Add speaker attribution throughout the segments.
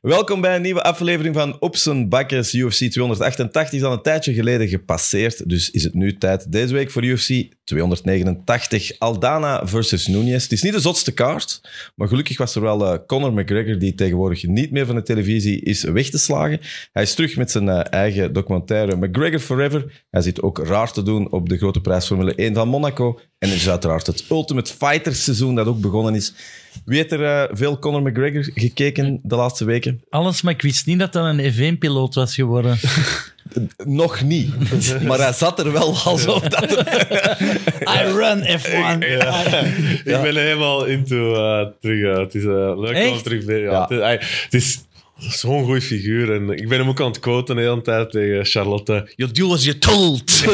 Speaker 1: Welkom bij een nieuwe aflevering van Opsen Bakkers. UFC 288 is al een tijdje geleden gepasseerd, dus is het nu tijd deze week voor UFC 289. Aldana versus Nunes. Het is niet de zotste kaart, maar gelukkig was er wel eh, Conor McGregor, die tegenwoordig niet meer van de televisie is weg te slagen. Hij is terug met zijn eh, eigen documentaire McGregor Forever. Hij zit ook raar te doen op de grote prijs Formule 1 van Monaco. En er is uiteraard het Ultimate Fighter seizoen dat ook begonnen is. Wie heeft er eh, veel Conor McGregor gekeken de laatste weken?
Speaker 2: Alles, maar ik wist niet dat dat een EV-piloot was geworden.
Speaker 1: Nog niet. Maar hij zat er wel alsof dat...
Speaker 2: I run F1.
Speaker 3: Ja. ik ben helemaal into eh, terug. eh, het is eh, leuk om
Speaker 2: Echt?
Speaker 3: terug bij. Ja.
Speaker 1: Ja.
Speaker 3: Het, is- ey, het is zo'n goede figuur. En ik ben hem ook aan het quoten de hele tijd tegen Charlotte.
Speaker 2: You do as you told.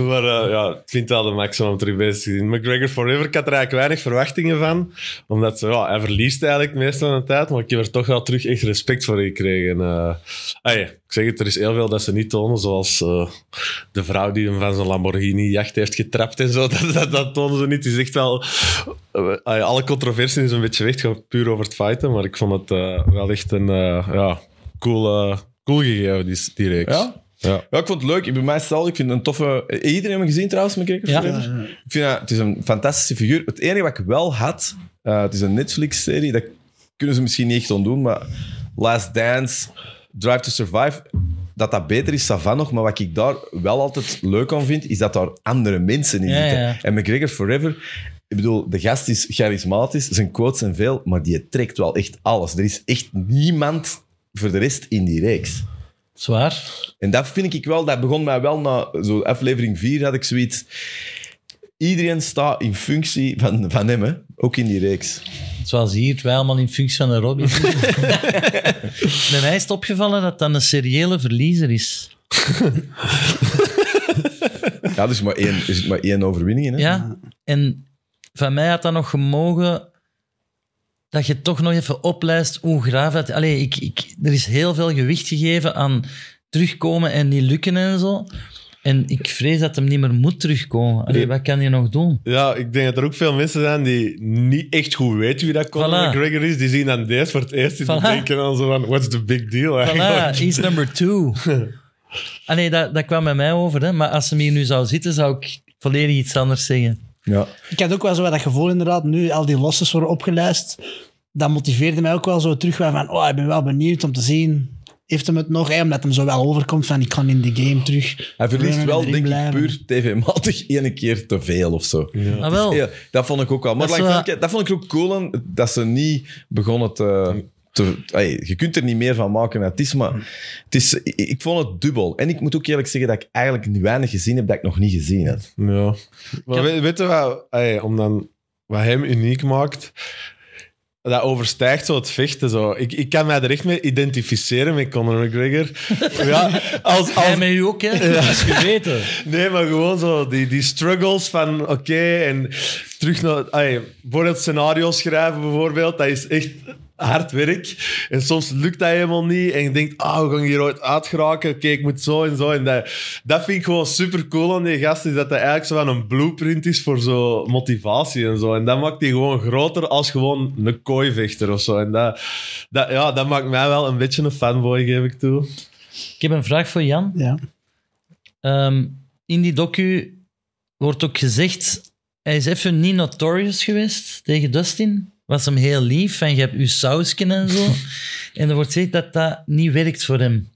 Speaker 3: Maar eh, ja, ik vind het wel de maximum om terug bezig te zien. McGregor Forever, ik had er eigenlijk weinig verwachtingen van. Omdat ze, ja, hij verliest eigenlijk meestal van de tijd. Maar ik heb er toch wel terug echt respect voor gekregen. Eh, ah ja, ik zeg het, er is heel veel dat ze niet tonen. Zoals eh, de vrouw die hem van zijn Lamborghini-jacht heeft getrapt en zo. Dat, dat, dat tonen ze niet. Het is echt wel... eh, ah ja, alle controversie is een beetje weg. Het gaat puur over het fighten. Maar ik vond het eh, wel echt een eh, ja, cool, eh, cool gegeven, die, die reeks.
Speaker 1: Ja?
Speaker 3: Ja.
Speaker 1: Ja, ik vond het leuk. Ik- Bij mij stel, ik vind het een toffe... eh, Iedereen heeft hem gezien trouwens, McGregor
Speaker 2: Ja.
Speaker 1: Forever? Ik vind dat, het is een fantastische figuur. Het enige wat ik wel had, eh, het is een Netflix-serie, dat kunnen ze misschien niet echt ontdoen, maar Last Dance, Drive to Survive, dat dat beter is, Savan nog, maar wat ik daar wel altijd leuk aan vind, is dat daar andere mensen in
Speaker 2: Ja,
Speaker 1: zitten.
Speaker 2: ja.
Speaker 1: En McGregor Forever... Ik bedoel, de gast is charismatisch, zijn quotes zijn veel, maar die trekt wel echt alles. Er is echt niemand voor de rest in die reeks.
Speaker 2: Zwaar.
Speaker 1: En dat vind ik wel, dat begon mij wel na zo aflevering 4 had ik zoiets. Iedereen staat in functie van, van hem, hè? ook in die reeks.
Speaker 2: Zoals hier, wij allemaal in functie van een Robin. Bij mij is het opgevallen dat dat een seriële verliezer is.
Speaker 1: Ja, er is maar één, er zit maar één overwinning in. Hè?
Speaker 2: Ja? En van mij had dat nog gemogen dat je toch nog even oplijst hoe graaf dat... Allee, ik, ik, er is heel veel gewicht gegeven aan terugkomen en niet lukken en zo. En ik vrees dat hem niet meer moet terugkomen. Allee, wat kan hij nog doen?
Speaker 3: Ja, ik denk dat er ook veel mensen zijn die niet echt goed weten wie dat Conor
Speaker 2: Voilà.
Speaker 3: McGregor is. Die zien dan deze voor het eerst en die
Speaker 2: Voilà.
Speaker 3: denken dan zo van, what's the big deal eigenlijk?
Speaker 2: Voilà, he's number two. Allee, dat, dat kwam bij mij over. Hè. Maar als hem hier nu zou zitten, zou ik volledig iets anders zeggen.
Speaker 1: Ja.
Speaker 4: Ik had ook wel zo wat dat gevoel inderdaad, nu al die losses worden opgelijst, dat motiveerde mij ook wel zo terug wel van, oh, ik ben wel benieuwd om te zien, heeft hem het nog, hè, omdat hem zo wel overkomt van, ik kan in de game terug.
Speaker 1: Hij verliest
Speaker 4: Gewoon
Speaker 1: wel,
Speaker 4: in de
Speaker 1: denk
Speaker 4: ring
Speaker 1: ik,
Speaker 4: blijven.
Speaker 1: puur tv-matig één keer te veel of zo.
Speaker 3: Ja.
Speaker 2: Ah, wel.
Speaker 1: Ja, dat vond ik ook wel. Maar
Speaker 2: Dat is eh,
Speaker 1: langs
Speaker 2: wel-
Speaker 1: de kant- dat vond ik ook cool aan, dat ze niet begonnen te. te ey, je kunt er niet meer van maken. Het is, maar het is, ik, ik vond het dubbel. En ik moet ook eerlijk zeggen dat ik eigenlijk weinig gezien heb dat ik nog niet gezien had.
Speaker 3: Ja. Maar weet, weet je wat, ey, om dan, wat hem uniek maakt? Dat overstijgt zo het vechten. Zo. Ik, ik kan mij er echt mee identificeren met Conor McGregor. ja, als, als,
Speaker 2: Jij met u ook, hè? Dat is geweten.
Speaker 3: Nee, maar gewoon zo die, die struggles van oké en terug naar... Ay, bijvoorbeeld scenario schrijven bijvoorbeeld, dat is echt hard werk. En soms lukt dat helemaal niet en je denkt, ah, we gaan hier ooit uitgeraken. Oké, ik moet zo en zo. En dat, dat vind ik gewoon super cool aan die gast, is dat dat eigenlijk zo van een blueprint is voor zo motivatie en zo. En dat maakt die gewoon groter als gewoon een kooivechter of zo. En dat, dat, ja, dat maakt mij wel een beetje een fanboy, geef ik toe.
Speaker 2: Ik heb een vraag voor Jan.
Speaker 4: Ja.
Speaker 2: Ehm, in die docu wordt ook gezegd... Hij is even niet notorious geweest tegen Dustin. Was hem heel lief en je hebt uw sausken en zo. en er wordt gezegd dat dat niet werkt voor hem.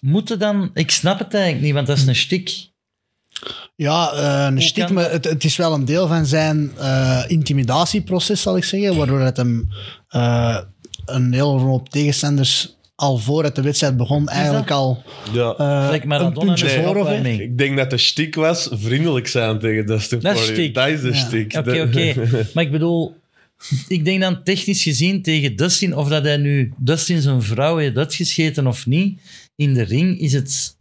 Speaker 2: Moeten dan... Ik snap het eigenlijk niet, want dat is een stik.
Speaker 4: Eh, Ja, eh, een stik,
Speaker 2: kan-
Speaker 4: maar het, het is wel een deel van zijn eh, intimidatieproces, zal ik zeggen, waardoor het hem eh, een hele hoop tegenstanders al voordat de wedstrijd begon eigenlijk al
Speaker 3: Ja.
Speaker 4: eh,
Speaker 2: Gelijk
Speaker 4: een
Speaker 2: Maradona
Speaker 4: puntje
Speaker 2: met de
Speaker 4: voor of hè.
Speaker 2: opwarming.
Speaker 3: Ik denk dat de stiek was vriendelijk zijn tegen Dustin
Speaker 2: Dat is
Speaker 3: Poirier.
Speaker 2: stiek.
Speaker 3: Dat is de
Speaker 4: Ja.
Speaker 3: stiek.
Speaker 2: Oké,
Speaker 3: Dat-
Speaker 2: oké. Maar ik bedoel, ik denk dan technisch gezien tegen Dustin, of dat hij nu Dustin zijn vrouw heeft uitgescheten of niet, in de ring is het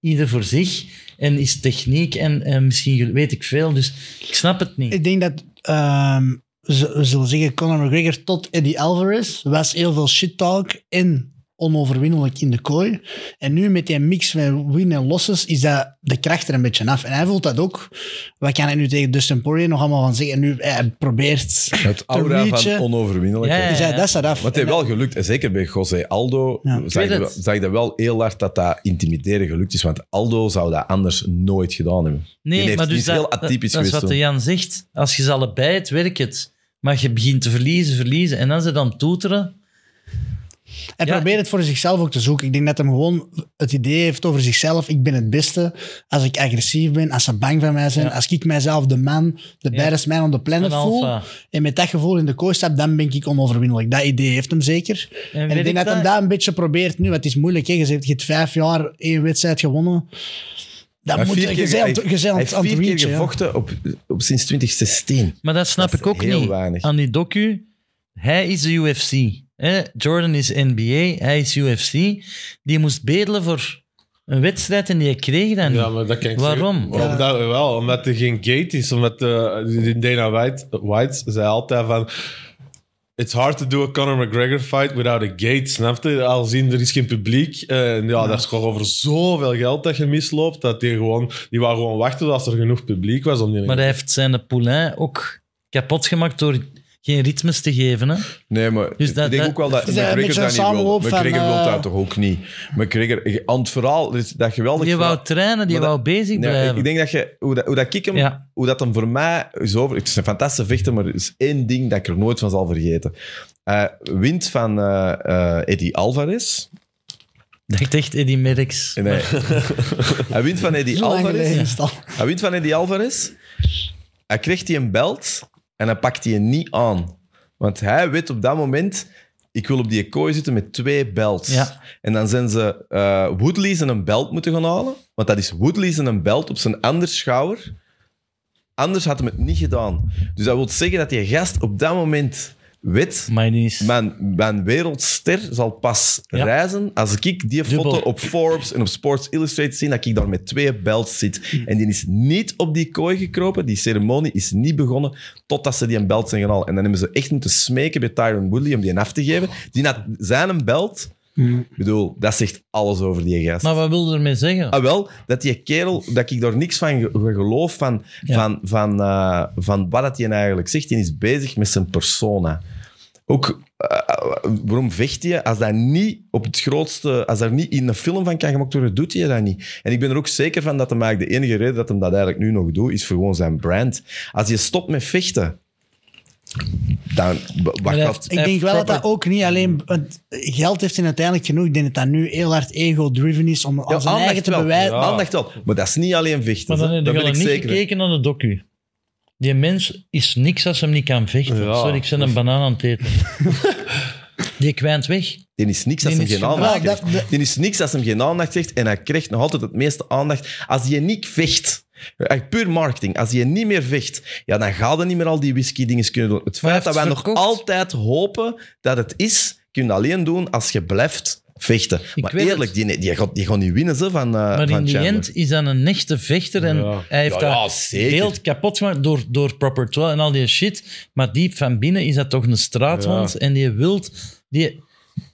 Speaker 2: ieder voor zich en is techniek en, en misschien weet ik veel, dus ik snap het niet.
Speaker 4: Ik denk dat, ehm, ze- we zullen zeggen, Conor McGregor tot Eddie Alvarez was heel veel shit talk en onoverwinnelijk in de kooi. En nu met die mix van win en losses is dat de kracht er een beetje af. En hij voelt dat ook. Wat kan hij nu tegen Dustin Poirier nog allemaal van zeggen? En nu, hij probeert...
Speaker 1: Het aura van
Speaker 4: reachen.
Speaker 1: onoverwinnelijkheid.
Speaker 2: Ja, ja.
Speaker 4: Dus hij, dat staat af.
Speaker 1: Maar het heeft wel gelukt. En zeker bij José Aldo
Speaker 4: Ja.
Speaker 1: zag,
Speaker 2: Ik
Speaker 1: je,
Speaker 2: weet
Speaker 1: wel-
Speaker 2: het.
Speaker 1: zag je dat wel heel hard dat dat intimideren gelukt is. Want Aldo zou dat anders nooit gedaan hebben. Die
Speaker 2: Nee,
Speaker 1: heeft-
Speaker 2: maar
Speaker 1: die
Speaker 2: dus
Speaker 1: is
Speaker 2: dat,
Speaker 1: heel
Speaker 2: dat-
Speaker 1: atypisch
Speaker 2: dat is wat
Speaker 1: geweest
Speaker 2: de Jan zegt. Als je ze allebei het werkt het. Maar je begint te verliezen, verliezen. En dan ze dan toeteren.
Speaker 4: Hij
Speaker 2: Ja.
Speaker 4: probeert het voor zichzelf ook te zoeken. Ik denk dat hem gewoon het idee heeft over zichzelf. Ik ben het beste als ik agressief ben, als ze bang van mij zijn.
Speaker 2: Ja.
Speaker 4: Als ik mijzelf de man, de
Speaker 2: Ja.
Speaker 4: baddest man on the planet
Speaker 2: Een
Speaker 4: voel.
Speaker 2: alpha.
Speaker 4: En met dat gevoel in de kooi stap, dan ben ik onoverwinnelijk. Dat idee heeft hem zeker. En,
Speaker 2: weet
Speaker 4: ik denk
Speaker 2: ik
Speaker 4: dat hij
Speaker 2: dat?
Speaker 4: dat een beetje probeert nu. Want het is moeilijk. Hè? Je zegt, je hebt vijf jaar één wedstrijd gewonnen. Dat
Speaker 1: Hij
Speaker 4: moet
Speaker 1: heeft
Speaker 4: je
Speaker 1: vier keer-
Speaker 4: gezeld
Speaker 1: hij- hij heeft
Speaker 4: aan het
Speaker 1: vier keer
Speaker 4: reachen, ja.
Speaker 1: gevochten op, op, sinds 2016.
Speaker 2: Maar dat snap
Speaker 1: Dat is
Speaker 2: ik ook
Speaker 1: heel
Speaker 2: niet.
Speaker 1: weinig.
Speaker 2: Aan die docu, hij is de UFC. hè. Jordan is NBA, hij is UFC. Die moest bedelen voor een wedstrijd en die kreeg dat niet.
Speaker 3: Ja, maar dat kan ik
Speaker 2: Waarom?
Speaker 3: zeggen. Waarom dat wel? Omdat er geen gate is. Omdat eh, Dana White, White zei altijd van... It's hard to do a Conor McGregor fight without a gate, snap je? Al zien, er is geen publiek. Eh, en ja, dat is gewoon over zoveel geld dat je misloopt. Dat die gewoon... Die wou gewoon wachten tot als er genoeg publiek was om die...
Speaker 2: Maar hij heeft zijn poulain ook kapot gemaakt door geen ritmes te geven. Hè?
Speaker 1: Nee, maar
Speaker 2: Dus dat-
Speaker 1: ik denk
Speaker 2: dat-
Speaker 1: ook wel dat
Speaker 4: is een
Speaker 1: McGregor
Speaker 4: beetje
Speaker 1: dat niet
Speaker 4: een
Speaker 1: wil.
Speaker 4: samenloop van,
Speaker 1: McGregor wil
Speaker 4: eh,
Speaker 1: dat toch ook niet. McGregor, aan het verhaal, er is dat geweldig
Speaker 2: Die
Speaker 1: verhaal-
Speaker 2: wou trainen, die
Speaker 1: Maar dat-
Speaker 2: wou bezig
Speaker 1: Nee,
Speaker 2: blijven.
Speaker 1: ik denk dat je, hoe dat, hoe dat ik hem,
Speaker 2: Ja.
Speaker 1: hoe dat hem voor mij is over. Het is een fantastische vechter, maar er is één ding dat ik er nooit van zal vergeten. Eh wint van eh eh, Eddie Alvarez.
Speaker 2: Ik dacht echt Eddie Merckx.
Speaker 1: En hij, hij wint van Eddie
Speaker 4: Zo lang
Speaker 1: Alvarez.
Speaker 4: geleden is het al.
Speaker 1: Hij wint van Eddie Alvarez. Hij krijgt die een belt en hij pakt die niet aan. Want hij weet op dat moment... Ik wil op die kooi zitten met twee belts.
Speaker 2: Ja.
Speaker 1: En dan zijn ze eh Woodley's en een belt moeten gaan halen. Want dat is Woodley's en een belt op zijn ander schouder. Anders had hem het niet gedaan. Dus dat wil zeggen dat die gast op dat moment weet...
Speaker 2: Maar die is...
Speaker 1: Mijn, mijn wereldster zal pas
Speaker 2: Ja.
Speaker 1: reizen als ik die
Speaker 2: Dubbel.
Speaker 1: foto op Forbes en op Sports Illustrated zie dat ik daar met twee belts zit. En die is niet op die kooi gekropen. Die ceremonie is niet begonnen totdat ze die een belt zijn gaan halen. En dan hebben ze echt moeten smeken bij Tyron Woodley om die af te geven. Die had zijn een belt. Ik bedoel, dat zegt alles over die gast.
Speaker 2: Maar wat wil je ermee zeggen?
Speaker 1: Ah, wel, dat die kerel, dat ik daar niks van ge- van geloof, van,
Speaker 2: Ja.
Speaker 1: van, van, eh, van wat dat hij eigenlijk zegt. Die is bezig met zijn persona. Ook, eh, eh, waarom vecht je als dat niet op het grootste, als daar niet in een film van kan gemaakt worden, doet hij dat niet. En ik ben er ook zeker van dat hem eigenlijk de enige reden dat hem dat eigenlijk nu nog doet, is voor gewoon zijn brand. Als je stopt met vechten, dan w- wat
Speaker 2: Maar hij
Speaker 1: gaat...
Speaker 2: heeft-
Speaker 4: Ik denk wel dat dat
Speaker 2: proper-
Speaker 4: ook niet alleen... Want geld heeft hij uiteindelijk genoeg. Ik denk dat dat nu heel hard ego-driven is om aan zijn eigen te
Speaker 1: wel.
Speaker 4: bewijzen.
Speaker 1: Ja. Aandacht wel. Maar dat is niet alleen vechten.
Speaker 2: Maar dan
Speaker 1: hè.
Speaker 2: heb je
Speaker 1: Daar ben
Speaker 2: wel
Speaker 1: ik
Speaker 2: niet
Speaker 1: zeker.
Speaker 2: gekeken naar de docu. Die mens is niks als hem niet kan vechten.
Speaker 3: Ja.
Speaker 2: Sorry, ik ben een banaan aan het eten. die kwijnt weg.
Speaker 1: Die is niks als
Speaker 2: Die
Speaker 1: hem
Speaker 2: is
Speaker 1: geen
Speaker 2: geen-
Speaker 1: aandacht
Speaker 4: Ja, dat-
Speaker 1: krijgt. Die is niks als hem geen aandacht krijgt. En hij krijgt nog altijd het meeste aandacht als je niet vecht. Echt puur marketing. Als je niet meer vecht, ja, dan ga je niet meer al die whisky-dingen kunnen doen. Het
Speaker 2: Maar
Speaker 1: feit
Speaker 2: hij
Speaker 1: dat wij
Speaker 2: heeft
Speaker 1: nog
Speaker 2: verkocht.
Speaker 1: altijd hopen dat het is, kun je alleen doen als je blijft vechten. maar
Speaker 2: weet
Speaker 1: eerlijk, die, die, gaat, die gaat niet winnen ze, van, eh
Speaker 2: Maar
Speaker 1: van
Speaker 2: in die
Speaker 1: Chandler.
Speaker 2: end is dat een echte vechter. En
Speaker 3: Ja.
Speaker 2: hij heeft
Speaker 1: Ja, ja,
Speaker 2: dat
Speaker 1: zeker.
Speaker 2: beeld kapot gemaakt door, door Proper 12 en al die shit. Maar diep van binnen is dat toch een straathond.
Speaker 3: Ja.
Speaker 2: En die wilt, die,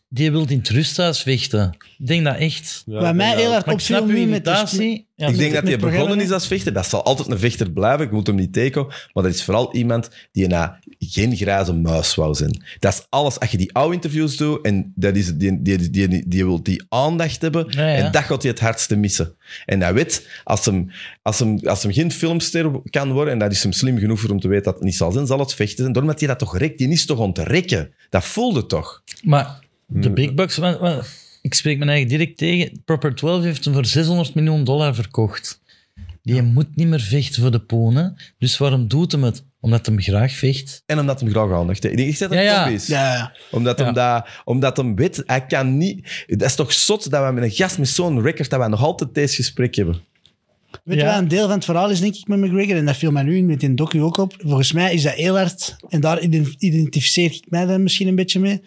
Speaker 2: die wilt in het rusthuis vechten. Ik denk dat echt.
Speaker 3: Ja,
Speaker 4: Wat
Speaker 3: ik
Speaker 4: mij
Speaker 3: denk
Speaker 4: heel
Speaker 3: dat-
Speaker 4: hard
Speaker 2: Maar ik
Speaker 4: opviel
Speaker 2: snap uw
Speaker 4: nu met...
Speaker 2: irritatie. Ja,
Speaker 1: ik denk
Speaker 4: met
Speaker 1: dat hij
Speaker 4: het programma.
Speaker 1: begonnen is als vechter. Dat zal altijd een vechter blijven. Ik moet hem niet tekenen. Maar dat is vooral iemand die na geen grijze muis wou zijn. Dat is alles. Als je die oude interviews doet en dat is, die, die, die, die, die wil die aandacht hebben.
Speaker 2: Ja, ja.
Speaker 1: En dat gaat hij het hardste missen. En hij weet, als hem, als, hem, als hem geen filmster kan worden, en dat is hem slim genoeg voor om te weten dat het niet zal zijn, zal het vechten zijn. Daarom dat hij dat toch rekt. Die is toch ontrekken. Dat voelde toch.
Speaker 2: Maar de Big Bucks, want- want ik spreek mijn eigen direct tegen. Proper 12 heeft hem voor 600 miljoen dollar verkocht. Die moet niet meer vechten voor de ponen. Dus waarom doet hem het? Omdat hem graag vecht.
Speaker 1: En omdat hem graag aandacht heeft. Ik denk echt dat dat
Speaker 2: Ja, ja.
Speaker 1: top is.
Speaker 4: Ja, ja.
Speaker 1: Omdat, hem
Speaker 2: Ja.
Speaker 1: dat, omdat hem weet, hij kan niet... Dat is toch zot dat we met een gast met zo'n record, dat we nog altijd deze gesprek hebben.
Speaker 4: Weet je
Speaker 2: Ja.
Speaker 4: wat een deel van het verhaal is, denk ik, met McGregor? En dat viel mij nu met in docu ook op. Volgens mij is dat heel hard, en daar ident- identificeer ik mij dan misschien een beetje mee.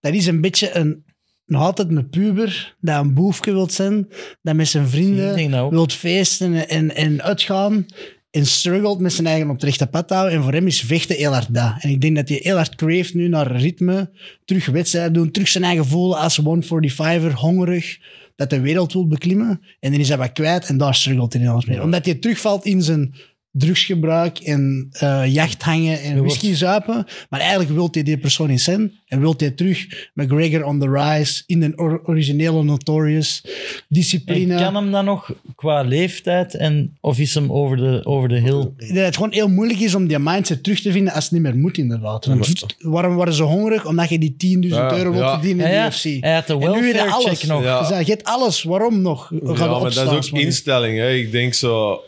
Speaker 4: Dat is een beetje een, nog altijd een puber, dat een boefje wilt zijn, dat met zijn
Speaker 2: Ik
Speaker 4: vrienden
Speaker 2: denk dat ook.
Speaker 4: wilt feesten en, en uitgaan. en struggelt met zijn eigen op het rechte pad houden. En voor hem is vechten heel hard dat. En ik denk dat hij heel hard craeft nu naar ritme, terug wedstrijden doen, terug zijn eigen voelen als 145er, hongerig, dat de wereld wil beklimmen. En dan is hij wat kwijt en daar struggelt hij heel hard mee. Omdat hij terugvalt in zijn drugsgebruik en eh jacht hangen en
Speaker 2: wordt-
Speaker 4: whisky zuipen. Maar eigenlijk wil hij die persoon in zijn en wil hij terug McGregor on the rise, in de or- originele Notorious,
Speaker 2: En
Speaker 4: discipline.
Speaker 2: kan hem dan nog qua leeftijd en of is hem over de, over de hill?
Speaker 4: dat het gewoon heel moeilijk is om die mindset terug te vinden als het niet meer moet, inderdaad. Want pst, waarom waren ze hongerig? Omdat je die 10.000
Speaker 3: Ja,
Speaker 4: euro wilt
Speaker 3: ja.
Speaker 4: verdienen
Speaker 2: Ja,
Speaker 4: in
Speaker 2: ja.
Speaker 4: de UFC.
Speaker 2: Hij had de
Speaker 4: en nu heb je
Speaker 2: welfare
Speaker 4: alles.
Speaker 2: check nog.
Speaker 3: Ja.
Speaker 4: Dus je hebt alles. Waarom nog? We gaan
Speaker 3: Ja, maar dat
Speaker 4: opstaan,
Speaker 3: is ook
Speaker 4: man.
Speaker 3: instelling. Hè. Ik denk zo...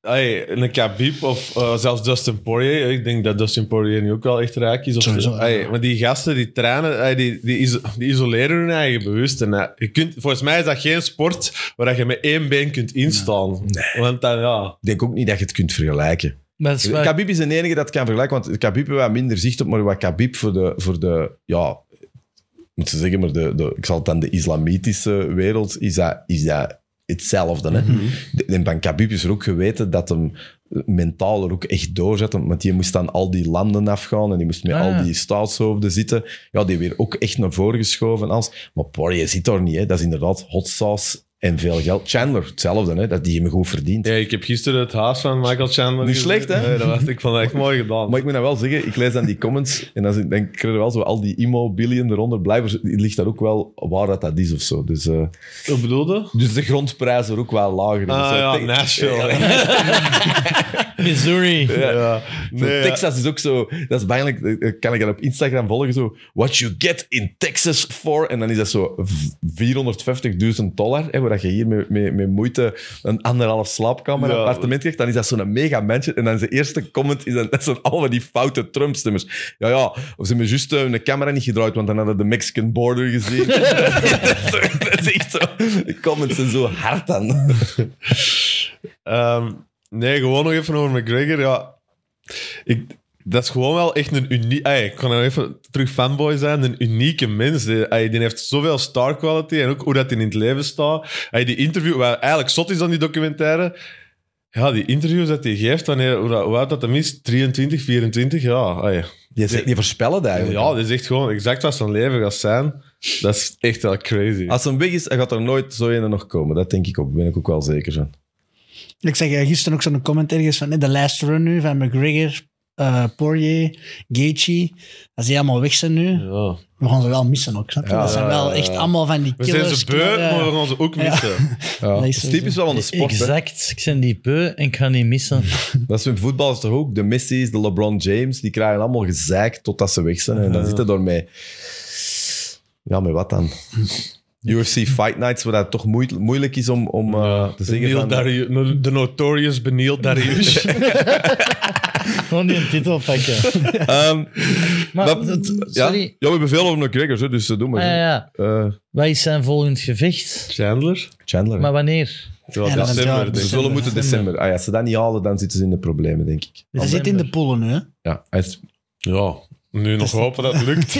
Speaker 3: Hey, een Khabib of eh, zelfs Dustin Poirier. Ik denk dat Dustin Poirier nu ook wel echt rijk is. Of
Speaker 4: Sowieso, ja.
Speaker 3: Hey, maar die gasten, die trainen, hey, die, die, iso- die isoleren hun eigen bewust. En, eh, je kunt, volgens mij is dat geen sport waar je met één been kunt instaan. Want dan, ja...
Speaker 1: Ik denk ook niet dat je het kunt vergelijken.
Speaker 2: Maar dat is waar-
Speaker 1: Khabib is de enige dat het kan vergelijken, want Khabib heeft wat minder zicht op, maar wat Khabib voor de, voor de ja, ik moet ze zeggen, maar de, de, ik zal het dan de islamitische wereld, is dat, is dat hetzelfde. Hè?
Speaker 2: Mhm.
Speaker 1: De- En van Khabib is er ook geweten dat hem mentaal er ook echt doorzet, want die moest dan al die landen afgaan en die moest met
Speaker 2: Ah, ja.
Speaker 1: al die staatshoofden zitten. Ja, die weer ook echt naar voren geschoven. Als, maar Poirier zit daar niet, hè? dat is inderdaad hot sauce en veel geld. Chandler, hetzelfde, hè? dat die hem goed verdient.
Speaker 3: Ja, ik heb gisteren het huis van Michael Chandler
Speaker 1: Niet
Speaker 3: gezien.
Speaker 1: slecht, hè?
Speaker 3: Nee, dat was, ik vond dat echt mooi gedaan.
Speaker 1: Maar ik moet nou wel zeggen, ik lees dan die comments en dan denk ik er wel zo al die immobiliën eronder. Blijkbaar ligt daar ook wel waar dat, dat is of zo. Dus, eh,
Speaker 3: Wat bedoelde?
Speaker 1: dus de grondprijs er ook wel lager.
Speaker 3: Ah
Speaker 1: Dus, eh,
Speaker 3: ja,
Speaker 1: Te-
Speaker 3: Nashville. hè.
Speaker 2: Missouri.
Speaker 3: Ja.
Speaker 1: zo,
Speaker 3: Nee, ja.
Speaker 1: Texas is ook zo, dat is pijnlijk, eh, kan ik dan op Instagram volgen, zo, what you get in Texas for, en dan is dat zo v- 450.000 dollar, hè, waar dat je hier met, met, met moeite een anderhalf slaapkamer
Speaker 3: Ja.
Speaker 1: appartement krijgt, dan is dat zo'n mega mansion, en dan zijn eerste comment is dan, dat zijn allemaal die foute Trump-stemmers. Ja, ja, of ze hebben juist eh, hun camera niet gedraaid, want dan hadden de Mexican border gezien. dat is echt zo, de comments zijn zo hard dan.
Speaker 3: Ehm, nee, gewoon nog even over McGregor. Ja, ik, dat is gewoon wel echt een uniek... Ik kan nou even terug fanboy zijn. Een unieke mens. Die, ey, die heeft zoveel star quality en ook hoe dat hij in het leven staat. Ey, die interview, wat eigenlijk zot is aan die documentaire... Ja, die interviews dat hij geeft, wanneer, hoe, dat- hoe oud dat hem is, 23, 24, ja. ey.
Speaker 1: Je, zegt- je voorspellen dat eigenlijk.
Speaker 3: Ja, dat is echt gewoon exact wat zijn leven gaat zijn. Dat is echt wel crazy.
Speaker 1: Als hem weg is, dan gaat er nooit zo een nog komen. Dat denk ik ook. Daar ben ik ook wel zeker van.
Speaker 4: Ik zeg eh, gisteren ook zo'n comment ergens van eh, de last run nu van McGregor, eh, Poirier, Gaethje. Als die allemaal weg zijn nu,
Speaker 3: Ja.
Speaker 4: we gaan ze wel missen ook. Snap je?
Speaker 1: Ja,
Speaker 4: dat zijn
Speaker 3: ja,
Speaker 4: wel
Speaker 3: ja,
Speaker 4: echt
Speaker 3: ja.
Speaker 4: allemaal van die
Speaker 3: We
Speaker 4: killers.
Speaker 3: zijn ze beu,
Speaker 4: killer-
Speaker 3: maar we gaan ze ook
Speaker 4: Ja.
Speaker 3: missen.
Speaker 1: Ja. Dat
Speaker 4: Nee, sowieso.
Speaker 1: is typisch wel aan de sport. hè.
Speaker 2: Exact. Ik ben die beu en ik ga niet missen.
Speaker 1: Dat is in voetbal is toch ook. De Messi's, de LeBron James, die krijgen allemaal gezeik totdat ze weg zijn. En dan
Speaker 3: Ja.
Speaker 1: zitten door mij... Ja, met wat dan? UFC Fight Nights, waar het toch moeit- moeilijk is om, om eh, te zeggen
Speaker 3: Neil
Speaker 1: van...
Speaker 3: Darius- no- de notorious Benil Darius.
Speaker 2: Gewoon die een titel pakken.
Speaker 1: Ehm,
Speaker 2: Maar,
Speaker 1: dat- ja?
Speaker 2: sorry.
Speaker 1: ja, we hebben veel over McGregor, hè, dus eh, doe maar.
Speaker 2: Ah, ja,
Speaker 1: hè.
Speaker 2: ja.
Speaker 1: Eh,
Speaker 2: Wat is zijn volgend gevecht?
Speaker 3: Chandler?
Speaker 1: Chandler. hè.
Speaker 2: Maar wanneer?
Speaker 3: Ja,
Speaker 4: Ja, dat is
Speaker 3: december,
Speaker 4: ja,
Speaker 3: denk
Speaker 1: ze dus
Speaker 3: ik.
Speaker 1: zullen
Speaker 4: december,
Speaker 1: moeten december. Ah, ja, als ze dat niet halen, dan zitten ze in de problemen, denk ik.
Speaker 4: Hij zit in de pollen nu, hè?
Speaker 1: Ja, hij is-
Speaker 3: Ja, nu nog hopen dat het lukt.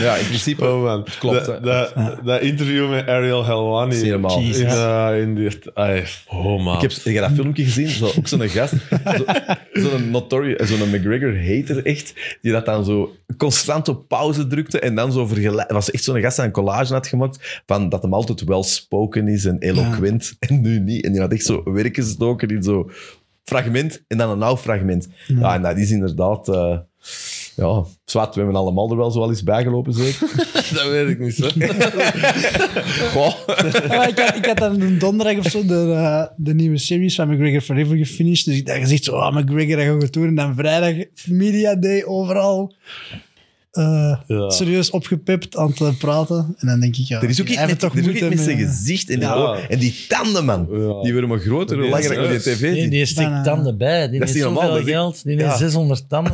Speaker 1: ja in principe...
Speaker 3: Oh man,
Speaker 1: klopt,
Speaker 3: Dat-
Speaker 1: hè.
Speaker 3: dat- Dat interview met Ariel Helwani.
Speaker 1: Is niet normaal.
Speaker 3: In,
Speaker 2: Jesus.
Speaker 3: eh, in die, ai, oh man.
Speaker 1: Ik heb, heb je dat filmpje gezien? Zo, ook zo'n gast, zo- zo'n notorious, zo'n McGregor-hater echt, die dat dan zo constant op pauze drukte en dan zo vergelijkt. was echt zo'n gast die een collage had gemaakt van dat hem altijd welspoken is en eloquent en nu niet. En die had echt zo werken gestoken in zo'n fragment en dan een nauw fragment. Ja, en dat is inderdaad... eh, ja, zwart, we hebben allemaal er wel zo al eens bijgelopen, zeker.
Speaker 3: dat weet ik niet. Zo.
Speaker 1: Goh.
Speaker 4: Ja, ik, had, ik had dan een donderdag of zo de, eh, de nieuwe series van McGregor Forever gefinished. Dus ik dacht gezegd zo, ah, McGregor, dat gaan we doen. En dan vrijdag, media day, overal. eh,
Speaker 3: Ja.
Speaker 4: Serieus opgepept aan het eh, praten. En dan denk ik, ja,
Speaker 1: Er is ook
Speaker 4: die
Speaker 1: iets met, toch
Speaker 4: hebben
Speaker 1: eh, er is ook
Speaker 4: moeite
Speaker 1: iets met zijn
Speaker 4: met-
Speaker 1: gezicht en die,
Speaker 3: Ja.
Speaker 1: oren. en die tanden, man.
Speaker 3: Ja.
Speaker 1: Die werden maar groter hoe
Speaker 3: Die
Speaker 1: langer ik
Speaker 3: is-
Speaker 1: naar die tv zit.
Speaker 2: Nee, die stikt
Speaker 4: Bijna.
Speaker 2: tanden bij. Die
Speaker 1: Dat is
Speaker 2: heeft
Speaker 1: niet normaal,
Speaker 2: zoveel
Speaker 1: dat ik-
Speaker 2: geld. Die
Speaker 1: Ja.
Speaker 2: heeft 600 tanden.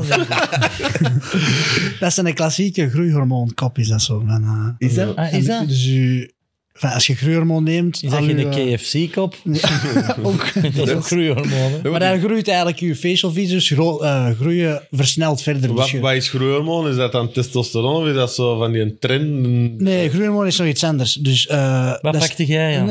Speaker 4: Dat is een klassieke groeihormoonkop, is dat zo. Van, eh,
Speaker 1: Is dat?
Speaker 2: Ah, is dat?
Speaker 4: Dus je Enfin, als je groeihormoon neemt...
Speaker 2: Is dat
Speaker 4: al
Speaker 2: je
Speaker 4: je, eh,
Speaker 2: de KFC-kop?
Speaker 4: ook,
Speaker 2: Dat is ook groeihormonen.
Speaker 4: maar daar groeit eigenlijk je facial features gro- eh, groeien versneld verder.
Speaker 3: Wat,
Speaker 4: Dus je-
Speaker 3: wat is groeihormoon? Is dat dan testosteron of is dat zo van die trend?
Speaker 4: nee, groeihormoon is nog iets anders. Dus, eh,
Speaker 2: Wat
Speaker 4: dat is-
Speaker 2: pakte jij, Jan?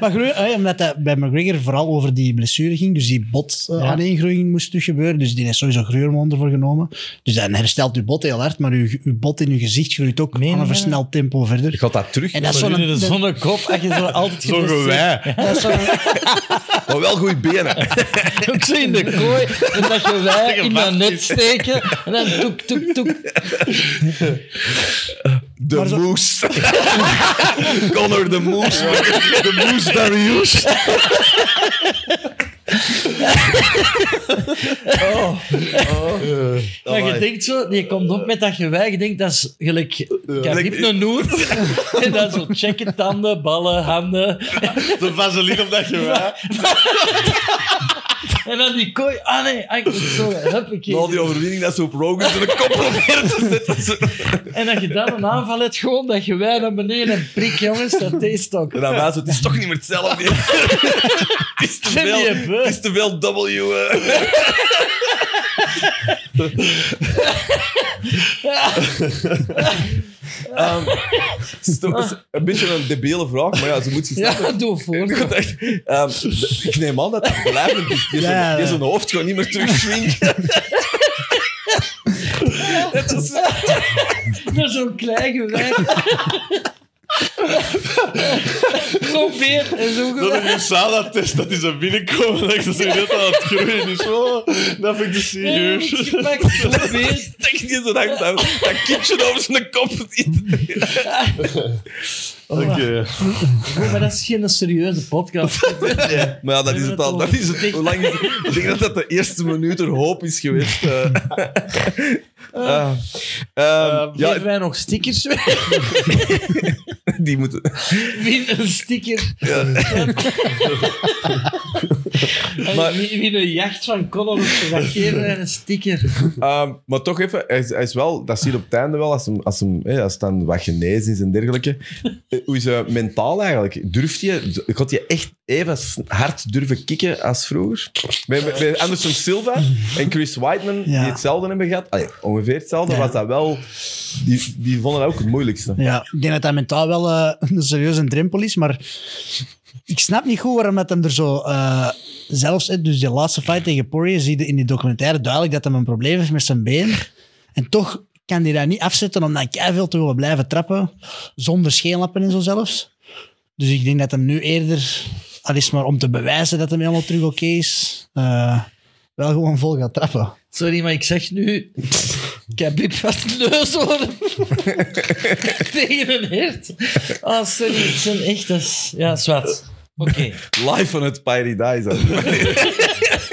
Speaker 4: Maar groei- eh, omdat dat bij McGregor vooral over die blessure ging, dus die bot eh,
Speaker 2: Ja.
Speaker 4: aaneengroeiing moest dus gebeuren, dus die heeft sowieso groeihormoon ervoor genomen. Dus dan herstelt je bot heel hard, maar je, je bot in je gezicht groeit ook
Speaker 2: Meen
Speaker 4: aan
Speaker 2: je?
Speaker 4: een versneld tempo verder.
Speaker 1: Gaat dat terug?
Speaker 4: En dat is
Speaker 2: Zo
Speaker 4: zo'n...
Speaker 2: in de zonnekop, als je zo altijd
Speaker 3: Zo'n
Speaker 2: geblesseerd-
Speaker 3: gewei.
Speaker 4: dat is zo'n-
Speaker 1: Maar wel goede benen.
Speaker 2: Ook zo in de kooi, en dat je wij in dat net steken, en dan toek, toek, toek.
Speaker 1: De
Speaker 4: Maar zo-
Speaker 1: moes. Connor de moes. De moes Darius.
Speaker 2: Oh, Maar je denkt zo, je komt op met dat gewei, je denkt dat is gelijk, ik heb
Speaker 1: Gelijk-
Speaker 2: een noot, en dan zo checken, tanden, ballen, handen,
Speaker 3: De vaseline op dat gewaar.
Speaker 2: en dan die kooi, ah nee, ah, ik moet zo,
Speaker 1: Na
Speaker 2: huppakee.
Speaker 1: die overwinning dat ze op Rogan zijn kop proberen te zetten. Zo.
Speaker 2: En dat je dan een aanval hebt, gewoon dat gewei naar beneden en prik, jongens, dat is toch.
Speaker 1: En dan was het, het is toch niet meer hetzelfde. Het is te
Speaker 2: Zijn
Speaker 1: veel,
Speaker 2: die een beuk?
Speaker 1: het is te veel W. eh. Ehm, het is toch- het is een beetje een debiele vraag, maar ja, ze moet zich snappen.
Speaker 2: Ja, doe voor.
Speaker 1: Goed, echt. Ehm, d- ik neem aan dat dat blijvend is. Je
Speaker 4: Ja, ja.
Speaker 1: zijn hoofd gewoon niet meer terugschwingen. Het is
Speaker 2: Naar zo'n klein gewei. Probeer en zo
Speaker 3: Dat
Speaker 2: gewei.
Speaker 3: is een salatest, dat is een binnenkomen. Dat ik zo net aan het groeien is. Oh, dat vind ik te
Speaker 2: Nee,
Speaker 3: serieus.
Speaker 2: ik pak probeer.
Speaker 1: Stek niet zo lang dat, dat kindje over zijn kop. Oh.
Speaker 3: Oké.
Speaker 2: Goed, Oh, maar dat is geen serieuze podcast.
Speaker 1: Maar ja, dat is het al. Dat is het. Hoe lang is het? Ik denk dat dat de eerste minuut er hoop is geweest. eh. Ah. Ehm, ja,
Speaker 2: Geven wij nog stickers weg?
Speaker 1: die moeten...
Speaker 2: Win een sticker.
Speaker 1: Maar-
Speaker 2: maar... Win win een jacht van Conor op de geven wij een sticker.
Speaker 1: Ehm, maar toch even, hij is, hij is wel, dat zie je op het einde wel, als, hem, als, hem, hè, als het dan wat genezen is en dergelijke. Eh, Hoe is hij mentaal eigenlijk? Durft je, gaat je echt even s- hard durven kicken als vroeger? Bij, bij- bij Anderson Silva en Chris Whiteman,
Speaker 4: Ja.
Speaker 1: die hetzelfde hebben gehad, allee, ongeveer hetzelfde,
Speaker 4: Ja.
Speaker 1: was dat wel, die, die vonden dat ook het moeilijkste.
Speaker 4: Ja, ik denk dat dat mentaal wel eh, een serieuze drempel is, maar ik snap niet goed waarom dat hem er zo... eh, zelfs, eh, dus die laatste fight tegen Poirier, zie je in die documentaire duidelijk dat hem een probleem heeft met zijn been. En toch kan hij dat niet afzetten om dan veel te willen blijven trappen, zonder scheenlappen en zo zelfs. Dus ik denk dat hem nu eerder, al is het maar om te bewijzen dat hem helemaal terug oké is, eh, wel gewoon vol gaat trappen.
Speaker 2: Sorry, maar ik zeg nu... Khabib had een neushoorn tegen een hert. Ah, sorry, het zijn echt... dat is- Ja, zwart. Oké.
Speaker 1: Live van het Paradise. hè.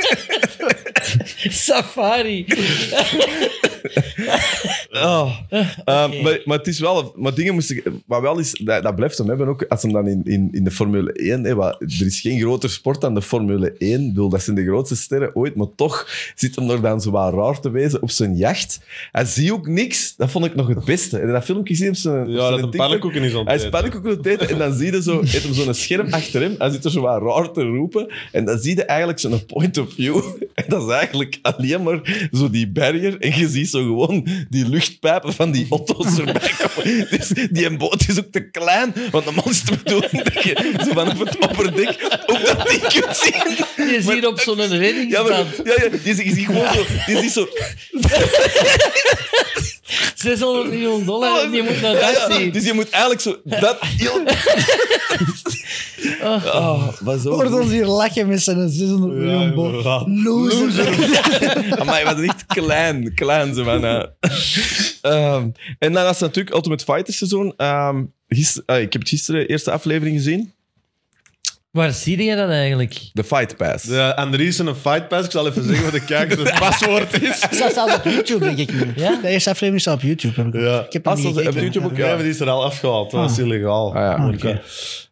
Speaker 2: Safari.
Speaker 1: Oh.
Speaker 3: Eh,
Speaker 1: Ehm,
Speaker 2: Oké.
Speaker 1: maar, maar het is wel... Maar dingen moesten... Wat wel is... Dat, dat blijft hem hebben ook. Als hem dan in, in, in de Formule 1... Hè, wat, er is geen groter sport dan de Formule 1. Ik bedoel, dat zijn de grootste sterren ooit. Maar toch zit hem er dan zo wat raar te wezen op zijn jacht. Hij ziet ook niks. Dat vond ik nog het beste. En dat filmpje zie je op zijn op
Speaker 3: Ja,
Speaker 1: zijn
Speaker 3: dat een
Speaker 1: TikTok.
Speaker 3: pannenkoek is aan
Speaker 1: Hij
Speaker 3: het
Speaker 1: is
Speaker 3: eten.
Speaker 1: pannenkoeken aan het eten en dan zie je zo, heeft hem zo'n scherm achter hem. Hij zit er zo wat raar te roepen. En dan zie je eigenlijk zo'n point of view. En dat is eigenlijk alleen maar zo die barrier. En je ziet zo gewoon die luchtpijpen van die auto's erbij komen. Dus die boot is ook te klein. Want de man is te bedoelen dat je zo vanaf het opperdek ook dat ding kunt zien.
Speaker 2: Je ziet op zo'n
Speaker 1: Ja, maar,
Speaker 2: reddingsband.
Speaker 1: ja, ja, je ziet je ziet gewoon zo... Je ziet zo
Speaker 2: 600 miljoen dollar en die moet naar dat zien.
Speaker 1: dus je moet eigenlijk zo... Dat heel... Oh, was zo
Speaker 4: Hoort ons hier lachen met zijn 600 miljoen bo-
Speaker 3: inderdaad.
Speaker 4: Loser.
Speaker 1: Amai, wat echt klein. Klein, ze van. eh. Ehm, en dan is natuurlijk Ultimate Fighter seizoen. Ehm, gister- ah, ik heb het gisteren de eerste aflevering gezien.
Speaker 2: Waar zie je dat eigenlijk?
Speaker 1: The Fight Pass.
Speaker 3: De Andries en een fight pass. Ik zal even zeggen wat de kijker het paswoord is.
Speaker 4: Dat staat op YouTube, denk ik nu.
Speaker 2: Ja?
Speaker 4: De eerste aflevering staat op YouTube. Heb ik,
Speaker 3: Ja.
Speaker 4: ik heb
Speaker 1: Ah,
Speaker 4: hem niet
Speaker 1: staat ze op
Speaker 4: gekeken.
Speaker 1: YouTube ook?
Speaker 3: Ja, maar die is er al afgehaald. Dat is illegaal.
Speaker 1: Ah, ja.
Speaker 3: Oké.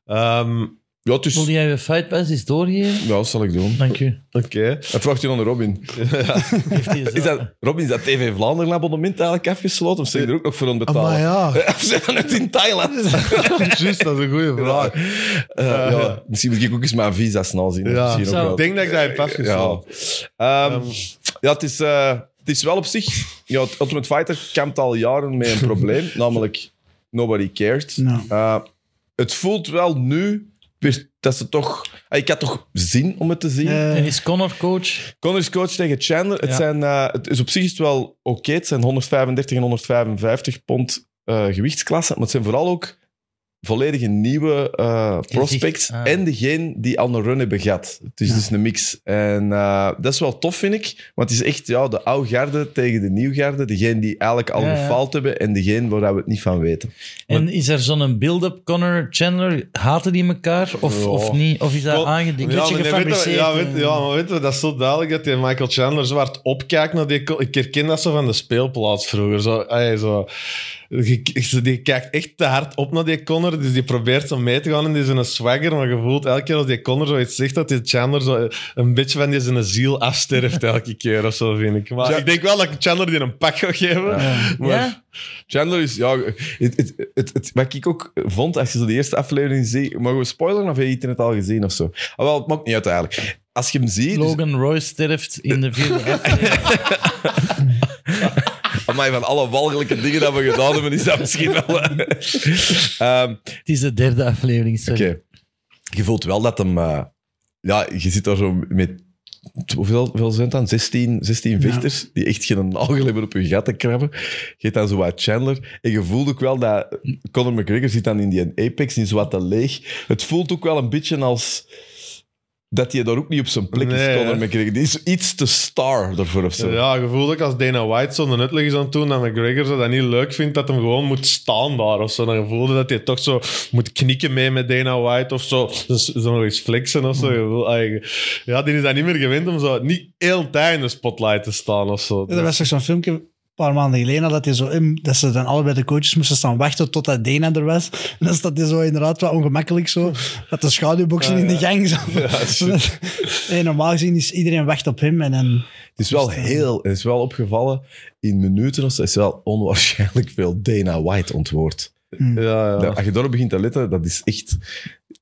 Speaker 3: Ehm,
Speaker 1: Ja, het is...
Speaker 2: Wil jij je Fight Pass eens doorgeven?
Speaker 1: Ja, dat zal ik doen.
Speaker 2: Dank u.
Speaker 3: Oké.
Speaker 1: En vraagt u dan aan Robin.
Speaker 2: Heeft hij zo-
Speaker 1: Is dat, Robin, is dat TV Vlaanderen abonnement eigenlijk afgesloten? Of zijn je er ook nog voor aan het betalen?
Speaker 4: Ah, Maar ja,
Speaker 1: Of zijn we net in Thailand?
Speaker 3: Juist, dat is een goede vraag.
Speaker 1: Eh, ja, misschien moet ik ook eens mijn visa snel zien.
Speaker 3: Ja.
Speaker 1: Ja. Misschien ook
Speaker 2: Zo.
Speaker 1: wel.
Speaker 3: Ik denk dat ik dat heb
Speaker 1: Ja.
Speaker 3: afgesloten.
Speaker 1: Ehm, ja, het is, eh, het is wel op zich... Ja, het Ultimate Fighter kampt al jaren met een probleem, namelijk nobody cared.
Speaker 4: Nou.
Speaker 1: Eh, het voelt wel nu weer dat ze toch... ah, ik had toch zin om het te zien.
Speaker 4: eh,
Speaker 2: En is Connor coach?
Speaker 1: Connors coach tegen Chandler. Het,
Speaker 2: Ja.
Speaker 1: zijn, eh, het is op zich is het wel oké. Het zijn 135 en 155 pond eh gewichtsklassen. Maar het zijn vooral ook volledige nieuwe eh, prospects.
Speaker 2: ah.
Speaker 1: En degene die al een run hebben gehad. Het is
Speaker 4: Ja.
Speaker 1: dus een mix. En eh, dat is wel tof, vind ik. Want het is echt ja, de oude garde tegen de nieuw garde. Degene die eigenlijk al
Speaker 2: Ja, ja.
Speaker 1: gefaald hebben. En degene waar we het niet van weten.
Speaker 2: En is er zo'n build-up, Connor, Chandler? Haten die elkaar of,
Speaker 3: Ja.
Speaker 2: of niet? Of is dat
Speaker 3: Kon-
Speaker 2: aangedikt?
Speaker 3: Ja,
Speaker 2: Beetje
Speaker 3: maar nee, weet je-
Speaker 2: gefabriceerd,
Speaker 3: ja, weet-
Speaker 2: eh.
Speaker 3: ja, maar weet je, dat is zo duidelijk dat die Michael Chandler zwart opkijkt naar die... ko- Ik herken dat zo van de speelplaats vroeger. Zo, ey, zo. Je- je- Die kijkt echt te hard op naar die Connor, dus die probeert zo mee te gaan en die is een swagger, maar je voelt elke keer als die Connor zoiets zegt, dat die Chandler zo eh, een beetje van die zijn ziel afsterft elke keer of zo, vind ik. Maar
Speaker 1: Ja.
Speaker 3: ik denk wel dat ik Chandler die een pak gaat geven. Maar,
Speaker 2: Ja?
Speaker 1: Chandler is, ja, het, het, het, het- wat ik ook vond, als je zo de eerste aflevering ziet, mogen we spoileren of heb je het in het al gezien of zo? Ah, wel, het maakt niet uit eigenlijk. Als je hem ziet, dus,
Speaker 2: Logan Roy sterft in de vierde aflevering.
Speaker 1: amai, van alle walgelijke dingen die we gedaan hebben, is dat misschien wel... eh, Ehm,
Speaker 2: Het is de derde aflevering,
Speaker 1: Oké.
Speaker 2: sorry.
Speaker 1: Je voelt wel dat hem... eh, ja, je zit daar zo met... Hoeveel, hoeveel zijn het dan? 16, 16
Speaker 4: Ja.
Speaker 1: vechters die echt geen nagel hebben op hun gat te krabben. Je hebt dan zo wat Chandler. En je voelt ook wel dat... Conor McGregor zit dan in die Apex, in zo wat te leeg. Het voelt ook wel een beetje als... Dat hij daar ook niet op zijn plek
Speaker 3: Nee,
Speaker 1: is,
Speaker 3: hè.
Speaker 1: Conor McGregor. Die is iets te star daarvoor of zo.
Speaker 3: Ja, je voelt ook als Dana White zo'n uitleg is aan het doen, dat McGregor zo dat niet leuk vindt, dat hem gewoon moet staan daar of zo. Dan voelde dat hij toch zo moet knikken mee met Dana White of zo. Dus zo nog eens flexen of zo. Je voelt eigenlijk- ja, die is dat niet meer gewend om zo niet heel tijd in de spotlight te staan of zo.
Speaker 4: er was toch zo'n filmpje een paar maanden geleden dat, hij zo in, dat ze dan allebei de coaches moesten staan wachten totdat Dana er was. En dan staat hij zo inderdaad wat ongemakkelijk zo, met de schaduwboxen in de gang. Zo. Nee, normaal gezien is iedereen wacht op hem en dan...
Speaker 1: Het is wel
Speaker 3: dus, eh,
Speaker 1: heel, het is wel opgevallen in minuten of zo. Het is wel onwaarschijnlijk veel Dana White ontwoord.
Speaker 4: hm.
Speaker 3: Ja, ja.
Speaker 1: Dat- als je daarop begint te letten, dat is echt.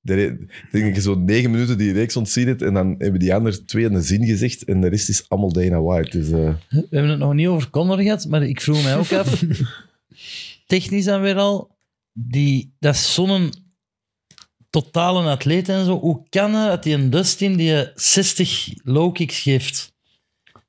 Speaker 1: de re- Ik denk dat je zo'n negen minuten die reeks ontzien het en dan hebben die anderen twee in een zin gezegd en de rest is allemaal Dana White. Dus, eh,
Speaker 2: We hebben het nog niet over Connor gehad, maar ik vroeg mij ook af. technisch dan weer al. Die, dat is zo'n totale atleet en zo. Hoe kan het dat die een Dustin die je 60 low kicks geeft?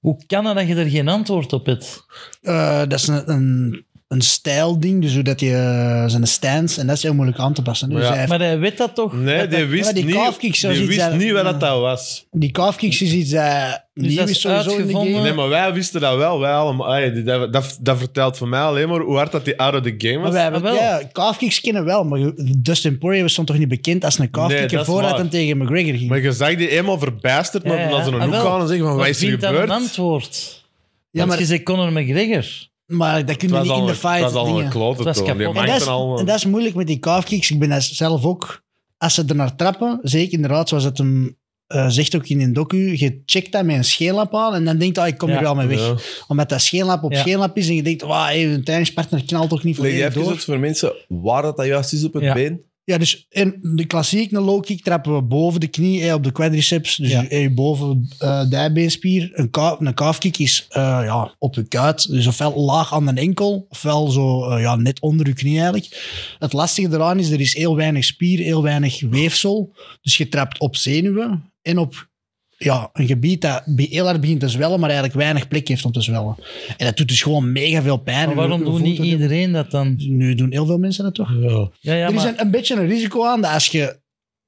Speaker 2: Hoe kan het dat je er geen antwoord op hebt?
Speaker 4: Eh, dat is een, een, een stijlding, dus hoe dat je eh, zijn stance, en dat is heel moeilijk aan te passen. Dus
Speaker 3: Maar ja.
Speaker 4: hij heeft-
Speaker 2: Maar hij weet dat toch?
Speaker 3: Nee,
Speaker 2: Dat
Speaker 3: die
Speaker 2: dat-
Speaker 3: wist
Speaker 4: maar die
Speaker 3: niet,
Speaker 4: calfkicks
Speaker 3: die
Speaker 4: was iets
Speaker 3: wist
Speaker 4: dat-
Speaker 3: niet wat dat,
Speaker 4: ja.
Speaker 3: dat was.
Speaker 4: die calfkicks is iets dat nieuw
Speaker 2: dat
Speaker 4: is
Speaker 2: is
Speaker 4: sowieso in de
Speaker 2: uitgevonden.
Speaker 4: game.
Speaker 3: Nee, maar wij wisten dat wel. Wij allemaal, Ai, die- dat, dat, dat vertelt voor mij alleen maar hoe hard dat die out of the game
Speaker 4: Maar
Speaker 3: was.
Speaker 4: wij hebben,
Speaker 2: Ah, wel.
Speaker 4: ja, calfkicks kennen wel, maar Dustin Poirier was dan toch niet bekend als een
Speaker 3: Nee,
Speaker 4: calfkicker
Speaker 3: dat is
Speaker 4: voordat
Speaker 3: waar.
Speaker 4: hij tegen McGregor ging.
Speaker 3: Maar je zag die eenmaal verbijsterd, maar
Speaker 2: Ja, ja.
Speaker 3: dan ze een
Speaker 2: Ah,
Speaker 3: hoek
Speaker 2: wel.
Speaker 3: aan en zeggen van, wat is er
Speaker 2: vindt dan
Speaker 3: gebeurd?
Speaker 2: een antwoord?
Speaker 4: ja,
Speaker 2: Want
Speaker 4: maar,
Speaker 2: je zegt Conor McGregor.
Speaker 4: maar dat kun je
Speaker 3: Het was
Speaker 4: niet in
Speaker 3: al
Speaker 4: de
Speaker 3: een-
Speaker 4: fight
Speaker 3: Het was al een
Speaker 4: dingen.
Speaker 3: klote
Speaker 2: Het was
Speaker 3: toon. Die
Speaker 2: kapot.
Speaker 4: En
Speaker 3: maakte
Speaker 4: dat, is,
Speaker 3: al...
Speaker 4: en dat is moeilijk met die calfkicks. Ik ben dat zelf ook. Als ze er naar trappen, zeker inderdaad, zoals het hem eh, zegt ook in een docu, je checkt dat met een scheellap aan en dan denkt hij, ik kom
Speaker 2: Ja.
Speaker 4: er wel mee weg.
Speaker 3: Ja.
Speaker 4: Omdat dat scheellap op
Speaker 2: Ja.
Speaker 4: scheellap is en je denkt, wauw, hey, een trainingspartner knalt toch niet voor
Speaker 1: leg jij
Speaker 4: je
Speaker 1: even
Speaker 4: door.
Speaker 3: dus
Speaker 1: uit voor mensen waar dat, dat juist is op het
Speaker 2: Ja.
Speaker 1: been?
Speaker 4: Ja, dus in de klassiek een low kick trappen we boven de knie, hey, op de quadriceps, dus
Speaker 2: Ja.
Speaker 4: hey, boven eh dijbeenspier. Een, ka een calf kick is eh, ja, op je kuit, dus ofwel laag aan de enkel, ofwel zo eh, ja, net onder je knie eigenlijk. Het lastige eraan is, er is heel weinig spier, heel weinig weefsel, dus je trapt op zenuwen en op ja, een gebied dat be- heel hard begint te zwellen, maar eigenlijk weinig plek heeft om te zwellen. En dat doet dus gewoon mega veel pijn.
Speaker 2: Maar waarom
Speaker 4: Je- je
Speaker 2: doet
Speaker 4: voelt
Speaker 2: niet
Speaker 4: het-
Speaker 2: iedereen dat dan?
Speaker 4: Nu doen heel veel mensen dat toch?
Speaker 2: Ja, ja,
Speaker 4: er is
Speaker 2: maar,
Speaker 4: een, een beetje een risico aan dat als je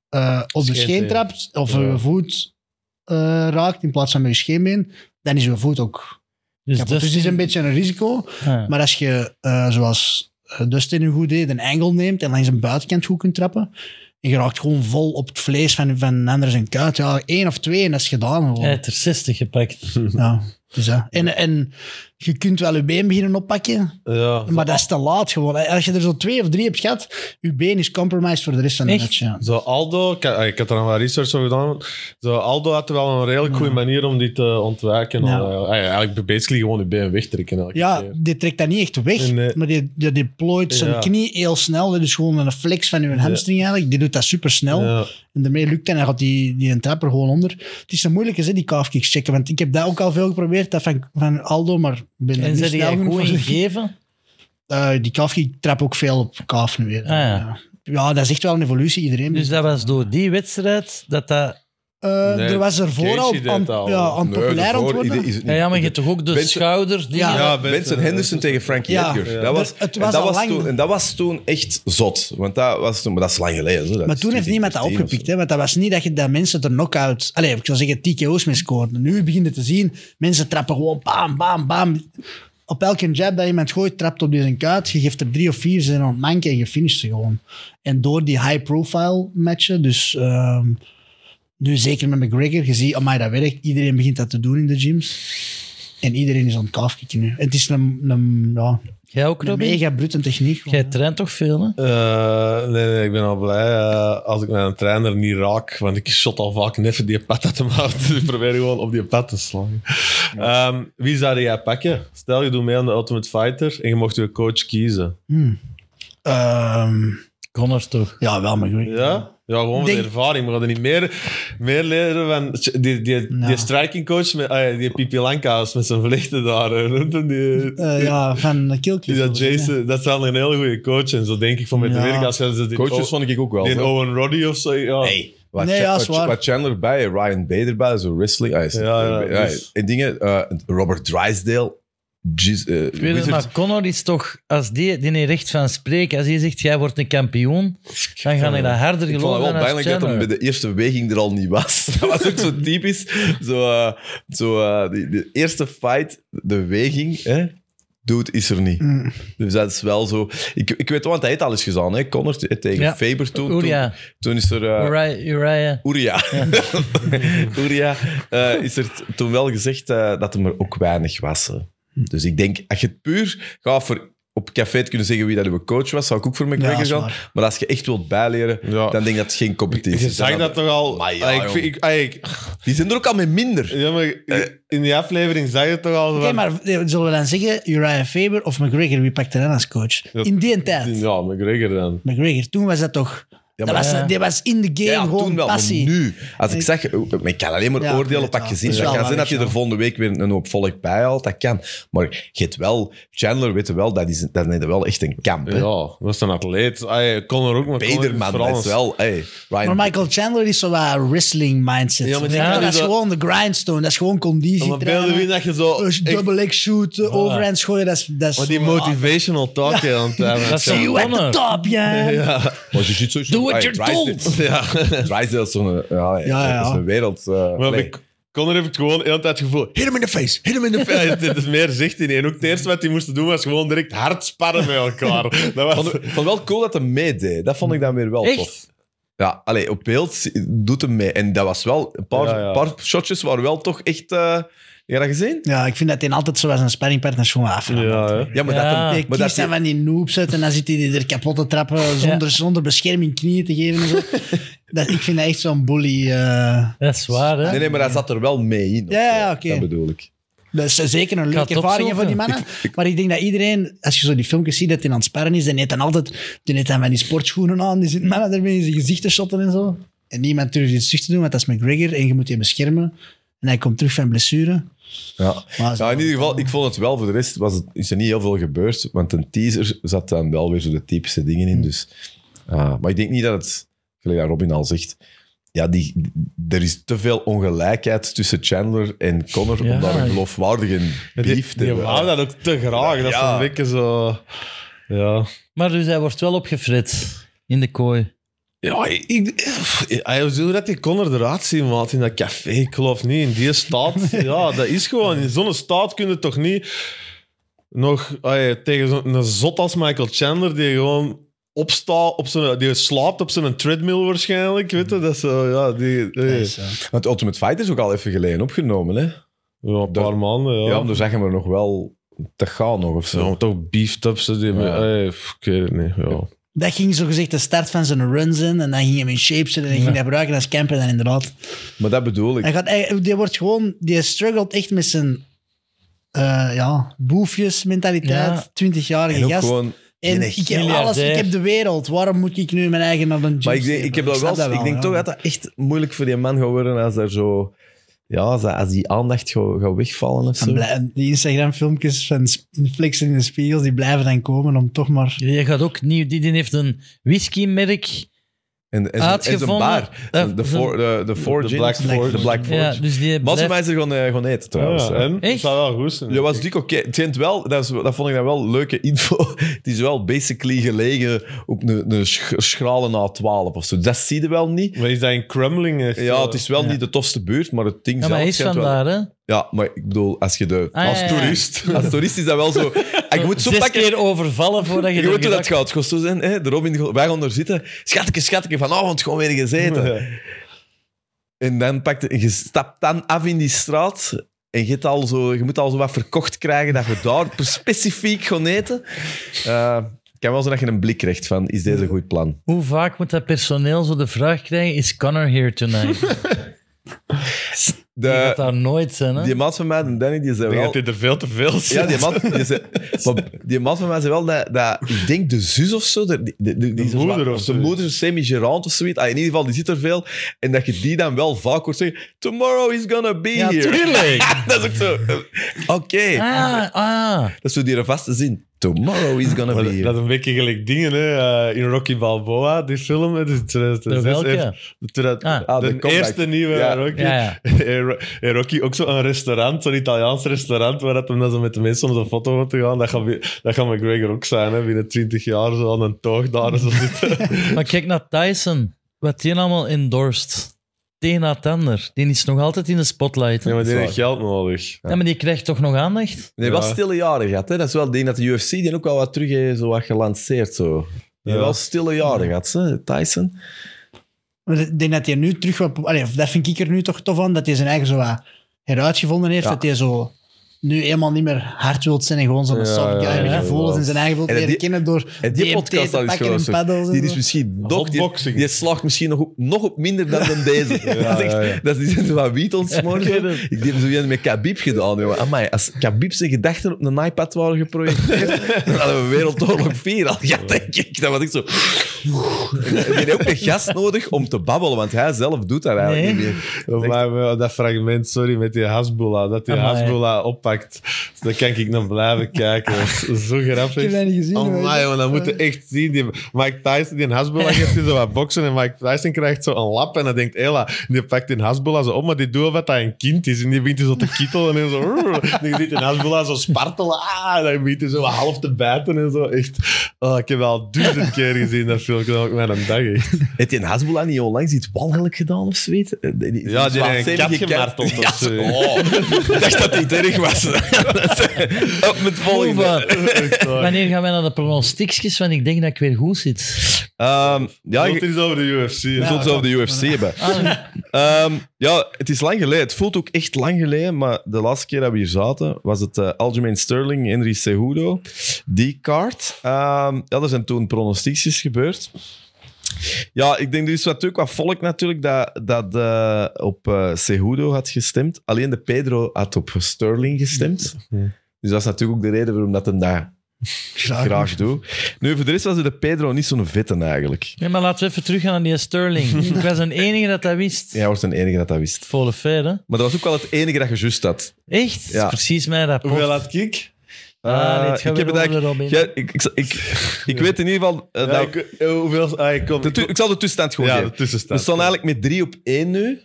Speaker 4: eh, op de
Speaker 3: Scheen
Speaker 4: scheen
Speaker 3: tegen.
Speaker 4: trapt of
Speaker 3: Ja.
Speaker 4: je voet eh, raakt in plaats van met je scheenbeen, dan is je voet ook.
Speaker 2: dus
Speaker 4: kapot. Dus het is
Speaker 2: Dustin-
Speaker 4: een beetje een risico.
Speaker 2: Ah.
Speaker 4: Maar als je, eh, zoals eh, Dustin nu goed deed, een angle neemt en langs een buitenkant goed kunt trappen, en je raakt gewoon vol op het vlees van, van een ander zijn kuit. Ja, één of twee en dat is gedaan. gewoon.
Speaker 2: Hij heeft er 60 gepakt.
Speaker 4: Ja. Dus, ja. en, en je kunt wel je been beginnen oppakken,
Speaker 3: Ja,
Speaker 4: maar dat is te laat gewoon. Als je er zo twee of drie hebt gehad, je been is compromised voor de rest van de
Speaker 2: Echt?
Speaker 4: match. Ja.
Speaker 3: Zo Aldo, ik, had- ik had er nog wat research over gedaan. Zo Aldo had wel een redelijk goede manier om dit te ontwijken.
Speaker 4: Ja.
Speaker 3: Al, eh, eigenlijk basically gewoon je been wegtrekken. elke
Speaker 4: Ja,
Speaker 3: keer.
Speaker 4: die trekt dat niet echt weg,
Speaker 3: Nee.
Speaker 4: maar die, die deployt zijn
Speaker 3: Ja.
Speaker 4: knie heel snel. Dat is gewoon een flex van je hamstring eigenlijk. Die doet dat super snel.
Speaker 3: Ja.
Speaker 4: En daarmee lukt dat en dan gaat die, die een trapper gewoon onder. Het is een moeilijke, hè, die calf kicks checken. Want ik heb dat ook al veel geprobeerd, dat van, van Aldo, maar ik ben er
Speaker 2: En
Speaker 4: niet
Speaker 2: zet
Speaker 4: snel
Speaker 2: jij
Speaker 4: genoeg
Speaker 2: goed
Speaker 4: voor.
Speaker 2: in geven?
Speaker 4: Eh, die calf kick trap ook veel op calf nu weer.
Speaker 2: Ah, ja.
Speaker 4: ja. Ja, dat is echt wel een evolutie. Iedereen
Speaker 2: Dus dat was door die wedstrijd dat dat...
Speaker 4: Eh,
Speaker 3: Nee,
Speaker 4: er was er
Speaker 3: Casey
Speaker 4: vooral
Speaker 3: deed
Speaker 4: aan,
Speaker 3: dat al.
Speaker 4: ja, aan
Speaker 1: Nee,
Speaker 4: populair aan
Speaker 1: daarvoor
Speaker 4: het worden.
Speaker 1: is het
Speaker 2: Ja,
Speaker 1: niet.
Speaker 2: ja, maar je hebt toch ook de
Speaker 1: Benson-
Speaker 2: schouder... Die
Speaker 4: Ja. eh,
Speaker 3: Ja,
Speaker 1: Benson Henderson tegen Frankie
Speaker 4: Ja.
Speaker 1: Edgar.
Speaker 3: Ja.
Speaker 1: Dat was,
Speaker 4: Dus het
Speaker 1: en
Speaker 4: was
Speaker 1: dat
Speaker 4: al
Speaker 1: was
Speaker 4: lang-
Speaker 1: toen, en dat was toen echt zot. Want dat was toen, maar dat is lang geleden. Zo. Dat
Speaker 4: Maar
Speaker 1: is
Speaker 4: toen heeft niemand dat
Speaker 1: 2013 of zo.
Speaker 4: opgepikt, hè? want dat was niet dat je dat mensen er knock-out... Allee, ik zou zeggen, TKO's mee scoorden. Nu beginnen te zien, mensen trappen gewoon bam, bam, bam. Op elke jab dat iemand gooit, trapt op deze kuit. Je geeft er drie of vier, ze zijn aan het manken en je finisht ze gewoon. En door die high-profile matchen, dus... ehm, nu zeker met McGregor, je ziet, amai, dat werkt. Iedereen begint dat te doen in de gyms. En iedereen is aan het kalfkicken nu. Het is een, een, ja,
Speaker 2: Jij ook,
Speaker 4: een
Speaker 2: Robin?
Speaker 4: mega brute techniek.
Speaker 2: Jij traint toch veel, hè?
Speaker 3: Eh, nee, nee, ik ben al blij eh, als ik mijn trainer niet raak, want ik shot al vaak neffen die pad uit hem uit. Dus ik probeer gewoon op die pad te slaan. Ehm, wie zou jij pakken? Stel, je doet mee aan de Ultimate Fighter en je mocht je coach kiezen.
Speaker 4: Ehm,
Speaker 2: Connor toch.
Speaker 4: ja, wel McGregor.
Speaker 3: Ja? Ja, gewoon voor de
Speaker 4: Denk-
Speaker 3: ervaring. Maar we gaan er niet meer, meer leren van die, die, die,
Speaker 4: Nou.
Speaker 3: striking coach, met, ah ja, die Pipi Lankhuis met zijn vlechten daar. eh, rond hem, die,
Speaker 4: Eh, ja, van eh,
Speaker 3: die,
Speaker 4: Killcliff.
Speaker 3: dat,
Speaker 4: volgens mij. Nou.
Speaker 3: Jason, dat is wel een heel goede coach. En zo denk ik van met de
Speaker 4: Ja.
Speaker 3: werk. Als je zo die,
Speaker 1: Coaches vond ik ook wel.
Speaker 3: die
Speaker 1: zo.
Speaker 3: Owen Roddy of zo. Ja.
Speaker 1: Hey, wat,
Speaker 4: Nee,
Speaker 1: Cha-
Speaker 4: ja,
Speaker 1: wat-
Speaker 4: is waar.
Speaker 1: wat Chandler bij, Ryan Bader bij, zo wrestling. Ah, is-
Speaker 3: Ja, ja,
Speaker 1: eh,
Speaker 3: dus-
Speaker 1: En dingen, eh, Robert Drysdale. Jeez, eh,
Speaker 2: Ik weet het,
Speaker 1: Wizard-
Speaker 2: maar Connor is toch... Als die, die heeft recht van spreken, als hij zegt, jij wordt een kampioen, dan ga ik dat
Speaker 1: Ik vond
Speaker 2: harder geloven
Speaker 1: het wel
Speaker 2: dan als
Speaker 1: pijnlijk dat hem bij
Speaker 2: Chandler.
Speaker 1: de eerste weging er al niet was. Dat was ook zo typisch. Zo, eh, zo, eh, die- de eerste fight, de weging, hè? Dude is er niet.
Speaker 4: Mm.
Speaker 1: Dus dat is wel zo. Ik, ik weet wel, want hij heeft al eens gedaan, hè? Connor t- tegen
Speaker 2: Ja.
Speaker 1: Faber toen.
Speaker 2: Uriah.
Speaker 1: Toen, toen is er. eh,
Speaker 2: Uriah. Uriah.
Speaker 1: Oeria. Oeria eh, is er t- toen wel gezegd eh, dat hem er ook weinig was. hè. Dus ik denk, als je het puur gaat voor op café te kunnen zeggen wie dat uw coach was, zou ik ook voor
Speaker 4: Ja,
Speaker 1: McGregor
Speaker 4: is
Speaker 1: gaan.
Speaker 4: waar.
Speaker 1: Maar als je echt wilt bijleren,
Speaker 3: Ja.
Speaker 1: dan denk ik dat het geen competitie
Speaker 3: Je
Speaker 1: is.
Speaker 3: zag dat toch al.
Speaker 1: Maar ja,
Speaker 3: Ah, ik,
Speaker 1: joh.
Speaker 3: vind- ik, ah, ik,
Speaker 1: Die zijn er ook al mee minder.
Speaker 3: ja, maar
Speaker 1: Eh.
Speaker 3: in die aflevering zag je het toch al.
Speaker 4: Oké,
Speaker 3: van-
Speaker 4: maar eh, zullen we dan zeggen, Uriah Faber of McGregor, wie pakt er dan als coach? in die tijd.
Speaker 3: Ja, McGregor dan.
Speaker 4: McGregor, toen was dat toch...
Speaker 1: maar-
Speaker 4: dat was,
Speaker 2: Ja.
Speaker 4: die was in de game,
Speaker 1: Ja,
Speaker 4: gewoon
Speaker 1: toen wel, maar
Speaker 4: passie.
Speaker 1: nu. Als ik zeg, eh, ik kan alleen maar
Speaker 4: Ja,
Speaker 1: oordelen
Speaker 4: weet
Speaker 1: op wat
Speaker 4: wel.
Speaker 1: je ziet.
Speaker 4: Dat is
Speaker 1: Dat
Speaker 4: wel
Speaker 1: kan zijn dat
Speaker 4: waar,
Speaker 1: je er
Speaker 4: ja.
Speaker 1: volgende week weer een hoop volk bij haalt, dat kan. Maar je hebt wel, Chandler weet wel, dat is, dat is wel echt een kamp. hè.
Speaker 3: Ja, dat is een atleet. Ah, Connor ook, maar Connor
Speaker 1: Bederman, dat is
Speaker 3: een-
Speaker 1: wel... Hey, Ryan
Speaker 4: Maar Michael Chandler is zo'n wat wrestling mindset.
Speaker 3: Ja, maar die
Speaker 2: Ja,
Speaker 3: kan
Speaker 4: dat is
Speaker 3: dus wel-
Speaker 4: gewoon de grindstone, dat is gewoon conditie
Speaker 3: Maar beelden wie dat je zo...
Speaker 4: Dus double leg shooten, overhands gooien, dat is... Dat is Ah,
Speaker 3: Maar die
Speaker 4: zo-
Speaker 3: motivational talk hè, aan het hebben.
Speaker 2: Dat is
Speaker 4: See you at the
Speaker 2: Connor.
Speaker 4: top, ja.
Speaker 3: Ja.
Speaker 1: Maar je ziet sowieso...
Speaker 2: Do what
Speaker 1: Ah,
Speaker 2: you're
Speaker 1: Drysdale-
Speaker 2: told.
Speaker 3: ja.
Speaker 1: Drysdale is zo'n... Ja, ja,
Speaker 4: ja.
Speaker 1: Dat is een wereld... eh,
Speaker 3: Maar
Speaker 1: nee.
Speaker 3: ik, Connor heb ik gewoon heel de tijd het gevoel... Hit hem in de face, hit hem in de face. Dit is meer zicht in één. Ook het eerste wat hij moest doen was gewoon direct hard sparren met elkaar. Dat
Speaker 1: Ik
Speaker 3: was...
Speaker 1: vond, ik vond wel cool dat hij meedeed. Dat vond ik dan weer wel
Speaker 2: Echt?
Speaker 1: tof. Ja, allee, op beeld zi- doet hem mee. En dat was wel... Een paar,
Speaker 3: Ja, ja.
Speaker 1: paar shotjes waren wel toch echt... eh, heb je dat gezien?
Speaker 4: Ja, ik vind dat hij altijd zo als een sparringpartner is gewoon af.
Speaker 3: Ja, hè.
Speaker 1: Ja, maar
Speaker 2: Ja.
Speaker 1: dat hem-
Speaker 2: Ah,
Speaker 4: Je
Speaker 1: maar dat
Speaker 4: kiest
Speaker 1: die-
Speaker 4: dan van die noobs uit en dan zit hij die er kapot te trappen zonder, zonder bescherming knieën te geven. En zo. dat, ik vind dat echt zo'n bully. eh,
Speaker 2: Dat is waar, hè?
Speaker 1: Nee, nee, maar hij zat er wel mee in. of
Speaker 4: Ja,
Speaker 1: zo.
Speaker 4: ja, oké.
Speaker 1: Dat bedoel ik.
Speaker 4: dat is zeker een
Speaker 2: ga het
Speaker 4: leuke ervaring
Speaker 2: opzoeken.
Speaker 4: voor die mannen. maar ik denk dat iedereen, als je zo die filmpjes ziet dat hij aan het sparren is, dan heeft hij altijd die heeft dan van die sportschoenen aan. Die zit mannen ermee in zijn gezicht te shotten en zo. En niemand durft iets terug te doen, want dat is McGregor en je moet je beschermen. En hij komt terug van blessure.
Speaker 1: Ja.
Speaker 4: Maar
Speaker 1: Nou, in ieder geval, ik vond het wel. Voor de rest was het, is er niet heel veel gebeurd. Want een teaser zat dan wel weer zo de typische dingen
Speaker 3: Hmm.
Speaker 1: in. Dus, ah, maar ik denk niet dat het, gelijk dat Robin al zegt, ja, die, die- er is te veel ongelijkheid tussen Chandler en Connor
Speaker 2: Ja.
Speaker 1: om daar een geloofwaardige beef te
Speaker 3: Die
Speaker 1: hebben.
Speaker 3: wou dat ook te graag. Dat is
Speaker 1: Ja.
Speaker 3: een beetje zo... Ja.
Speaker 2: Maar dus hij wordt wel opgefrit in de kooi.
Speaker 3: Ja, ik, ik, hij hoe zou dat die Connor eruit zien, maat, in dat café. Ik geloof niet, in die staat. ja, dat is gewoon... In zo'n staat kun je toch niet nog ay, tegen zo'n een zot als Michael Chandler, die gewoon opstaat op zijn... Die slaapt op zijn treadmill
Speaker 1: Mhm.
Speaker 3: waarschijnlijk, weet je? Dat is zo, ja, die...
Speaker 4: dat
Speaker 3: die-
Speaker 4: is, eh,
Speaker 1: Want Ultimate Fight is ook al even geleden opgenomen, hè?
Speaker 3: Ja, een paar
Speaker 1: Dat-
Speaker 3: maanden, ja.
Speaker 1: Ja, maar dan zeggen we nog wel te gaan nog of
Speaker 3: Ja,
Speaker 1: zo.
Speaker 3: maar toch beefed up. Ze die
Speaker 1: Ja.
Speaker 3: Ey, pff, ik weet het niet. Ja.
Speaker 4: Dat ging zogezegd de start van zijn runs in. En dan ging hij in shape zitten en ging hij gebruiken als camper. En inderdaad,
Speaker 1: Maar dat bedoel ik.
Speaker 4: Hij gaat, hij- die wordt gewoon, die struggelt echt met zijn eh ja, boefjesmentaliteit.
Speaker 2: Ja.
Speaker 4: 20-jarige
Speaker 1: En ook
Speaker 4: gast.
Speaker 1: gewoon...
Speaker 4: en
Speaker 1: Nee,
Speaker 4: ik heb alles,
Speaker 2: miljardair.
Speaker 4: ik heb de wereld. Waarom moet ik nu mijn eigen naar een gym
Speaker 1: Maar ik, denk-
Speaker 4: slepen?
Speaker 1: ik, heb dat
Speaker 4: snap
Speaker 1: wel, ik denk
Speaker 4: ja.
Speaker 1: toch dat dat echt moeilijk voor die man gaat worden als er zo... Ja, als, dat- als die aandacht gaat, gaat wegvallen of
Speaker 4: En
Speaker 1: zo.
Speaker 4: blij- en die Instagram-filmpjes van sp- flexen in de spiegel, die blijven dan komen om toch maar...
Speaker 2: Die gaat ook nieuw. Die, die heeft een whiskymerk.
Speaker 1: En, en, zo'n- en zo'n
Speaker 2: Uitgevonden-
Speaker 1: bar.
Speaker 2: Eh,
Speaker 1: De four, de, de four
Speaker 3: De
Speaker 1: Gins.
Speaker 3: Black
Speaker 4: Forge.
Speaker 1: De Black Forge.
Speaker 2: Ja, dus die
Speaker 1: Maar ze
Speaker 2: blijft-
Speaker 1: mij ze gewoon, eh, gewoon eten trouwens.
Speaker 3: ja,
Speaker 1: hè.
Speaker 3: en?
Speaker 2: Echt?
Speaker 3: Dat zou wel goed zijn.
Speaker 1: Ja, was dik oké. Het schijnt wel, dat, is, dat vond ik dan wel leuke info. Het is wel basically gelegen op een, een sch- schrale na 12 of zo. Dat zie je wel niet.
Speaker 3: Maar is dat in Kremling? Echt,
Speaker 1: Ja, het is wel
Speaker 2: Ja.
Speaker 1: niet de tofste buurt, maar het ding
Speaker 2: Ja, maar
Speaker 1: zelf
Speaker 2: hij is
Speaker 1: schijnt
Speaker 2: van
Speaker 1: wel-
Speaker 2: daar, hè?
Speaker 1: Ja, maar ik bedoel, als je de...
Speaker 2: Ah,
Speaker 1: als
Speaker 2: ja, ja, ja.
Speaker 1: toerist. Als toerist is dat wel zo... Ik moet zo
Speaker 2: Zes
Speaker 1: pakken...
Speaker 2: keer overvallen voordat je
Speaker 1: Je weet hoe dat
Speaker 2: gedacht-
Speaker 1: gaat. Het gaat zo zijn, hè? De Robin, wij gaan er zitten. Schatke, schatke, vanavond gewoon weer gezeten. En dan pakt je, je stapt dan af in die straat. En je, hebt al zo, je moet al zo wat verkocht krijgen dat je daar per- specifiek gaat eten. Eh, ik kan wel zo dat je een blik krijgt van, is deze een goed plan?
Speaker 2: Hoe vaak moet dat personeel zo de vraag krijgen: Is Connor here tonight? Die gaat
Speaker 1: De,
Speaker 2: daar nooit zijn, hè?
Speaker 1: Eh, die man van mij, de Danny, die zei
Speaker 3: Ik denk dat
Speaker 1: wel...
Speaker 3: dit er veel te veel zit.
Speaker 1: Ja, die man, die, zei, maar die man van mij zei wel dat, dat... Ik denk de zus of zo... De, de, de, die
Speaker 3: De moeder of
Speaker 1: De
Speaker 3: zoiets.
Speaker 1: moeder, semi-gerant of zoiets. Ah, in ieder geval, die zit er veel. En dat je die dan wel vaak hoort zeggen... Tomorrow is gonna be
Speaker 2: ja,
Speaker 1: here.
Speaker 2: tuurlijk.
Speaker 1: Dat is ook zo... eh, Oké.
Speaker 2: Ah, ah.
Speaker 1: Dat is zo die vaste zin. Tomorrow is gonna
Speaker 3: Maar
Speaker 1: be
Speaker 3: dat,
Speaker 1: here.
Speaker 3: dat is een beetje gelijk dingen, hè. eh, in Rocky Balboa, die film, hè, dus 2006
Speaker 2: Welke?
Speaker 3: heeft- de 2000
Speaker 2: Ah.
Speaker 1: Ah, de
Speaker 3: de,
Speaker 1: comeback.
Speaker 3: eerste nieuwe
Speaker 1: Ja.
Speaker 3: Rocky.
Speaker 2: Ja, ja.
Speaker 3: En Ro- en Rocky ook zo'n restaurant, zo'n Italiaans restaurant, waar dat hem dan zo met de mensen om zo'n foto moet te gaan. Dat gaat, weer- dat gaat McGregor ook zijn, hè, binnen 20 jaar, zo aan een toog daar. Zo zitten.
Speaker 2: Maar kijk naar Tyson, wat die allemaal endorst. Het een na het ander. Die is nog altijd in de spotlight. hè. Ja,
Speaker 3: ja, maar
Speaker 2: maar,
Speaker 3: die heeft geld nodig.
Speaker 2: die krijgt toch nog aandacht?
Speaker 1: Nee, was
Speaker 3: Ja.
Speaker 1: stille jaren gehad. Hè? Dat is wel het ding dat de UFC die ook wel wat terug heeft zo wat gelanceerd. Zo. Die
Speaker 3: Ja.
Speaker 1: wel stille jaren gehad, hè? Tyson.
Speaker 4: Maar ik denk dat hij nu terug... wat- allee, of dat vind ik er nu toch tof aan, dat hij zijn eigen zo wat heruitgevonden heeft.
Speaker 1: Ja.
Speaker 4: Dat hij zo nu helemaal niet meer hard wilt zijn en gewoon zo'n
Speaker 3: Ja,
Speaker 4: soft guy
Speaker 3: ja,
Speaker 4: met
Speaker 3: ja,
Speaker 4: gevoelens
Speaker 3: ja.
Speaker 4: in zijn eigen wilt
Speaker 1: En die-
Speaker 4: leren kennen door
Speaker 1: En die
Speaker 4: DMT
Speaker 1: podcast
Speaker 4: te
Speaker 1: had is
Speaker 4: pakken
Speaker 1: gewoon
Speaker 4: en
Speaker 1: zo.
Speaker 4: paddels en
Speaker 1: Die is
Speaker 4: zo.
Speaker 1: misschien nog... Die,
Speaker 3: Hotboxing.
Speaker 1: die slaagt misschien nog op, nog op minder dan, dan deze. dat, is echt,
Speaker 3: ja, ja.
Speaker 1: dat is iets wat wiet ontsmoord.
Speaker 2: Ik weet het.
Speaker 1: Ik heb zo iemand met Khabib gedaan. Jongen. Amai, als Khabib zijn gedachten op een iPad waren geprojecteerd, dan hadden we Wereldoorlog 4 al gehad, denk ik. Dan was ik zo... En Die heeft ook een gast nodig om te babbelen, want hij zelf doet dat eigenlijk
Speaker 2: Nee.
Speaker 1: niet meer.
Speaker 3: Maar maar dat fragment, sorry, met die Hasbullah, dat die
Speaker 2: Amai.
Speaker 3: Hasbullah oppakt, dan kan ik nog blijven kijken. Dat is zo grappig.
Speaker 4: Ik heb dat niet gezien.
Speaker 3: Oh
Speaker 4: maar-
Speaker 3: my, man, dat moet je echt zien. Die Mike Tyson, die Hasbullah geeft die zo wat boksen en Mike Tyson krijgt zo een lap en dan denkt Ella, die pakt die Hasbullah zo op, maar die doet of dat hij een kind is en die begint die zo te kittelen en zo. "Rrr." En je ziet die Hasbullah zo spartelen ah, en dan begint hij zo wat half te bijten en zo. Echt, oh, ik heb al duizend keer gezien dat filmpje, dat maakt mij een dag echt.
Speaker 1: Heeft die Hasbullah niet onlangs iets walgelijk gedaan of zoiets? Eh, die- die-
Speaker 3: Ja, die heeft een
Speaker 1: waanzinnige
Speaker 3: kat gemarteld
Speaker 1: kat.
Speaker 3: of
Speaker 1: Ja,
Speaker 3: zo.
Speaker 1: oh, ik dacht dat dit erg was. Op met het volgende.
Speaker 2: Oeva.
Speaker 3: Echt waar.
Speaker 2: Wanneer gaan wij naar de pronostiekjes? Want ik denk dat ik weer goed zit.
Speaker 1: Ehm, ja,
Speaker 3: Zult
Speaker 1: je-
Speaker 3: het eens over de UFC. hè?
Speaker 1: we zullen het over de UFC hebben. Ehm, ja, het is lang geleden. Het voelt ook echt lang geleden, maar de laatste keer dat we hier zaten was het eh Algemeen Sterling, Henry Cejudo. Die kaart. Ehm, ja, er zijn toen pronostiekjes gebeurd. Ja, ik denk er is natuurlijk wat volk natuurlijk dat, dat eh, op eh Cejudo had gestemd. Alleen de Pedro had op Sterling gestemd. Dus dat is natuurlijk ook de reden waarom dat hem dat graag,
Speaker 2: Ah,
Speaker 1: doet. Nu, voor de rest was de Pedro niet zo'n vitten eigenlijk.
Speaker 2: Nee, maar laten we even teruggaan naar die Sterling. ik was de enige dat dat wist.
Speaker 1: Jij wordt de enige dat dat wist.
Speaker 2: Volle fair, hè?
Speaker 1: Maar dat was ook wel het enige dat je juist had.
Speaker 2: Echt? Dat
Speaker 1: Ja.
Speaker 2: is precies mijn rapport.
Speaker 3: Hoeveel had ik?
Speaker 2: Ah, nee, het
Speaker 1: Eh,
Speaker 2: gaat
Speaker 1: ik heb
Speaker 2: weer
Speaker 1: het
Speaker 2: over
Speaker 1: eigenlijk...
Speaker 2: Robin.
Speaker 1: Jij- ik, ik, ik, ik weet in ieder geval... eh,
Speaker 3: Ja,
Speaker 1: dat-
Speaker 3: ik, eh, hoeveel? Ah, ik kom.
Speaker 1: de tu- ik zal de tussenstand gewoon
Speaker 3: ja, de
Speaker 1: geven. We
Speaker 3: tussenstand.
Speaker 1: staan eigenlijk met drie op één nu.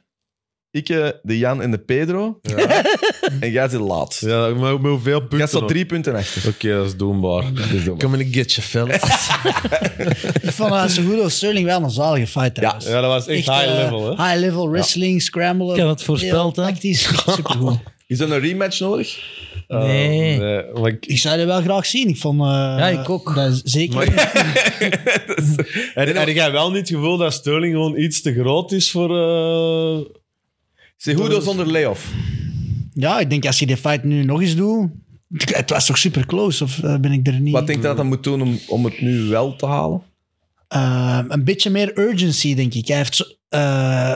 Speaker 1: Ik, eh, de Jan en de Pedro. En jij zit laat.
Speaker 3: Ja, maar met hoeveel punten?
Speaker 1: Jij staat
Speaker 3: nog?
Speaker 1: drie punten achter.
Speaker 3: Oké, dat is doenbaar. Come in a get you, fellas.
Speaker 4: Ik vond uh, Segundo Sterling wel een zalige fight trouwens.
Speaker 3: Ja, dat was echt, high
Speaker 4: eh,
Speaker 3: level, hè?
Speaker 4: High level wrestling, scrambler.
Speaker 2: Ik had het voorspeld,
Speaker 4: Heel
Speaker 2: hè?
Speaker 4: Tactisch, supergoed.
Speaker 1: Is er een rematch nodig?
Speaker 2: Nee.
Speaker 3: Eh, nee, maar ik-
Speaker 4: ik zou dat wel graag zien. Ik vond... eh,
Speaker 2: ik ook.
Speaker 4: Dat is zeker.
Speaker 3: en, en ik heb wel niet het gevoel dat Sterling gewoon iets te groot is voor... eh,
Speaker 1: Cejudo zonder layoff.
Speaker 4: Ja, ik denk als je die fight nu nog eens doet... Het was toch super close, of eh, ben ik er niet...
Speaker 5: Wat denk je dat dat moet doen om, om het nu wel te halen?
Speaker 4: Ehm, een beetje meer urgency, denk ik. Hij heeft zo- eh,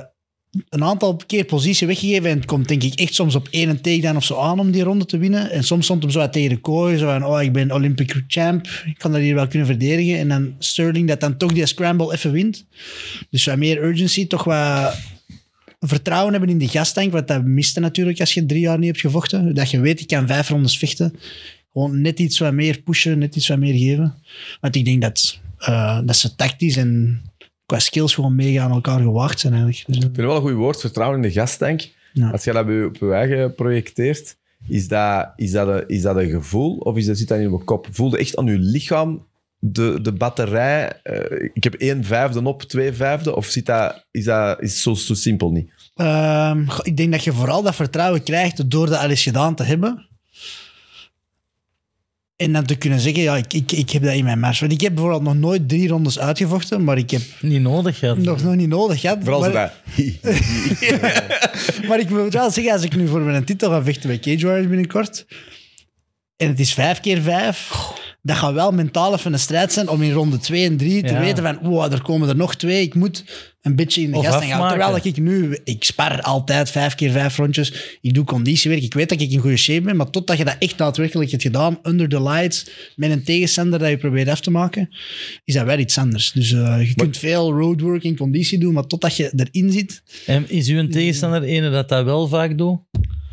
Speaker 4: een aantal keer positie weggegeven en het komt denk ik echt soms op één takedown of zo aan om die ronde te winnen. En soms stond hem zo uit tegen de kooi, zo van, oh, ik ben Olympic champ, ik kan dat hier wel kunnen verdedigen. En dan Sterling dat dan toch die scramble even wint. Dus wat meer urgency, toch wat vertrouwen hebben in die gastank, wat dat miste natuurlijk als je drie jaar niet hebt gevochten. Dat je weet, ik kan vijf rondes vechten. Gewoon net iets wat meer pushen, net iets wat meer geven. Want ik denk dat, eh, dat ze tactisch en qua skills gewoon mega aan elkaar gewaagd zijn eigenlijk. Dus, eh,
Speaker 5: Ik vind het wel een goed woord, vertrouwen in de gastank.
Speaker 4: Ja.
Speaker 5: Als je dat op je, op je eigen projecteert, is dat, is, dat een, is dat een gevoel of is dat, zit dat in je kop? Voel je echt aan je lichaam de, de batterij? eh, ik heb één vijfde op, twee vijfde? Of zit dat, is dat is zo, zo simpel niet?
Speaker 4: Ehm, goh, ik denk dat je vooral dat vertrouwen krijgt door dat al eens gedaan te hebben. En dan te kunnen zeggen, ja, ik, ik, ik heb dat in mijn mars. Want ik heb bijvoorbeeld nog nooit drie rondes uitgevochten, maar ik heb
Speaker 2: Niet nodig, ja.
Speaker 4: nog, nog niet nodig gehad.
Speaker 5: Vooral
Speaker 4: maar,
Speaker 5: zo dat.
Speaker 4: Maar ik moet wel zeggen, als ik nu voor mijn titel ga vechten bij Cage Warriors binnenkort, en het is vijf keer vijf, dat gaat wel mentaal even een strijd zijn om in ronde twee en drie te
Speaker 2: Ja.
Speaker 4: weten van, wow, er komen er nog twee, ik moet een beetje in de
Speaker 2: Of
Speaker 4: gast gaan.
Speaker 2: afmaken.
Speaker 4: Terwijl ik nu, ik spar altijd vijf keer vijf rondjes, ik doe conditiewerk, ik weet dat ik in goede shape ben, maar totdat je dat echt daadwerkelijk hebt gedaan, under the lights, met een tegenstander dat je probeert af te maken, is dat wel iets anders. Dus eh, je kunt veel roadwork en conditie doen, maar totdat je erin zit,
Speaker 2: En is uw tegenstander ene dat dat wel vaak doet?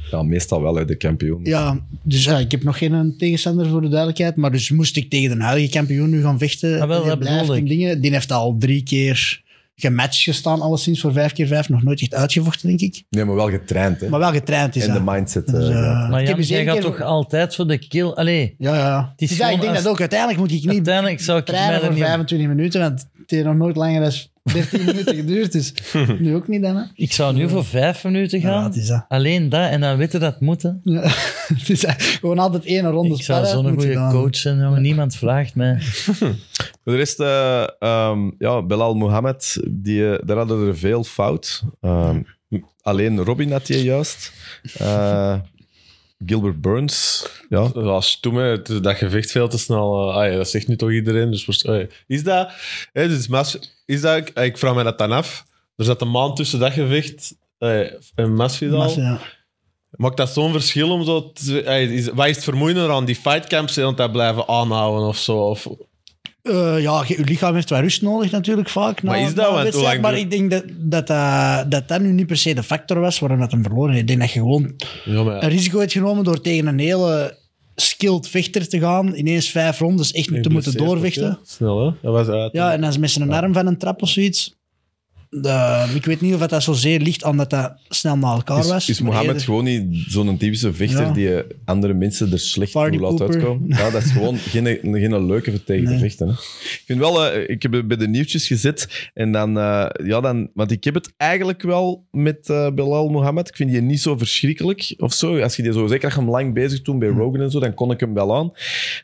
Speaker 4: Ah,
Speaker 5: Ja, meestal wel uit de kampioen.
Speaker 4: Ja, dus ja, ik heb nog geen eh, tegenstander voor de duidelijkheid. Maar dus moest ik tegen de huidige kampioen nu gaan vechten.
Speaker 2: Ah, wel,
Speaker 4: die
Speaker 2: dat
Speaker 4: blijft
Speaker 2: bedoelde
Speaker 4: in
Speaker 2: ik.
Speaker 4: dingen. Die heeft al drie keer gematcht gestaan, alleszins voor vijf keer vijf. Nog nooit echt uitgevochten, denk ik.
Speaker 5: Nee, maar wel getraind. Hè?
Speaker 4: Maar wel getraind is
Speaker 5: en de
Speaker 4: dat.
Speaker 5: mindset. eh,
Speaker 4: Dus, eh,
Speaker 5: ja.
Speaker 2: Maar
Speaker 4: ik heb
Speaker 2: Jan,
Speaker 4: eens
Speaker 2: jij
Speaker 4: één
Speaker 2: gaat
Speaker 4: keer-
Speaker 2: toch altijd voor de kill? Allee,
Speaker 4: Ja, ja.
Speaker 2: is
Speaker 4: Dus ja, ik
Speaker 2: gewoon
Speaker 4: denk
Speaker 2: als-
Speaker 4: dat ook. Uiteindelijk moet ik niet
Speaker 2: uiteindelijk zou ik mij
Speaker 4: trainen
Speaker 2: er
Speaker 4: voor
Speaker 2: niet...
Speaker 4: 25 minuten, want het heeft nog nooit langer dan 13 minuten geduurd. Dus nu ook niet dan, hè.
Speaker 2: Ik zou nu voor vijf minuten
Speaker 4: Ja,
Speaker 2: gaan.
Speaker 4: het is dat.
Speaker 2: Alleen dat, en dan weten dat het moet. hè.
Speaker 4: Ja, het is eh, gewoon altijd één ronde
Speaker 2: Ik zou
Speaker 4: sparren,
Speaker 2: zo'n
Speaker 4: moet
Speaker 2: goede
Speaker 4: gedaan.
Speaker 2: coach zijn, jongen. Niemand vraagt mij.
Speaker 1: Voor de rest, eh, ehm, ja, Belal Mohammed, die, eh, daar hadden er veel fout. Ehm, alleen Robin had je juist. Eh, Gilbert Burns. Ja.
Speaker 3: Dat was toen, hè, het- dat gevecht veel te snel. eh, ah ja, dat zegt nu toch iedereen. Dus, waarsch- ah ja. is dat. Hè, dus, Mas- is dat ik, ik vraag mij dat dan af. Er zat een maand tussen dat gevecht ah ja, en Masvidal.
Speaker 4: Maar, ja.
Speaker 3: Maakt dat zo'n verschil om zo. te- ah ja, is, wat is het vermoeiender aan die fightcamps? hè, Want dat blijven aanhouden of zo. Of,
Speaker 4: Eh, ja, je je lichaam heeft wel rust nodig natuurlijk vaak.
Speaker 3: Maar
Speaker 4: na-
Speaker 3: is dat
Speaker 4: na een
Speaker 3: wat? Hoe
Speaker 4: wedstrijd.
Speaker 3: lang
Speaker 4: Maar
Speaker 3: duurt-
Speaker 4: ik denk dat dat, eh, dat dat nu niet per se de factor was waarom dat hem verloren heeft. Ik denk dat je gewoon
Speaker 3: ja, maar ja.
Speaker 4: een risico hebt genomen door tegen een hele skilled vechter te gaan. Ineens vijf rondes echt te moeten
Speaker 3: Geblesseerd
Speaker 4: doorvechten.
Speaker 3: ook, hè. Snel, hè? Dat was uit.
Speaker 4: Ja, en dan is met zijn arm van een trap of zoiets. De- ik weet niet of dat zozeer ligt aan dat dat snel na elkaar was.
Speaker 1: Is, is
Speaker 4: maar
Speaker 1: Mohammed
Speaker 4: eerder-
Speaker 1: gewoon niet zo'n typische vechter
Speaker 4: Ja.
Speaker 1: die eh, andere mensen er slecht
Speaker 4: Party
Speaker 1: voor laat
Speaker 4: pooper.
Speaker 1: uitkomen? Ja, dat is gewoon geen, geen leuke tegen te
Speaker 4: Nee.
Speaker 1: vechten. Hè. Ik vind wel, eh, ik heb bij de nieuwtjes gezet en dan, eh, ja, dan, want ik heb het eigenlijk wel met eh, Belal Mohammed. Ik vind die niet zo verschrikkelijk of zo. Als je die zo, zeker als je hem lang bezig toen
Speaker 4: Mm.
Speaker 1: bij Rogan en zo, dan kon ik hem wel aan.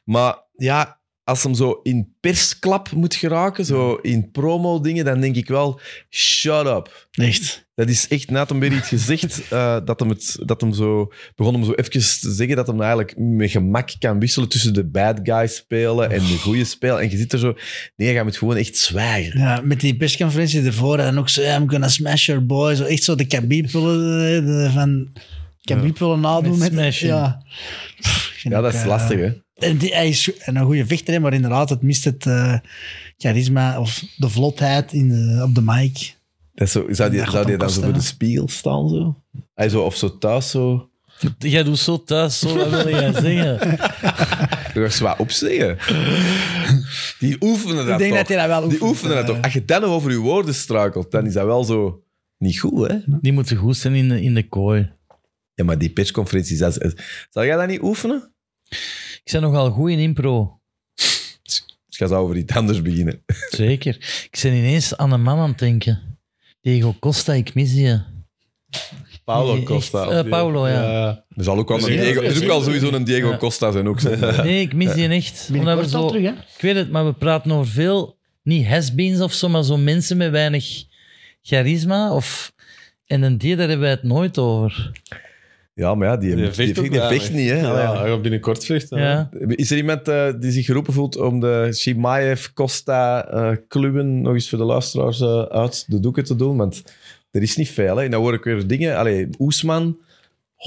Speaker 1: Maar ja, als hem zo in persklap moet geraken, zo in promo-dingen, dan denk ik wel, shut up.
Speaker 4: Echt.
Speaker 1: Dat is echt na hem weer iets gezegd eh, dat, hem het, dat hem zo begon om zo even te zeggen dat hem eigenlijk met gemak kan wisselen tussen de bad guy spelen en de goede spelen. En je zit er zo, nee, je moet gewoon echt zwijgen.
Speaker 4: Ja, met die persconferentie ervoor en ook zo, ja, I'm gonna smash your boy. Zo, echt zo de kabibullen eh, van... Kabibullen
Speaker 2: Met
Speaker 4: nadoen. Met,
Speaker 2: smashen.
Speaker 4: ja. Pff, ik vind
Speaker 1: Ja, dat
Speaker 4: ook,
Speaker 1: is
Speaker 4: eh,
Speaker 1: lastig, hè?
Speaker 4: En die, hij is een goede vechter, hè, maar inderdaad, het mist het eh, charisma of de vlotheid in de- op de mic.
Speaker 1: Dat is zo, zou die,
Speaker 4: Dat gaat
Speaker 1: zou die
Speaker 4: hem
Speaker 1: dan zo
Speaker 4: kosten,
Speaker 1: voor de
Speaker 4: hè.
Speaker 1: spiegel staan? Zo? Hij zo of zo thuis zo.
Speaker 2: Jij doet zo thuis, zo, wat wil jij zeggen?
Speaker 1: Er was wat op zeggen. Die oefenen dat
Speaker 4: ik denk
Speaker 1: toch?
Speaker 4: dat hij dat wel
Speaker 1: Die
Speaker 4: oefent,
Speaker 1: oefenen dat
Speaker 4: eh.
Speaker 1: toch? Als je dan nog over je woorden struikelt, dan is dat wel zo niet goed, hè?
Speaker 2: Die moeten goed zijn in de, in de kooi.
Speaker 1: Ja, maar die persconferenties, dat is- zal jij dat niet oefenen?
Speaker 2: Ik ben nogal goed in impro.
Speaker 1: Dus ga zou over iets anders beginnen.
Speaker 2: Zeker. Ik ben ineens aan een man aan het denken. Diego Costa, ik mis je.
Speaker 3: Paulo
Speaker 2: Nee,
Speaker 3: Costa.
Speaker 2: echt,
Speaker 3: of
Speaker 2: eh,
Speaker 3: die-
Speaker 2: Paulo, ja.
Speaker 1: Er, zal ook wel
Speaker 3: Dus
Speaker 1: een
Speaker 3: ja,
Speaker 1: Diego, er is ook wel
Speaker 3: ja.
Speaker 1: sowieso een Diego
Speaker 2: Ja.
Speaker 1: Costa zijn ook. zijn.
Speaker 2: Nee, ik mis die echt. Omdat we
Speaker 4: Binnenkort al
Speaker 2: zo,
Speaker 4: terug, hè?
Speaker 2: ik weet het, maar we praten over veel, niet has-beens of zo, maar zo mensen met weinig charisma. Of, en een die, daar hebben wij het nooit over.
Speaker 1: Ja, maar ja, die, die,
Speaker 3: vecht
Speaker 1: vecht,
Speaker 3: ook
Speaker 1: die
Speaker 3: daar,
Speaker 1: vecht
Speaker 3: hè.
Speaker 1: niet. Hè?
Speaker 3: Ja, hij gaat binnenkort vechten. hè.
Speaker 2: Ja.
Speaker 1: Is er iemand eh, die zich geroepen voelt om de Shimaev, Costa, eh Kluwen nog eens voor de luisteraars eh, uit de doeken te doen? Want er is niet veel. Hè? En dan hoor ik weer dingen. Allee, Oesman,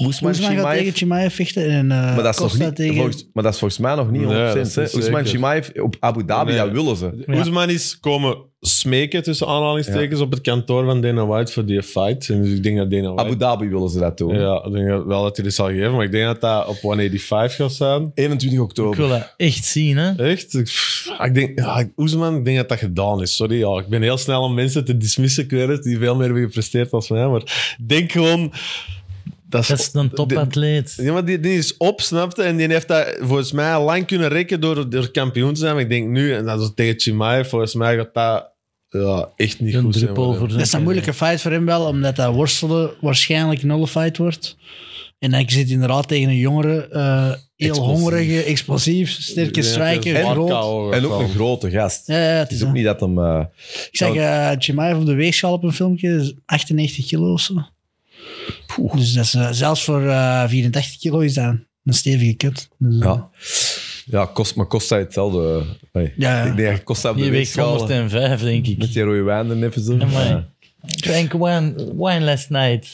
Speaker 1: Oesman,
Speaker 4: Oesman gaat
Speaker 1: Shimaev.
Speaker 4: tegen Chimaev vechten en eh
Speaker 1: Maar dat, is nog
Speaker 4: Costa
Speaker 1: niet,
Speaker 4: tegen...
Speaker 1: volgens, maar dat is volgens mij nog niet
Speaker 3: Nee,
Speaker 1: 100%.
Speaker 3: dat is
Speaker 1: hè.
Speaker 3: niet
Speaker 1: Oesman
Speaker 3: zeker.
Speaker 1: Shimaev op Abu Dhabi,
Speaker 3: Nee.
Speaker 1: dat willen ze.
Speaker 2: Ja.
Speaker 3: Oesman is komen smeken tussen aanhalingstekens op het kantoor van Dana White voor die fight. En dus ik denk dat Dana
Speaker 1: Abu
Speaker 3: White...
Speaker 1: Dhabi willen ze dat doen.
Speaker 3: Ja, ik denk dat- wel dat hij dit zal geven, maar ik denk dat dat op 185 gaat zijn.
Speaker 1: 21
Speaker 2: Ik
Speaker 1: oktober.
Speaker 2: wil dat echt zien, hè.
Speaker 3: Echt? Ik, pff, ik denk, ja, Oesman, ik denk dat dat gedaan is. Sorry, ja, ik ben heel snel om mensen te dismissen, ik weet het, die veel meer hebben gepresteerd dan mij. Maar ik denk gewoon... Dat is,
Speaker 2: Dat is een topatleet.
Speaker 3: Ja, maar die, die is op, snapte? En die heeft dat volgens mij lang kunnen rekken door, door kampioen te zijn. Maar ik denk nu, en dat is tegen Chimaev, volgens mij gaat dat ja, echt niet
Speaker 2: Een
Speaker 3: goed zijn.
Speaker 2: druppel voor
Speaker 3: worden.
Speaker 2: zijn...
Speaker 4: Dat is een moeilijke fight voor hem wel, omdat dat worstelen waarschijnlijk nullified wordt. En ik zit inderdaad tegen een jongere, eh, heel
Speaker 1: Explosief.
Speaker 4: hongerige, explosief, sterke
Speaker 3: Ja,
Speaker 4: striker,
Speaker 3: het is
Speaker 4: groot.
Speaker 3: Barca ook
Speaker 1: En ook
Speaker 3: wel.
Speaker 1: een grote gast.
Speaker 4: Ja, ja, het
Speaker 1: Het
Speaker 4: is
Speaker 1: is ook
Speaker 4: dat.
Speaker 1: niet dat hem... eh,
Speaker 4: Ik zag eh Chimaev op de weegschaal op een filmpje, is 98 kilo of zo. Dus dat is, eh, zelfs voor eh, 84 kilo is dat een stevige kut. Dus, eh,
Speaker 1: ja. Ja, kost, maar Costa hetzelfde. Hey.
Speaker 4: Ja, ja.
Speaker 1: Ik denk dat Costa op de
Speaker 2: Die weegt
Speaker 1: weegschaal- eh,
Speaker 2: 105, denk ik.
Speaker 1: Met die rode wijn er even zo.
Speaker 2: Amai.
Speaker 1: Ja.
Speaker 2: Drank wine, wine last night.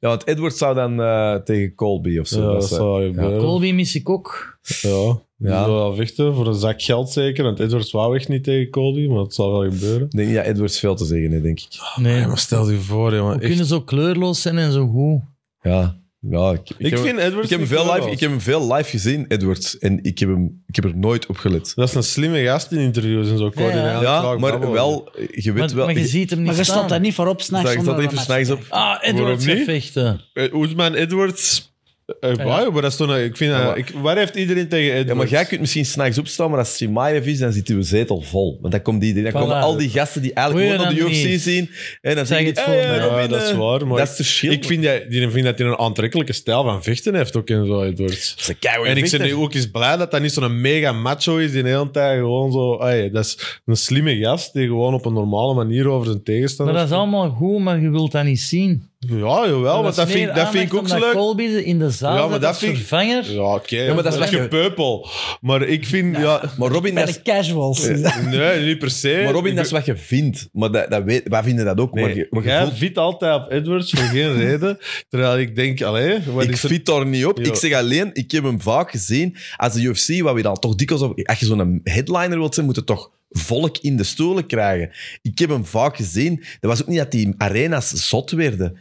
Speaker 1: Ja, want Edward zou dan eh, tegen Colby of
Speaker 3: Ja,
Speaker 1: zo.
Speaker 3: dat
Speaker 1: is, eh,
Speaker 3: zou gebeuren.
Speaker 2: Colby mis ik ook.
Speaker 3: Ja, die
Speaker 1: Ja.
Speaker 3: zal wel vechten voor een zak geld zeker. Want Edwards wou echt niet tegen Cody, maar het zal wel gebeuren.
Speaker 1: ik denk niet dat Edwards veel te zeggen heeft, denk ik.
Speaker 2: Nee.
Speaker 3: stel je voor,
Speaker 2: We kunnen zo kleurloos zijn en zo goed.
Speaker 1: Ja. ja ik, ik
Speaker 3: Ik,
Speaker 1: heb,
Speaker 3: vind Edwards...
Speaker 1: ik, heb hem
Speaker 3: niet
Speaker 1: veel
Speaker 3: wel.
Speaker 1: live, ik heb hem veel live gezien, Edwards. En ik heb, hem, ik heb er nooit op gelet.
Speaker 3: Dat is een slimme gast in interviews en zo. Cody,
Speaker 2: Ja,
Speaker 3: en
Speaker 1: Ja,
Speaker 3: Clark
Speaker 1: maar
Speaker 3: babbelen.
Speaker 1: wel... Je weet
Speaker 2: Maar,
Speaker 1: wel...
Speaker 2: maar je ziet hem niet
Speaker 4: Maar je
Speaker 2: staan.
Speaker 4: stond daar niet voor op, s'nachts.
Speaker 1: dat ik dat even s'nachts op.
Speaker 2: Ah, Edwards
Speaker 3: Waarom
Speaker 2: gaat
Speaker 3: niet?
Speaker 2: vechten.
Speaker 3: Eh, Oesman, Edwards... eh, wauw, maar dat is toch... een- Ik vind... dat-
Speaker 1: Ja, maar-
Speaker 3: ik, waar heeft iedereen tegen Edwards?
Speaker 1: Ja, maar jij kunt misschien s'nachts opstaan, maar als Simaev is, dan zit uw zetel vol. Want dan komt die, dan
Speaker 2: Voilà.
Speaker 1: komen al die gasten die eigenlijk
Speaker 2: Moet je
Speaker 1: gewoon naar de
Speaker 2: dan
Speaker 1: UFC
Speaker 2: niet.
Speaker 1: zien. En dan
Speaker 2: Zeg
Speaker 1: zeg je, "Eh,
Speaker 2: het voor mij.
Speaker 3: Ja, dat is waar. Maar
Speaker 1: Dat is te chill.
Speaker 3: Ik vind dat, die vind dat hij een aantrekkelijke stijl van vechten heeft ook in zo Edwards. En ik ben nu ook eens blij dat dat niet zo'n mega macho is die de hele tijd gewoon zo... Ay, dat is een slimme gast die gewoon op een normale manier over zijn
Speaker 2: Maar
Speaker 3: tegenstander...
Speaker 2: dat is allemaal goed, maar je wilt dat niet zien.
Speaker 3: Ja, jawel, want Oh, dat
Speaker 2: is
Speaker 3: vind,
Speaker 2: meer
Speaker 3: dat vind ik
Speaker 2: aandacht
Speaker 3: ook zo
Speaker 2: omdat
Speaker 3: leuk.
Speaker 2: Colby in de zaal
Speaker 3: Ja,
Speaker 2: ja,
Speaker 3: maar
Speaker 2: maar
Speaker 3: dat
Speaker 2: als
Speaker 3: vind ik-
Speaker 2: vervanger.
Speaker 3: Ja, oké.
Speaker 1: Ja, maar dat is wel-
Speaker 3: gepeupel. Maar ik vind... Ja,
Speaker 1: Maar Robin,
Speaker 4: Bij
Speaker 1: dat
Speaker 4: de
Speaker 1: is,
Speaker 4: casuals. is dat.
Speaker 3: nee, niet per se.
Speaker 1: maar Robin,
Speaker 3: Ik-
Speaker 1: dat is wat je vindt. Maar dat, dat weet, wij vinden dat ook.
Speaker 3: Nee,
Speaker 1: maar je, maar je
Speaker 3: jij
Speaker 1: voelt-
Speaker 3: vit altijd op Edwards voor geen reden. Terwijl ik denk, allee, wat
Speaker 1: ik
Speaker 3: is er
Speaker 1: fit daar niet op.
Speaker 3: Ja.
Speaker 1: Ik zeg alleen, ik heb hem vaak gezien. Als de UFC, wat we dan toch dikwijls... Op, als je zo'n headliner wilt zijn, moet je toch volk in de stoelen krijgen. Ik heb hem vaak gezien. Dat was ook niet dat die arenas zot werden.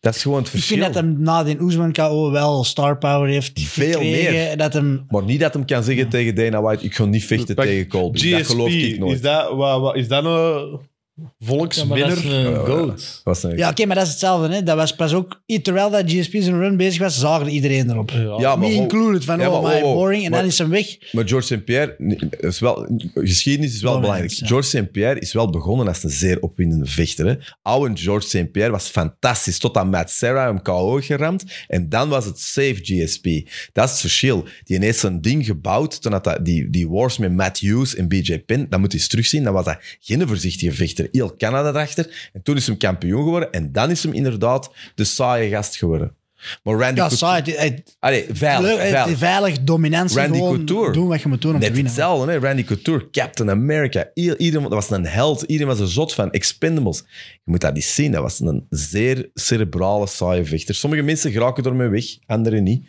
Speaker 1: Dat is gewoon het
Speaker 4: Ik
Speaker 1: verschil.
Speaker 4: vind dat hem na den Oesman KO wel star power heeft
Speaker 1: Veel
Speaker 4: gekregen.
Speaker 1: meer.
Speaker 4: Dat hem
Speaker 1: Maar niet dat hem kan zeggen tegen Dana White, ik ga niet vechten
Speaker 3: Pak-
Speaker 1: tegen Colby. dat geloof ik nooit.
Speaker 3: Is dat, wat, wat, is dat nou- een
Speaker 2: Ja, maar dat
Speaker 3: volkswinner?
Speaker 2: is een goat.
Speaker 1: Dat was een-
Speaker 4: Ja, oké, maar dat is hetzelfde. Hè? Dat was pas ook... Terwijl dat GSP zijn run bezig was, zagen iedereen erop.
Speaker 1: Ja, maar
Speaker 4: Me
Speaker 1: ho-
Speaker 4: included, van
Speaker 1: Ja,
Speaker 4: oh,
Speaker 1: maar
Speaker 4: my,
Speaker 1: ho, ho.
Speaker 4: boring. En
Speaker 1: Maar-
Speaker 4: dan is hem weg.
Speaker 1: Maar George St. Pierre, nee, is wel, geschiedenis is wel
Speaker 4: Dominant,
Speaker 1: belangrijk.
Speaker 4: ja.
Speaker 1: George St. Pierre is wel begonnen als een zeer opwindende vechter. Hè. Oude George St. Pierre was fantastisch, tot aan Matt Serra hem KO geramd. En dan was het safe GSP. Dat is het verschil. Die ineens zijn ding gebouwd, toen had dat, die, die wars met Matt Hughes en BJ Penn, dat moet je eens terugzien, dan was dat geen voorzichtige vechter. Heel Canada erachter. En toen is hem kampioen geworden. En dan is hem inderdaad de saaie gast geworden. Maar Randy
Speaker 4: Ja,
Speaker 1: Couture-
Speaker 4: saai. Het- het-
Speaker 1: Allee, veilig,
Speaker 4: leuk, het-
Speaker 1: veilig.
Speaker 4: Veilig, dominantie.
Speaker 1: Randy
Speaker 4: gewoon
Speaker 1: Couture.
Speaker 4: Doen wat je moet doen om
Speaker 1: Net
Speaker 4: te winnen.
Speaker 1: hetzelfde, hè? Randy Couture, Captain America. Ieder, iedereen was een held, iedereen was er zot van. Expendables. Je moet dat eens zien, dat was een zeer cerebrale, saaie vechter. Sommige mensen geraken ermee weg, anderen niet.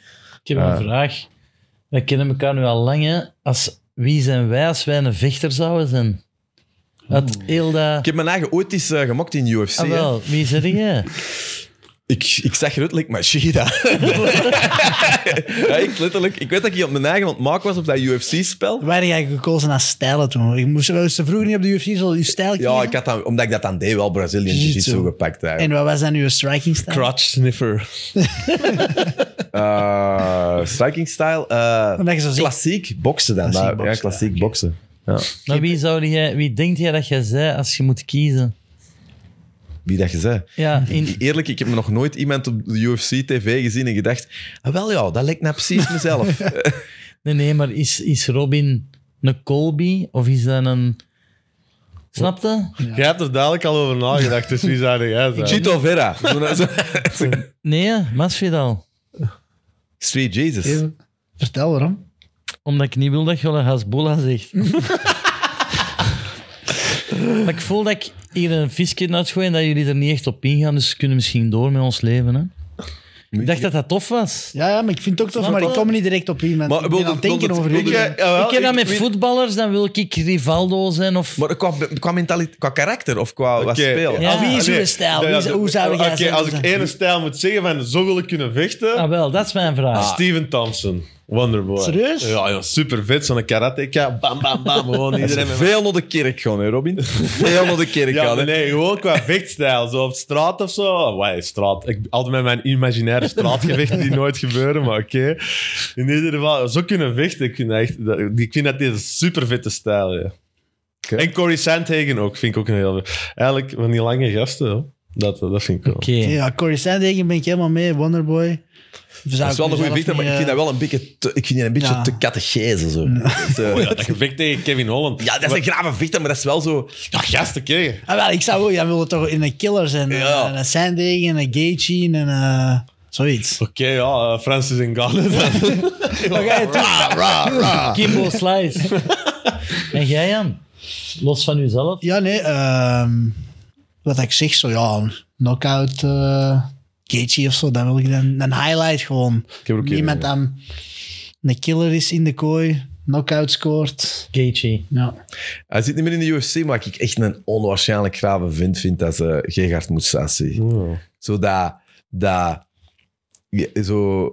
Speaker 2: Ik heb een vraag. We kennen elkaar nu al lang, hè. Als, wie zijn wij als wij een vechter zouden zijn? Uit heel dat...
Speaker 1: Ik heb mijn eigen ooit eens eh, gemokt in UFC.
Speaker 2: Ah,
Speaker 1: hè.
Speaker 2: wel, wie zeg jij?
Speaker 1: ik, ik zag eruit like Machida. ja, ik, letterlijk, ik weet dat ik op mijn eigen ontmaak was op dat UFC-spel.
Speaker 4: Waar heb jij gekozen naar stijlen toen? Ik moest wel eens te vroeg niet op de UFC, zo je stijl
Speaker 1: Ja,
Speaker 4: kiezen?
Speaker 1: ik had dan, omdat ik dat dan deed, wel Brazilian
Speaker 4: Jiu-jitsu.
Speaker 1: Jiu-Jitsu gepakt. eigenlijk.
Speaker 4: En wat was dan uw striking stijl?
Speaker 3: Crutch sniffer.
Speaker 1: Eh, striking style. eh,
Speaker 4: Omdat je zo zegt,
Speaker 1: klassiek boksen dan.
Speaker 4: Klassiek
Speaker 1: maar- ja,
Speaker 4: boksen,
Speaker 1: klassiek boksen. Ja.
Speaker 2: Maar wie, zou jij, wie denkt jij dat jij zij als je moet kiezen?
Speaker 1: Wie dat je zei.
Speaker 2: Ja, in,
Speaker 1: Eerlijk, ik heb nog nooit iemand op de UFC TV gezien en gedacht: ah, wel ja, dat lijkt nou precies mezelf.
Speaker 2: nee, nee, maar is, is Robin een Colby of is dat een... Snapte?
Speaker 3: Jij hebt er dadelijk al over nagedacht, dus wie zou jij zijn?
Speaker 1: Chito Vera. Zo- zo-
Speaker 2: Nee, hè? Masvidal.
Speaker 4: eh,
Speaker 1: Street Jesus.
Speaker 4: Even. Vertel waarom.
Speaker 2: Omdat ik niet wil dat je wel een Hasbola zegt. maar ik voel dat ik hier een visje uitgooi en dat jullie er niet echt op ingaan. Dus ze kunnen misschien door met ons leven. Hè? Ik dacht dat dat tof was.
Speaker 4: Ja, ja, maar ik vind het ook tof, maar ik kom er niet direct op in.
Speaker 1: Maar
Speaker 4: Maar
Speaker 1: wil
Speaker 4: ik ben aan
Speaker 1: dat-
Speaker 4: het denken
Speaker 1: wil dat-
Speaker 4: over
Speaker 1: wil
Speaker 4: jullie.
Speaker 1: jij- jawel,
Speaker 2: ik ken dat
Speaker 1: ik
Speaker 2: met
Speaker 1: weet-
Speaker 2: voetballers, dan wil ik Rivaldo zijn. Of...
Speaker 1: Maar qua, qua mentaliteit, qua karakter of qua wat
Speaker 3: Oké,
Speaker 1: spelen.
Speaker 2: Ja.
Speaker 4: Ah, Wie is
Speaker 3: nee.
Speaker 4: uw stijl?
Speaker 3: Ja,
Speaker 4: Wie
Speaker 3: ja,
Speaker 4: is-
Speaker 3: de-
Speaker 4: hoe zou jij
Speaker 3: Oké,
Speaker 4: zijn?
Speaker 3: als ik één stijl moet zeggen van zo wil ik kunnen vechten,
Speaker 2: Ah, wel, dat is mijn vraag.
Speaker 3: Steven Thompson, Wonderboy.
Speaker 4: Serieus?
Speaker 3: Ja, ja super vet, zo'n karateka, bam, bam, bam, gewoon iedereen met
Speaker 1: Veel naar de kerk gaan, hè, Robin? Veel naar de kerk
Speaker 3: Ja,
Speaker 1: gaan.
Speaker 3: maar
Speaker 1: hè.
Speaker 3: nee, gewoon qua vechtstijl. Zo op straat of zo. Wai, straat. Ik altijd met mijn imaginaire straatgevechten die nooit gebeuren, maar oké. In ieder geval, zo kunnen vechten. Ik vind dat, echt, dat, ik vind dat dit een super vette stijl ja.
Speaker 1: Oké.
Speaker 3: En Corey Sandhagen ook, vind ik ook een heel... Eigenlijk van die lange gasten, hoor. dat, dat vind ik wel.
Speaker 2: Oké.
Speaker 4: Ja, Corey Sandhagen ben ik helemaal mee. Wonderboy.
Speaker 1: Dat is wel een goede vechter, maar ik vind dat wel een beetje te, ik vind die een beetje
Speaker 4: Ja.
Speaker 1: te catechese. Zo. Dus, eh,
Speaker 3: Ja, dat gevecht tegen Kevin Holland.
Speaker 1: ja, dat is een grave vechter, maar dat is wel zo...
Speaker 3: Ja, gasten krijgen.
Speaker 4: Ah, wel, ik zou wel, jij wil toch in een killer zijn.
Speaker 1: Ja.
Speaker 4: En een Sandhagen, en een Gaethje, en eh, zoiets.
Speaker 3: Oké, ja, eh, Francis Ngannou. dan.
Speaker 4: Dan ga je toch-
Speaker 2: Kimbo Slice. en jij, Jan? Los van uzelf?
Speaker 4: Ja, nee. ehm, wat ik zeg, zo ja, een knockout eh Gaethje of zo, dan wil ik dan een highlight gewoon.
Speaker 1: heb er ook
Speaker 4: Iemand
Speaker 1: een,
Speaker 4: dan een killer is in de kooi, knockout scoort.
Speaker 2: Gaethje.
Speaker 4: Ja.
Speaker 1: Hij zit niet meer in de UFC, maar ik echt een onwaarschijnlijk grave vind, vind dat ze Gegard Moussassi.
Speaker 3: Mm.
Speaker 1: Zo dat... dat ja, zo,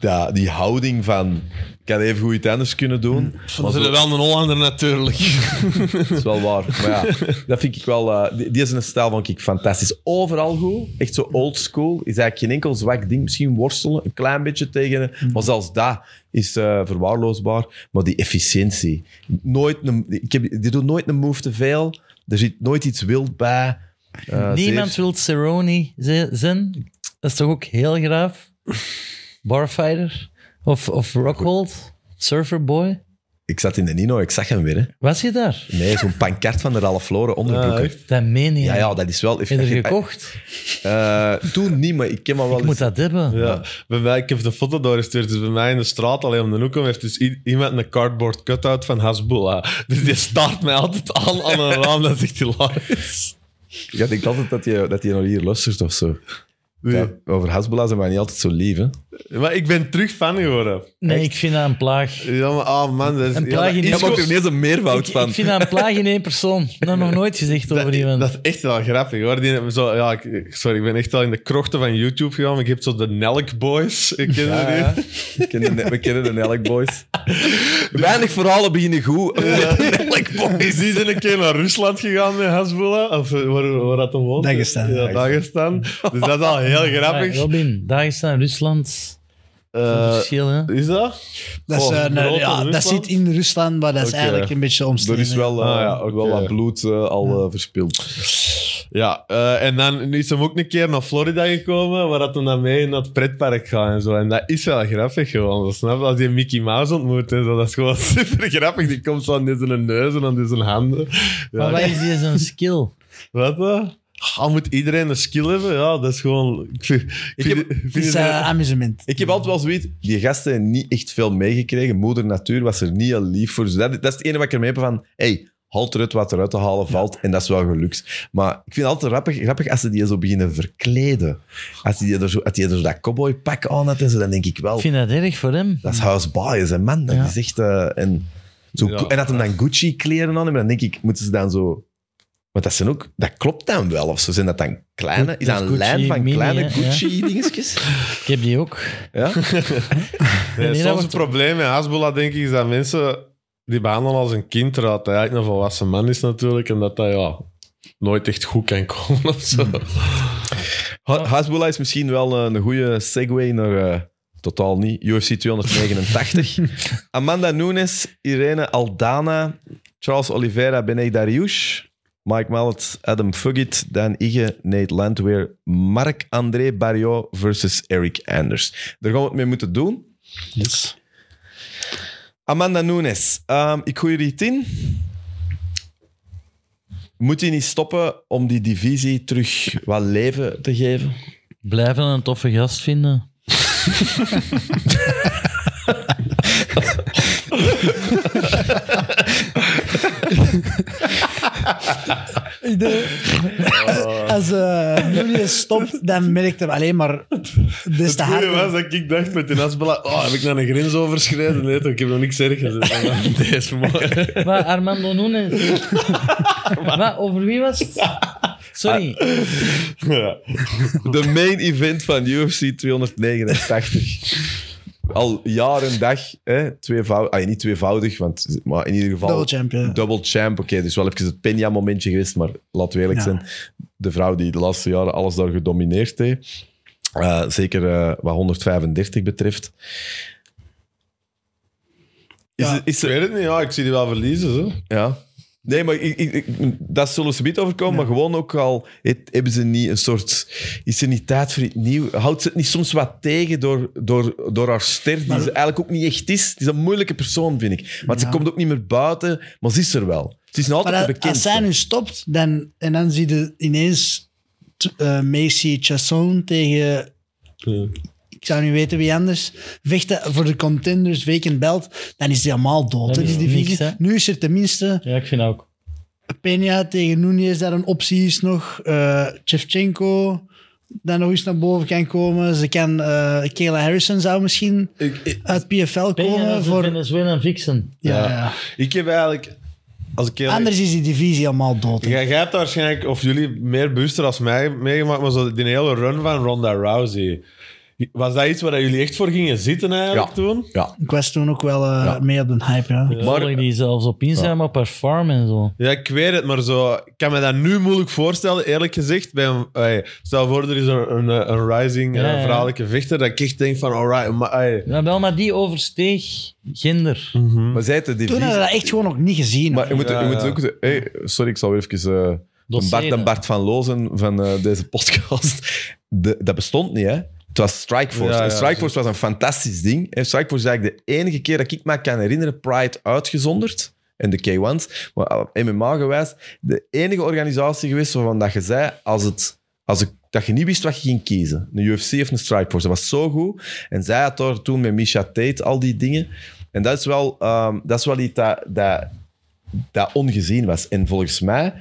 Speaker 1: dat, die houding van ik had even goed iets anders kunnen doen. Maar
Speaker 3: Dat
Speaker 1: zo-
Speaker 3: is wel een Hollander natuurlijk.
Speaker 1: Dat is wel waar. Maar ja, dat vind ik wel... eh, die, die is een stijl van ik fantastisch. Overal goed. Echt zo old school. Is eigenlijk geen enkel zwak ding. Misschien worstelen een klein beetje tegen.
Speaker 2: Mm.
Speaker 1: Maar zelfs dat is eh, verwaarloosbaar. Maar die efficiëntie. Nooit een, ik heb, die doet nooit een move te veel. Er zit nooit iets wild bij. Eh,
Speaker 2: Niemand
Speaker 1: zeer-
Speaker 2: wil Cerrone ze- zijn. Dat is toch ook heel graaf? Barfighter? Of, of Rockhold? Surfer Boy?
Speaker 1: Ik zat in de Nino. Ik zag hem weer. Hè.
Speaker 2: Was je daar?
Speaker 1: Nee, zo'n pancart van de Ralph Lauren
Speaker 3: Ah,
Speaker 1: onderbroeken.
Speaker 3: echt?
Speaker 2: Dat meen je.
Speaker 1: ja, ja, dat is wel...
Speaker 2: Heb je er gekocht?
Speaker 1: Eh, toen niet, maar ik ken maar wel
Speaker 2: Ik moet dat hebben.
Speaker 3: Ja, bij mij, ik heb de foto doorgestuurd. Dus bij mij in de straat, alleen om de hoek om, heeft dus i- iemand een cardboard cutout van Hasbullah. Dus die staart mij altijd aan aan een raam. Dat is echt hilarisch.
Speaker 1: Ja, ik denk altijd dat je, dat je nog hier luistert of zo. Ja, over Hasbullah zijn wij niet altijd zo lief, hè?
Speaker 3: Maar ik ben terug fan geworden.
Speaker 2: Nee, ik vind dat een plaag.
Speaker 3: Ja, maar, ah man. Dat is,
Speaker 2: Een
Speaker 3: ja,
Speaker 2: plaag
Speaker 3: dat
Speaker 2: in
Speaker 3: is
Speaker 2: ieder
Speaker 1: Jij
Speaker 2: Isco-
Speaker 1: maakt er ineens een meervoud
Speaker 2: Ik,
Speaker 1: van.
Speaker 2: ik vind dat een plaag in één persoon. Dat nog nooit gezegd over iemand.
Speaker 3: Dat is echt wel grappig hoor. Die, hebben zo, ja, ik- sorry, ik ben echt al in de krochten van YouTube gegaan. maar Ik heb zo de Nelk Boys. Ik ken
Speaker 1: Ja,
Speaker 3: die.
Speaker 1: ja. We kennen de- We kennen de Elk Boys. Weinig verhalen beginnen goed. Elk Boys.
Speaker 3: Is die zijn een keer naar Rusland gegaan met Hasbullah? Of eh, waar, waar dat hem woont?
Speaker 4: Dagestan.
Speaker 3: Ja, Dagestan. Dus dat is al heel grappig.
Speaker 2: Ja, Robin, Dagestan, Rusland.
Speaker 3: Eh,
Speaker 2: verschil, hè?
Speaker 3: is dat?
Speaker 4: Dat, is,
Speaker 3: Oh,
Speaker 4: eh, nou,
Speaker 3: Europa,
Speaker 4: ja, dat
Speaker 3: Rusland?
Speaker 4: zit in Rusland, maar dat is
Speaker 3: Oké.
Speaker 4: eigenlijk een beetje
Speaker 1: Er
Speaker 4: omstreden.
Speaker 1: is wel, eh,
Speaker 3: Ah, ja, oké.
Speaker 1: wel wat bloed eh, al eh, verspild.
Speaker 3: Ja, eh, en dan is hem ook een keer naar Florida gekomen, waar dat hem dan mee naar het pretpark gaat en zo. En dat is wel grappig gewoon, dat snap je? Als je Mickey Mouse ontmoet en zo, dat is gewoon super grappig. Die komt zo aan deze neus en aan deze handen.
Speaker 2: Maar wat
Speaker 3: Ja,
Speaker 2: is hier zijn skill?
Speaker 3: wat dan? Ah, moet iedereen een skill hebben? Ja, dat is gewoon... Ik vind, ik vind,
Speaker 1: heb-
Speaker 3: vind
Speaker 4: Het is
Speaker 3: het-
Speaker 4: eh, amusement.
Speaker 1: Ik heb altijd wel zoiets... Die gasten hebben niet echt veel meegekregen. Moeder Natuur was er niet al lief voor. Dus dat, dat is het enige wat ik ermee heb van... Hey, haalt eruit wat eruit te halen valt. En dat is wel gelukt. Maar ik vind het altijd grappig, grappig als ze die zo beginnen verkleden. Als die er zo, als die er zo dat cowboypak aan had en zo, dan denk ik wel...
Speaker 2: Ik vind dat erg voor hem.
Speaker 1: Dat is house bias, hè, man. Dat
Speaker 2: Ja.
Speaker 1: is echt... eh, en, zo,
Speaker 3: Ja.
Speaker 1: en dat hem dan Gucci-kleren aan hebben, dan denk ik, moeten ze dan zo... Want dat zijn ook... Dat klopt dan wel, of zo. Zijn dat dan kleine... Is
Speaker 2: Dat
Speaker 1: dat
Speaker 2: is
Speaker 1: een
Speaker 2: Gucci
Speaker 1: lijn van
Speaker 2: mini,
Speaker 1: kleine
Speaker 2: hè, ja.
Speaker 1: Gucci-dingetjes?
Speaker 2: Ik heb die ook.
Speaker 1: Ja?
Speaker 3: Nee,
Speaker 2: Nee, dat
Speaker 3: soms
Speaker 2: wordt-
Speaker 3: het probleem met Hasbullah, denk ik, is dat mensen die behandelen als een kind, terwijl hij eigenlijk een volwassen man is natuurlijk, en dat dat ja, nooit echt goed kan komen of zo.
Speaker 1: Ha- Hasbullah is misschien wel eh, een goede segue naar... eh, totaal niet. UFC 289. Amanda Nunes, Irene Aldana, Charles Oliveira, Benay Dariush, Mike Mallet, Adam Fugit, Dan Ige, Nate Landweer, Marc-André Barriot versus Eric Anders. Daar gaan we het mee moeten doen.
Speaker 4: Yes.
Speaker 1: Amanda Nunes, ehm, ik gooi er iets in. Moet hij niet stoppen om die divisie terug wat leven te geven?
Speaker 2: Blijven een toffe gast vinden.
Speaker 4: Ik denk- Als eh Julius stopt, dan merkt hem alleen maar des te
Speaker 3: Het goede
Speaker 4: harder.
Speaker 3: was dat ik dacht met die asbella, oh, heb ik nou een grens overschreden? Nee, toch, ik heb nog niks erg gezegd. Deze morgen.
Speaker 2: Wat, Armando Nunes? Wat, over wie was het? Sorry.
Speaker 3: Ja.
Speaker 1: De main event van UFC 289. Al jaar en dag, hè, tweevoudig, ah, niet tweevoudig, want, maar in ieder geval...
Speaker 4: Double champion.
Speaker 1: Double champ, oké, dus wel even het Peña-momentje geweest, maar laten we eerlijk
Speaker 4: Ja.
Speaker 1: zijn, de vrouw die de laatste jaren alles daar gedomineerd heeft, eh, zeker eh, wat 135 betreft. Is,
Speaker 4: Ja.
Speaker 1: het- is,
Speaker 3: Ik weet het niet, ja, ik zie die wel verliezen. Zo.
Speaker 1: ja. Nee, maar ik, ik, ik- dat zullen ze niet overkomen. Maar gewoon ook al het- hebben ze niet een soort. Is er niet tijd voor iets nieuws? Houdt ze het niet soms wat tegen door, door, door haar ster, die ze eigenlijk ook niet echt is? Het is een moeilijke persoon, vind ik. Want ze
Speaker 4: Ja.
Speaker 1: komt ook niet meer buiten, maar ze is er wel. Ze is nog
Speaker 4: Maar
Speaker 1: altijd
Speaker 4: als-
Speaker 1: de
Speaker 4: als zij
Speaker 1: bekendste.
Speaker 4: nu stopt, dan, en dan zie je ineens t- eh Macy Chasson tegen... Ik zou niet weten wie anders. Vechten voor de contenders, vacant belt. Dan is die helemaal dood.
Speaker 2: Dan
Speaker 4: hè,
Speaker 2: is
Speaker 4: die
Speaker 2: er niks,
Speaker 4: divisie.
Speaker 2: hè?
Speaker 4: nu is er tenminste
Speaker 2: Ja, ik vind ook.
Speaker 4: Peña tegen Nunez daar een optie is nog. eh Shevchenko dat nog eens naar boven kan komen. Ze kan, eh Kayla Harrison zou misschien uit PFL
Speaker 2: Peña
Speaker 4: komen.
Speaker 2: voor
Speaker 4: Voor,
Speaker 2: Venezuela fixen.
Speaker 4: ja,
Speaker 3: Ja.
Speaker 4: ja.
Speaker 3: Ik heb eigenlijk... Als ik eerlijk-
Speaker 4: Anders is die divisie helemaal dood. hè.
Speaker 3: Jij, jij hebt waarschijnlijk, of jullie meer bewuster als mij meegemaakt, maar zo die hele run van Ronda Rousey. Was dat iets waar jullie echt voor gingen zitten eigenlijk
Speaker 1: Ja.
Speaker 3: toen?
Speaker 1: Ja.
Speaker 4: Ik was toen ook wel eh, mee op de hype. Ja.
Speaker 2: Ik volg die zelfs op Instagram op haar farm en zo.
Speaker 3: Ja, ik weet het, maar zo, ik kan me dat nu moeilijk voorstellen, eerlijk gezegd. Bij een, ey, stel voor, er is een, een, een rising
Speaker 2: Ja,
Speaker 3: eh,
Speaker 2: ja.
Speaker 3: vrouwelijke vechter, dat ik echt denk van, alright, maar... ey.
Speaker 2: Ja, wel, maar die oversteeg gender.
Speaker 1: Maar zij heeft de
Speaker 4: Toen
Speaker 1: divisie.
Speaker 4: hadden we dat echt gewoon nog niet gezien.
Speaker 1: Maar je moet,
Speaker 3: Ja,
Speaker 1: je moet
Speaker 3: ja.
Speaker 1: ook. de- hey, sorry, ik zal weer even. eh, een Bart,
Speaker 2: Doseren.
Speaker 1: een Bart van Lozen van eh, deze podcast. De, dat bestond niet, hè? Het was Strikeforce.
Speaker 3: Ja, ja,
Speaker 1: en Strikeforce was een fantastisch ding. En Strikeforce is eigenlijk de enige keer dat ik me kan herinneren, Pride uitgezonderd. En de K1's. Maar eh, MMA-gewijs, de enige organisatie geweest waarvan dat je zei, als het... Als ik, dat je niet wist wat je ging kiezen. Een UFC of een Strikeforce. Dat was zo goed. En zij had daar toen met Misha Tate al die dingen. En dat is wel, ehm, dat is wel iets dat, dat, dat ongezien was. En volgens mij,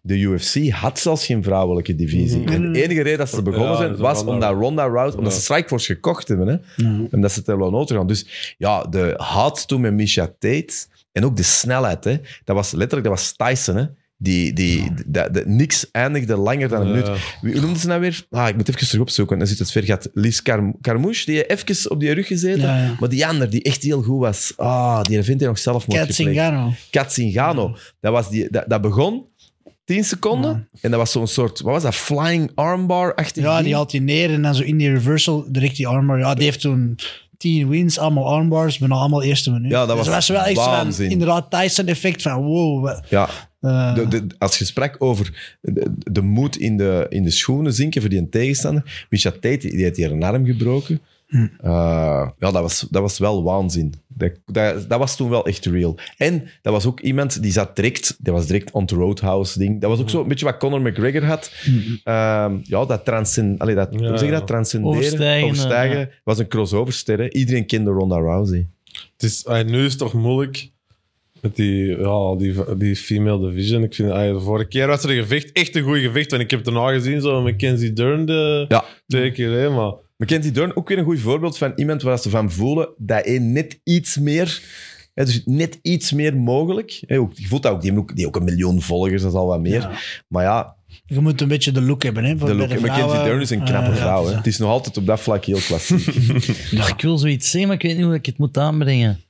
Speaker 1: de UFC had zelfs geen vrouwelijke divisie.
Speaker 4: Mm-hmm.
Speaker 1: En de enige reden dat ze begonnen
Speaker 3: Ja,
Speaker 1: zijn,
Speaker 3: dat is
Speaker 1: was
Speaker 3: Ronda-
Speaker 1: omdat Ronda Rousey, omdat ze Strikeforce gekocht hebben. Hè? En dat ze ter Noter gaan. Dus ja, de haat toen met Misha Tate, en ook de snelheid, hè? dat was letterlijk, dat was Tyson, hè? Die, die, dat- dat- niks eindigde langer dan een
Speaker 3: Ja.
Speaker 1: minuut. Wie, hoe noemde ze nou weer? Ah, ik moet even terug opzoeken. Dan zit het ver gaat. Lies Carm- Carmouche, die heeft even op die rug gezeten.
Speaker 4: Ja, ja.
Speaker 1: Maar die ander, die echt heel goed was. Ah, die vindt hij nog zelf
Speaker 4: Kat Zingano.
Speaker 1: Katzingano. Dat, was die, dat, dat begon 10 seconden. En dat was zo'n soort, wat was dat? Flying armbar achter
Speaker 4: Ja, die haalt die neer en dan zo in die reversal direct die armbar. Ja, die heeft toen tien wins, allemaal armbars, bijna allemaal eerste minuut. Dus
Speaker 1: Ja, dat was
Speaker 4: wel echt zo'n
Speaker 1: waanzin.
Speaker 4: inderdaad Tyson-effect van wow. wat-
Speaker 1: Ja,
Speaker 4: eh,
Speaker 1: de, de- als je sprak over de, de moed in de, in de schoenen zinken voor die tegenstander. Misha Tate, die had hier een arm gebroken. Eh, ja, dat was, dat was wel waanzin. Dat, dat, dat was toen wel echt real. En dat was ook iemand die zat direct, dat was direct on the roadhouse ding. Dat was ook zo een beetje wat Conor McGregor had. Ehm, ja, dat, transcend, allee, dat, hoe zeg je dat transcenderen,
Speaker 2: Overstijgen,
Speaker 1: overstijgen, was een crossoverster. hè. Iedereen kende Ronda Rousey.
Speaker 3: Het is, ey, nu is het toch moeilijk met die, ja, die, die female division. Ik vind, ey, de vorige keer was er een gevecht, echt een goed gevecht, want ik heb het erna gezien, zo Mackenzie Dern de
Speaker 1: Ja.
Speaker 3: twee keer, hè, maar...
Speaker 1: Mackenzie Dern, ook weer een goed voorbeeld van iemand waar ze van voelen dat hij net iets meer... hè, dus net iets meer mogelijk. Hè, ook, je voelt dat ook. Die heeft ook, die heeft ook een miljoen volgers, dat is al wat meer. Maar ja,
Speaker 4: je moet een beetje de look hebben. Hè, voor
Speaker 1: de
Speaker 4: bij
Speaker 1: look,
Speaker 4: de vrouwen.
Speaker 1: Mackenzie Dern is een knappe
Speaker 4: Eh, ja,
Speaker 1: vrouw.
Speaker 4: het
Speaker 1: Hè.
Speaker 4: is
Speaker 1: Het is nog altijd op dat vlak heel klassiek.
Speaker 2: Ja, ik wil zoiets zeggen, maar ik weet niet hoe ik het moet aanbrengen.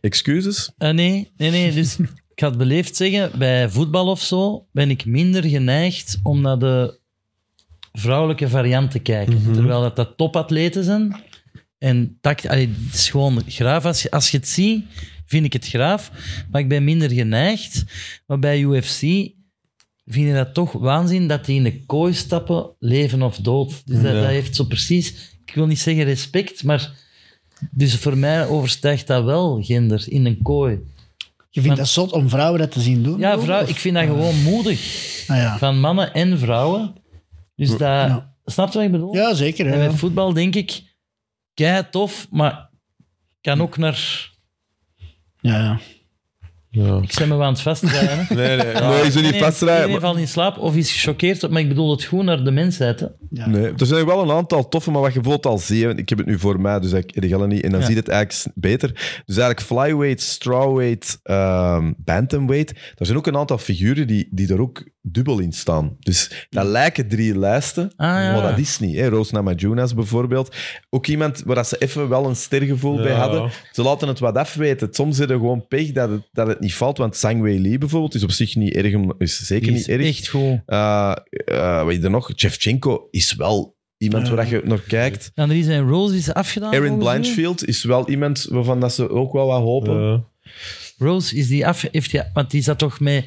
Speaker 1: Excuses?
Speaker 2: Eh, nee, nee, nee. Dus ik ga het beleefd zeggen, bij voetbal of zo ben ik minder geneigd om naar de vrouwelijke variant te kijken. Terwijl dat, dat topatleten zijn. En tact, allee, het is gewoon graaf. Als je, als je het ziet, vind ik het graaf. Maar ik ben minder geneigd. Maar bij UFC vind je dat toch waanzin dat die in de kooi stappen, leven of dood. Dus dat, dat heeft zo precies... Ik wil niet zeggen respect, maar... Dus voor mij overstijgt dat wel gender in een kooi.
Speaker 4: Je vindt dat zot om vrouwen dat te zien doen?
Speaker 2: Ja,
Speaker 4: bedoel je?
Speaker 2: vrouw,
Speaker 4: Of-
Speaker 2: ik vind dat gewoon moedig.
Speaker 4: Ah, ja.
Speaker 2: Van mannen en vrouwen. Dus dat... Snap je wat ik bedoel?
Speaker 4: ja, zeker.
Speaker 2: En
Speaker 4: ja.
Speaker 2: bij voetbal denk ik... kei tof, maar kan ook naar...
Speaker 4: Ja, ja.
Speaker 3: Ja.
Speaker 2: Ik ben me wel aan het vastdraaien. hè.
Speaker 3: Nee, nee. ja.
Speaker 1: Ah, Nee, is er niet
Speaker 2: Iedereen-
Speaker 1: vastdraaien.
Speaker 2: Iedereen valt in slaap of is gechoqueerd, maar ik bedoel het goed naar de mensheid. Hè.
Speaker 1: Nee, er zijn wel een aantal toffe, maar wat je bijvoorbeeld al ziet, want ik heb het nu voor mij, dus ik ik ga het niet, en dan
Speaker 2: Ja.
Speaker 1: ziet het eigenlijk s- beter. Dus eigenlijk flyweight, strawweight, ehm, bantamweight, er zijn ook een aantal figuren die, die er ook dubbel in staan. Dus dat lijken drie lijsten,
Speaker 2: Ah, ja.
Speaker 1: maar dat is niet. Hè. Rose Namajunas bijvoorbeeld, ook iemand waar dat ze even wel een stergevoel bij
Speaker 3: Ja.
Speaker 1: hadden. Ze laten het wat afweten. Soms zit er gewoon pech dat het, dat het niet valt, want Sang Wei Lee bijvoorbeeld is op zich niet erg, om- is zeker
Speaker 2: Die
Speaker 1: niet
Speaker 2: is
Speaker 1: erg.
Speaker 2: echt goed.
Speaker 1: Eh, eh, wat is er nog? Shevchenko is wel iemand
Speaker 4: Ja.
Speaker 1: waar je naar kijkt.
Speaker 2: Dan er is een Rose die is afgedaan.
Speaker 1: Aaron
Speaker 2: volgens mij.
Speaker 1: Blanchfield is wel iemand waarvan dat ze ook wel wat hopen.
Speaker 3: Eh,
Speaker 2: Rose is die af, heeft die, want die zat toch met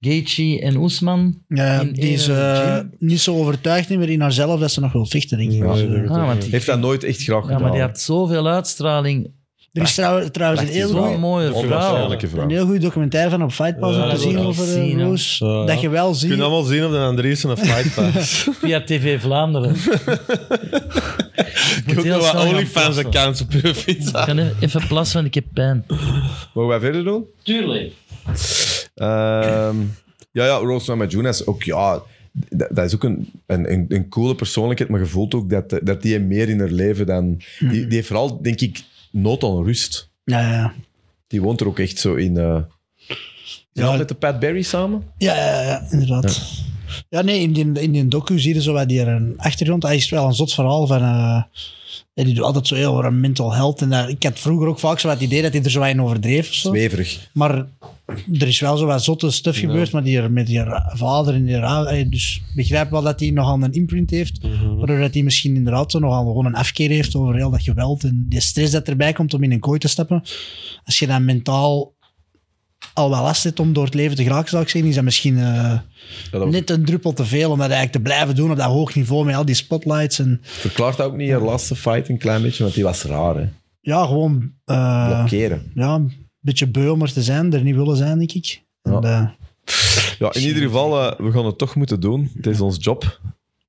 Speaker 2: Gaethje en Oesman.
Speaker 4: Ja,
Speaker 2: In
Speaker 4: die is
Speaker 2: ene
Speaker 4: eh,
Speaker 2: gym.
Speaker 4: niet zo overtuigd niet meer in haarzelf dat ze nog wil vechten, denk ik.
Speaker 3: Ja,
Speaker 4: Dus, eh,
Speaker 3: inderdaad.
Speaker 2: Ah, want die,
Speaker 1: Heeft dat nooit echt graag
Speaker 2: ja,
Speaker 1: gedaan.
Speaker 2: maar die had zoveel uitstraling.
Speaker 4: Er is trouw- trouwens een
Speaker 1: Prachtig
Speaker 4: heel,
Speaker 1: vrouw.
Speaker 4: goed,
Speaker 2: Zo'n mooie vrouw.
Speaker 1: Onwaarschijnlijke vrouw.
Speaker 4: een heel goed documentaire van op Fight Pass
Speaker 3: Ja,
Speaker 4: al
Speaker 3: dat
Speaker 4: gezien
Speaker 2: wil ik
Speaker 4: over
Speaker 2: zien,
Speaker 4: eh,
Speaker 2: hè.
Speaker 4: Rose.
Speaker 3: Ja.
Speaker 4: Dat je wel
Speaker 3: Je
Speaker 4: ziet...
Speaker 3: kunt allemaal zien op de Andriessen een fight pass.
Speaker 2: Via TV Vlaanderen.
Speaker 3: Ik heb
Speaker 2: heel snel
Speaker 3: ook nog wat
Speaker 2: gaan
Speaker 3: OnlyFans
Speaker 2: plassen.
Speaker 3: accounts op je fiets.
Speaker 2: Ik ga nu even plassen, want ik heb pijn.
Speaker 1: Mogen wij verder doen?
Speaker 2: Tuurlijk.
Speaker 1: Ehm, ja, ja, Rose Namajunas ook, ja... Dat, dat is ook een, een, een, een coole persoonlijkheid, maar je voelt ook dat, dat die meer in haar leven dan... Die, die heeft vooral, denk ik, nood aan rust.
Speaker 4: Ja, ja, ja.
Speaker 1: Die woont er ook echt zo in... eh ja, met de Pat Barry samen?
Speaker 4: Ja, ja, ja, inderdaad. Ja, nee, in die, in die docu zie je zo wat die er een achtergrond. Hij is wel een zot verhaal van... eh, ja, die doet altijd zo heel over een mental health. En dat- ik had vroeger ook vaak zo wat idee dat hij er zo wat in overdreef of zo.
Speaker 1: Weverig.
Speaker 4: Maar er is wel zo wat zotte stuff gebeurd, maar die er met je vader en je ra- Dus ik begrijp wel dat hij nogal een imprint heeft, waardoor dat hij misschien inderdaad zo nogal gewoon een afkeer heeft over heel dat geweld en de stress dat erbij komt om in een kooi te stappen. Als je dan mentaal al wel last hebt om door het leven te geraken, zou ik zeggen, is dat misschien eh,
Speaker 1: was-
Speaker 4: net een druppel te veel om dat eigenlijk te blijven doen op dat hoog niveau met al die spotlights en
Speaker 1: Verklaart dat ook niet haar laatste fight een klein beetje, want die was raar, hè?
Speaker 4: ja, gewoon... eh,
Speaker 1: Blokkeren.
Speaker 4: ja, een beetje beu om er te zijn, er niet willen zijn, denk ik. En, eh,
Speaker 1: Ja, in ieder geval, eh, we gaan het toch moeten doen. Het is ons job.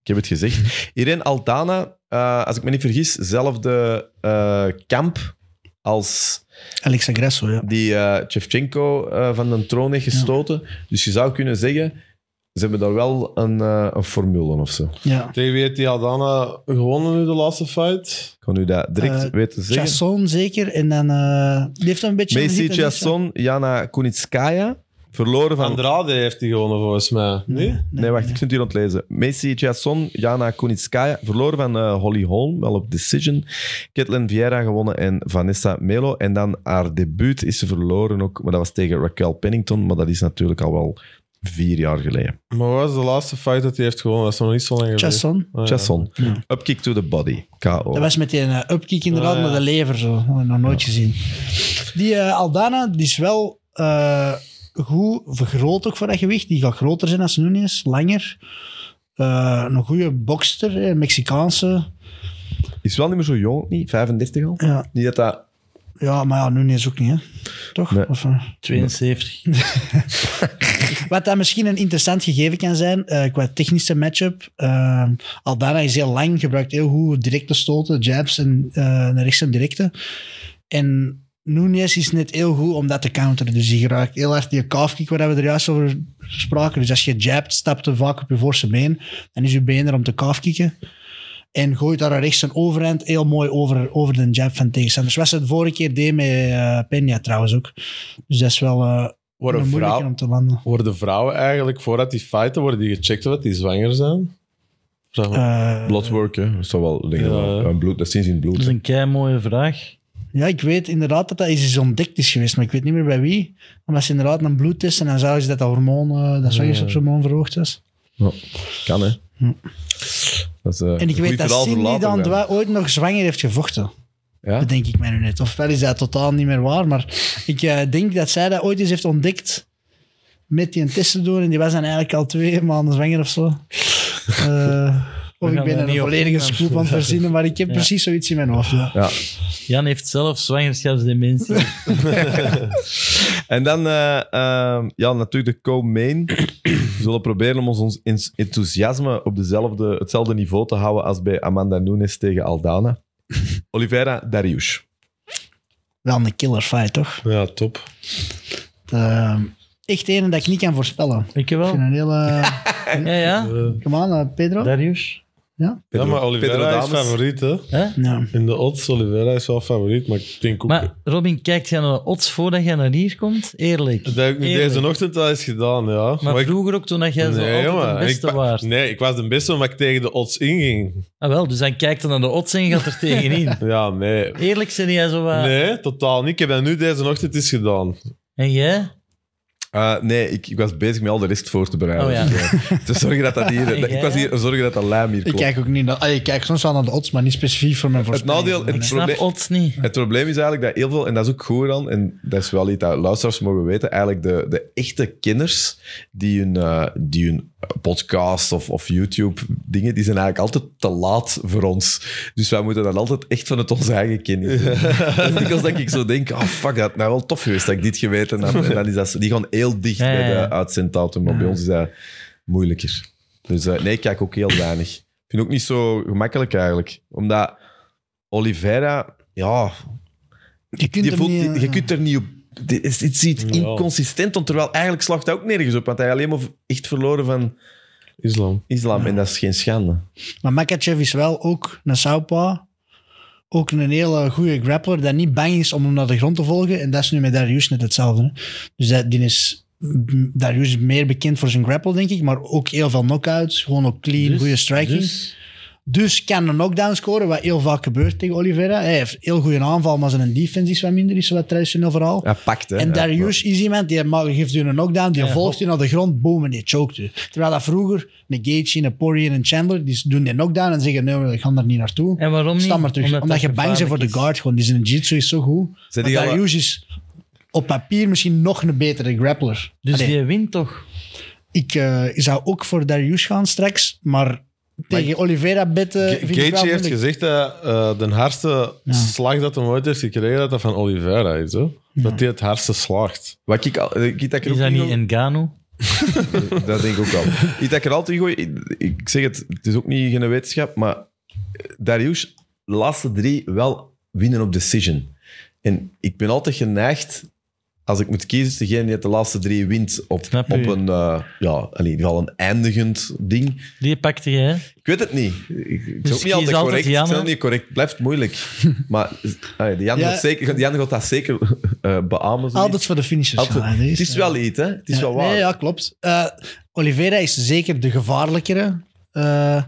Speaker 1: Ik heb het gezegd. Irene Aldana, eh, als ik me niet vergis, zelfde eh, kamp als
Speaker 4: Alex Agresso, ja.
Speaker 1: die eh Shevchenko eh, van de troon heeft gestoten. Dus je zou kunnen zeggen, ze hebben daar wel een, eh, een formule of zo.
Speaker 4: Ja.
Speaker 3: Tegen wie heeft die Aldana gewonnen nu de laatste fight?
Speaker 1: Ik kan u dat direct
Speaker 4: Eh,
Speaker 1: weten zeggen.
Speaker 4: Chasson zeker. En dan eh, die heeft een beetje.
Speaker 1: Messi
Speaker 4: muziek-
Speaker 1: Chasson, Jana Kunitskaya, verloren van
Speaker 3: Andrade heeft die gewonnen volgens mij. Nee?
Speaker 1: Nee, wacht, ik zit hier aan het lezen. Messi Jason, Jana Kunitskaya, verloren van eh, Holly Holm, wel op Decision. Ketlin Vieira gewonnen en Vanessa Melo. En dan haar debuut is ze verloren ook, maar dat was tegen Raquel Pennington, maar dat is natuurlijk al wel vier jaar geleden.
Speaker 3: Maar wat is de laatste fight dat hij heeft gewonnen? Dat is nog niet zo lang geleden.
Speaker 4: Chasson.
Speaker 3: Ah, ja.
Speaker 1: Jason,
Speaker 4: Ja.
Speaker 1: upkick to the body, KO.
Speaker 4: Dat was met die eh, upkick inderdaad
Speaker 3: Ah, ja.
Speaker 4: naar de lever zo. Dat heb ik nog nooit gezien. Die eh, Aldana, die is wel eh, goed vergroot ook voor dat gewicht. Die gaat groter zijn als Nunes, langer. Eh, een goede bokster, eh, Mexicaanse.
Speaker 1: Is wel niet meer zo jong, niet? 35 al?
Speaker 4: Ja,
Speaker 1: Niet dat dat...
Speaker 4: ja maar ja, Nunes ook niet, hè? Toch?
Speaker 1: Nee.
Speaker 4: Of, eh?
Speaker 2: 72.
Speaker 4: Wat daar misschien een interessant gegeven kan zijn, eh, qua technische matchup. eh, Aldana is heel lang, gebruikt heel goed directe stoten, jabs en eh, naar rechts en directe. En Nunes is net heel goed om dat te counteren. Dus die geraakt heel hard die calf kick waar we er juist over spraken. Dus als je jabt, stapt hij vaak op je voorste been. Dan is je been er om te calf kicken. En gooit daar rechts een overhand heel mooi over, over de jab van tegenstanders. Was het de vorige keer deed met eh Peña trouwens ook. Dus dat is wel eh
Speaker 3: Worden
Speaker 4: een moeilijke
Speaker 3: vrouw-
Speaker 4: om te landen.
Speaker 3: Worden vrouwen eigenlijk, voordat die fighten, worden die gecheckt of die zwanger zijn? Vraag me-
Speaker 4: Eh,
Speaker 1: Bloodwork, hè? Dat zou wel... Denk ik
Speaker 3: Ja,
Speaker 1: wel.
Speaker 3: ja.
Speaker 1: Een bloed, dat zien ze in het
Speaker 2: Dat is
Speaker 1: bloed.
Speaker 2: een kei mooie vraag.
Speaker 4: ja, ik weet inderdaad dat dat eens ontdekt is geweest, maar ik weet niet meer bij wie. Omdat ze inderdaad een bloedtest en dan zagen ze dat dat hormoon, eh dat zwangerschapshormoon verhoogd was.
Speaker 1: Kan, hè? Dat is, eh,
Speaker 4: En
Speaker 1: een
Speaker 4: ik
Speaker 1: goed
Speaker 4: weet dat
Speaker 1: verhaal voor
Speaker 4: Cindy
Speaker 1: later,
Speaker 4: dan
Speaker 1: ja.
Speaker 4: dwa- ooit nog zwanger heeft gevochten.
Speaker 1: Ja?
Speaker 4: Dat denk ik mij nu net. Ofwel is dat totaal niet meer waar, maar ik eh, denk dat zij dat ooit eens heeft ontdekt met die een test te doen en die was dan eigenlijk al twee maanden zwanger of zo. Eh, of
Speaker 2: We gaan
Speaker 4: ik ben
Speaker 2: daar
Speaker 4: er een
Speaker 2: niet op
Speaker 4: volledige
Speaker 2: ingaan.
Speaker 4: scoop aan het verzinnen, maar ik heb
Speaker 2: Ja.
Speaker 4: precies zoiets in mijn hoofd. ja.
Speaker 2: Jan heeft zelf zwangerschapsdementie.
Speaker 1: En dan, eh, ehm, ja, natuurlijk de co-main. We zullen proberen om ons, ons ens- enthousiasme op dezelfde, hetzelfde niveau te houden als bij Amanda Nunes tegen Aldana. Oliveira Darius.
Speaker 4: Wel een killer fight, toch?
Speaker 3: Ja, top.
Speaker 4: Eh, echt een dat ik niet kan voorspellen.
Speaker 2: Weet je
Speaker 4: Ik
Speaker 2: wel?
Speaker 4: vind een hele...
Speaker 2: Ja, ja.
Speaker 3: Eh,
Speaker 4: Come on, eh, Pedro.
Speaker 2: Darius.
Speaker 3: ja, maar Oliveira is
Speaker 1: Pedro Dames.
Speaker 3: favoriet, hè.
Speaker 2: Hè?
Speaker 4: Ja.
Speaker 3: In de odds, Oliveira is wel favoriet, maar ik denk ook...
Speaker 2: Maar Robin, kijkt jij naar de odds voordat jij naar hier komt? Eerlijk.
Speaker 3: dat heb ik nu
Speaker 2: Eerlijk.
Speaker 3: deze ochtend al eens gedaan, ja.
Speaker 2: Maar
Speaker 3: Maar ik-
Speaker 2: vroeger ook, toen dat jij zo altijd
Speaker 3: jongen,
Speaker 2: de beste
Speaker 3: ik, pa-
Speaker 2: waard.
Speaker 3: Nee, ik was de beste omdat ik tegen de odds inging.
Speaker 2: Ah wel, dus dan kijkt hij naar de odds en gaat er tegenin.
Speaker 3: Ja, nee.
Speaker 2: Eerlijk zei jij zo wat.
Speaker 3: Nee, totaal niet. Ik heb dat nu deze ochtend eens gedaan.
Speaker 2: En jij?
Speaker 1: Eh, nee, ik, ik was bezig met al de rest voor te bereiden.
Speaker 2: Oh ja.
Speaker 1: Dus, eh, te zorgen dat dat hier... dat- ik was hier zorgen dat dat lijm hier
Speaker 4: Ik
Speaker 1: klopt.
Speaker 4: kijk ook niet naar... ah, ik kijk soms wel naar de odds, maar niet specifiek voor mijn
Speaker 1: Het
Speaker 4: voorspelling.
Speaker 1: nadeel...
Speaker 2: Ik
Speaker 1: Het
Speaker 2: snap
Speaker 1: probleem,
Speaker 2: odds niet.
Speaker 1: Het probleem is eigenlijk dat heel veel, en dat is ook goed dan, en dat is wel iets dat luisteraars mogen weten, eigenlijk de, de echte kenners die hun, eh, die hun podcast of, of YouTube dingen, die zijn eigenlijk altijd te laat voor ons. Dus wij moeten dan altijd echt van het onze eigen kennis doen. Dus dikwijls dat ik zo denk, oh fuck, dat had nou wel tof geweest dat ik dit geweten had. En dan is dat, die gaan heel dicht
Speaker 2: Ja,
Speaker 1: bij
Speaker 2: ja, ja.
Speaker 1: de uitzenddatum, maar bij ons is dat moeilijker. Dus eh, nee, ik kijk ook heel weinig. Ik vind het ook niet zo gemakkelijk eigenlijk. Omdat Oliveira, ja,
Speaker 4: Je kunt,
Speaker 1: je,
Speaker 4: hem
Speaker 1: voelt,
Speaker 4: niet,
Speaker 1: je,
Speaker 4: eh,
Speaker 1: je kunt er niet op. Dit is, dit is iets
Speaker 3: Ja.
Speaker 1: inconsistent, want terwijl eigenlijk slacht hij ook nergens op. Want hij alleen maar echt verloren van
Speaker 3: Islam.
Speaker 1: islam. En dat is geen schande.
Speaker 4: Maar Makachev is wel ook een southpaw. Ook een hele goede grappler dat niet bang is om hem naar de grond te volgen. En dat is nu met Darius net hetzelfde. Hè? Dus dat, die is, Darius is meer bekend voor zijn grapple, denk ik. Maar ook heel veel knockouts. Gewoon ook clean,
Speaker 2: Dus-
Speaker 4: goede striking. Dus,
Speaker 2: Dus,
Speaker 4: kan een knockdown scoren, wat heel vaak gebeurt tegen Oliveira. Hij heeft heel goede aanval, maar zijn defense is wat minder. Is wat traditioneel verhaal.
Speaker 1: Hij pakt, hè.
Speaker 4: En
Speaker 1: Ja,
Speaker 4: Darius is iemand die ma- geeft u een knockdown, die
Speaker 2: Ja,
Speaker 4: volgt
Speaker 2: hop.
Speaker 4: u naar de grond, boom, en die choked u. Terwijl dat vroeger, een Gaethje, een Poirier en een Chandler, die doen die knockdown en zeggen, nee, we gaan daar niet naartoe.
Speaker 2: en waarom niet?
Speaker 4: Sta maar terug. Omdat, je
Speaker 2: dat
Speaker 4: bang bent voor de
Speaker 2: gevaarlijk
Speaker 4: guard gewoon. Die zijn jiu-jitsu is zo goed.
Speaker 1: Zijn
Speaker 4: Maar
Speaker 1: die alle-
Speaker 4: Darius is op papier misschien nog een betere grappler.
Speaker 2: is. Dus
Speaker 4: Allee,
Speaker 2: die wint toch?
Speaker 4: Ah, ik eh, zou ook voor Darius gaan straks, maar tegen Oliveira betten vind ik wel
Speaker 3: Gaethje heeft
Speaker 4: moeilijk.
Speaker 3: gezegd dat eh, de hardste
Speaker 4: Ja.
Speaker 3: slag dat hij ooit heeft gekregen, dat dat van Oliveira is. Hè? Dat hij het hardste slaagt.
Speaker 1: Wat ik al... eh, Iets dat ik er
Speaker 2: Is
Speaker 1: ook
Speaker 2: dat
Speaker 1: in
Speaker 2: niet
Speaker 1: gooi-
Speaker 2: Engano?
Speaker 1: Dat denk ik ook al. Iets dat ik er altijd in gooi... ik- Ik zeg het, het is ook niet geen wetenschap, maar Darius, de laatste drie wel winnen op decision. En ik ben altijd geneigd, als ik moet kiezen, degene die het de laatste drie wint op,
Speaker 2: Snap
Speaker 1: op
Speaker 2: u.
Speaker 1: een... eh, ja, in ieder geval een eindigend ding.
Speaker 2: Die pakte jij.
Speaker 1: Ik weet het niet. Ik, ik ben
Speaker 2: Dus
Speaker 1: ook niet
Speaker 2: kies
Speaker 1: altijd
Speaker 2: altijd
Speaker 1: correct.
Speaker 2: Janne.
Speaker 1: Ik ben ook niet correct. Het blijft moeilijk. Maar eh, die Jan
Speaker 4: Ja.
Speaker 1: gaat, zeker- die Jan gaat dat zeker eh, beamen. zoiets.
Speaker 4: Altijd voor de finishers.
Speaker 1: Altijd.
Speaker 4: gaan, hè, die
Speaker 1: Het is
Speaker 4: ja.
Speaker 1: wel iets, hè? Het is
Speaker 4: ja,
Speaker 1: wel waar.
Speaker 4: Eh, Nee, ja, klopt. Eh, Oliveira is zeker de gevaarlijkere eh,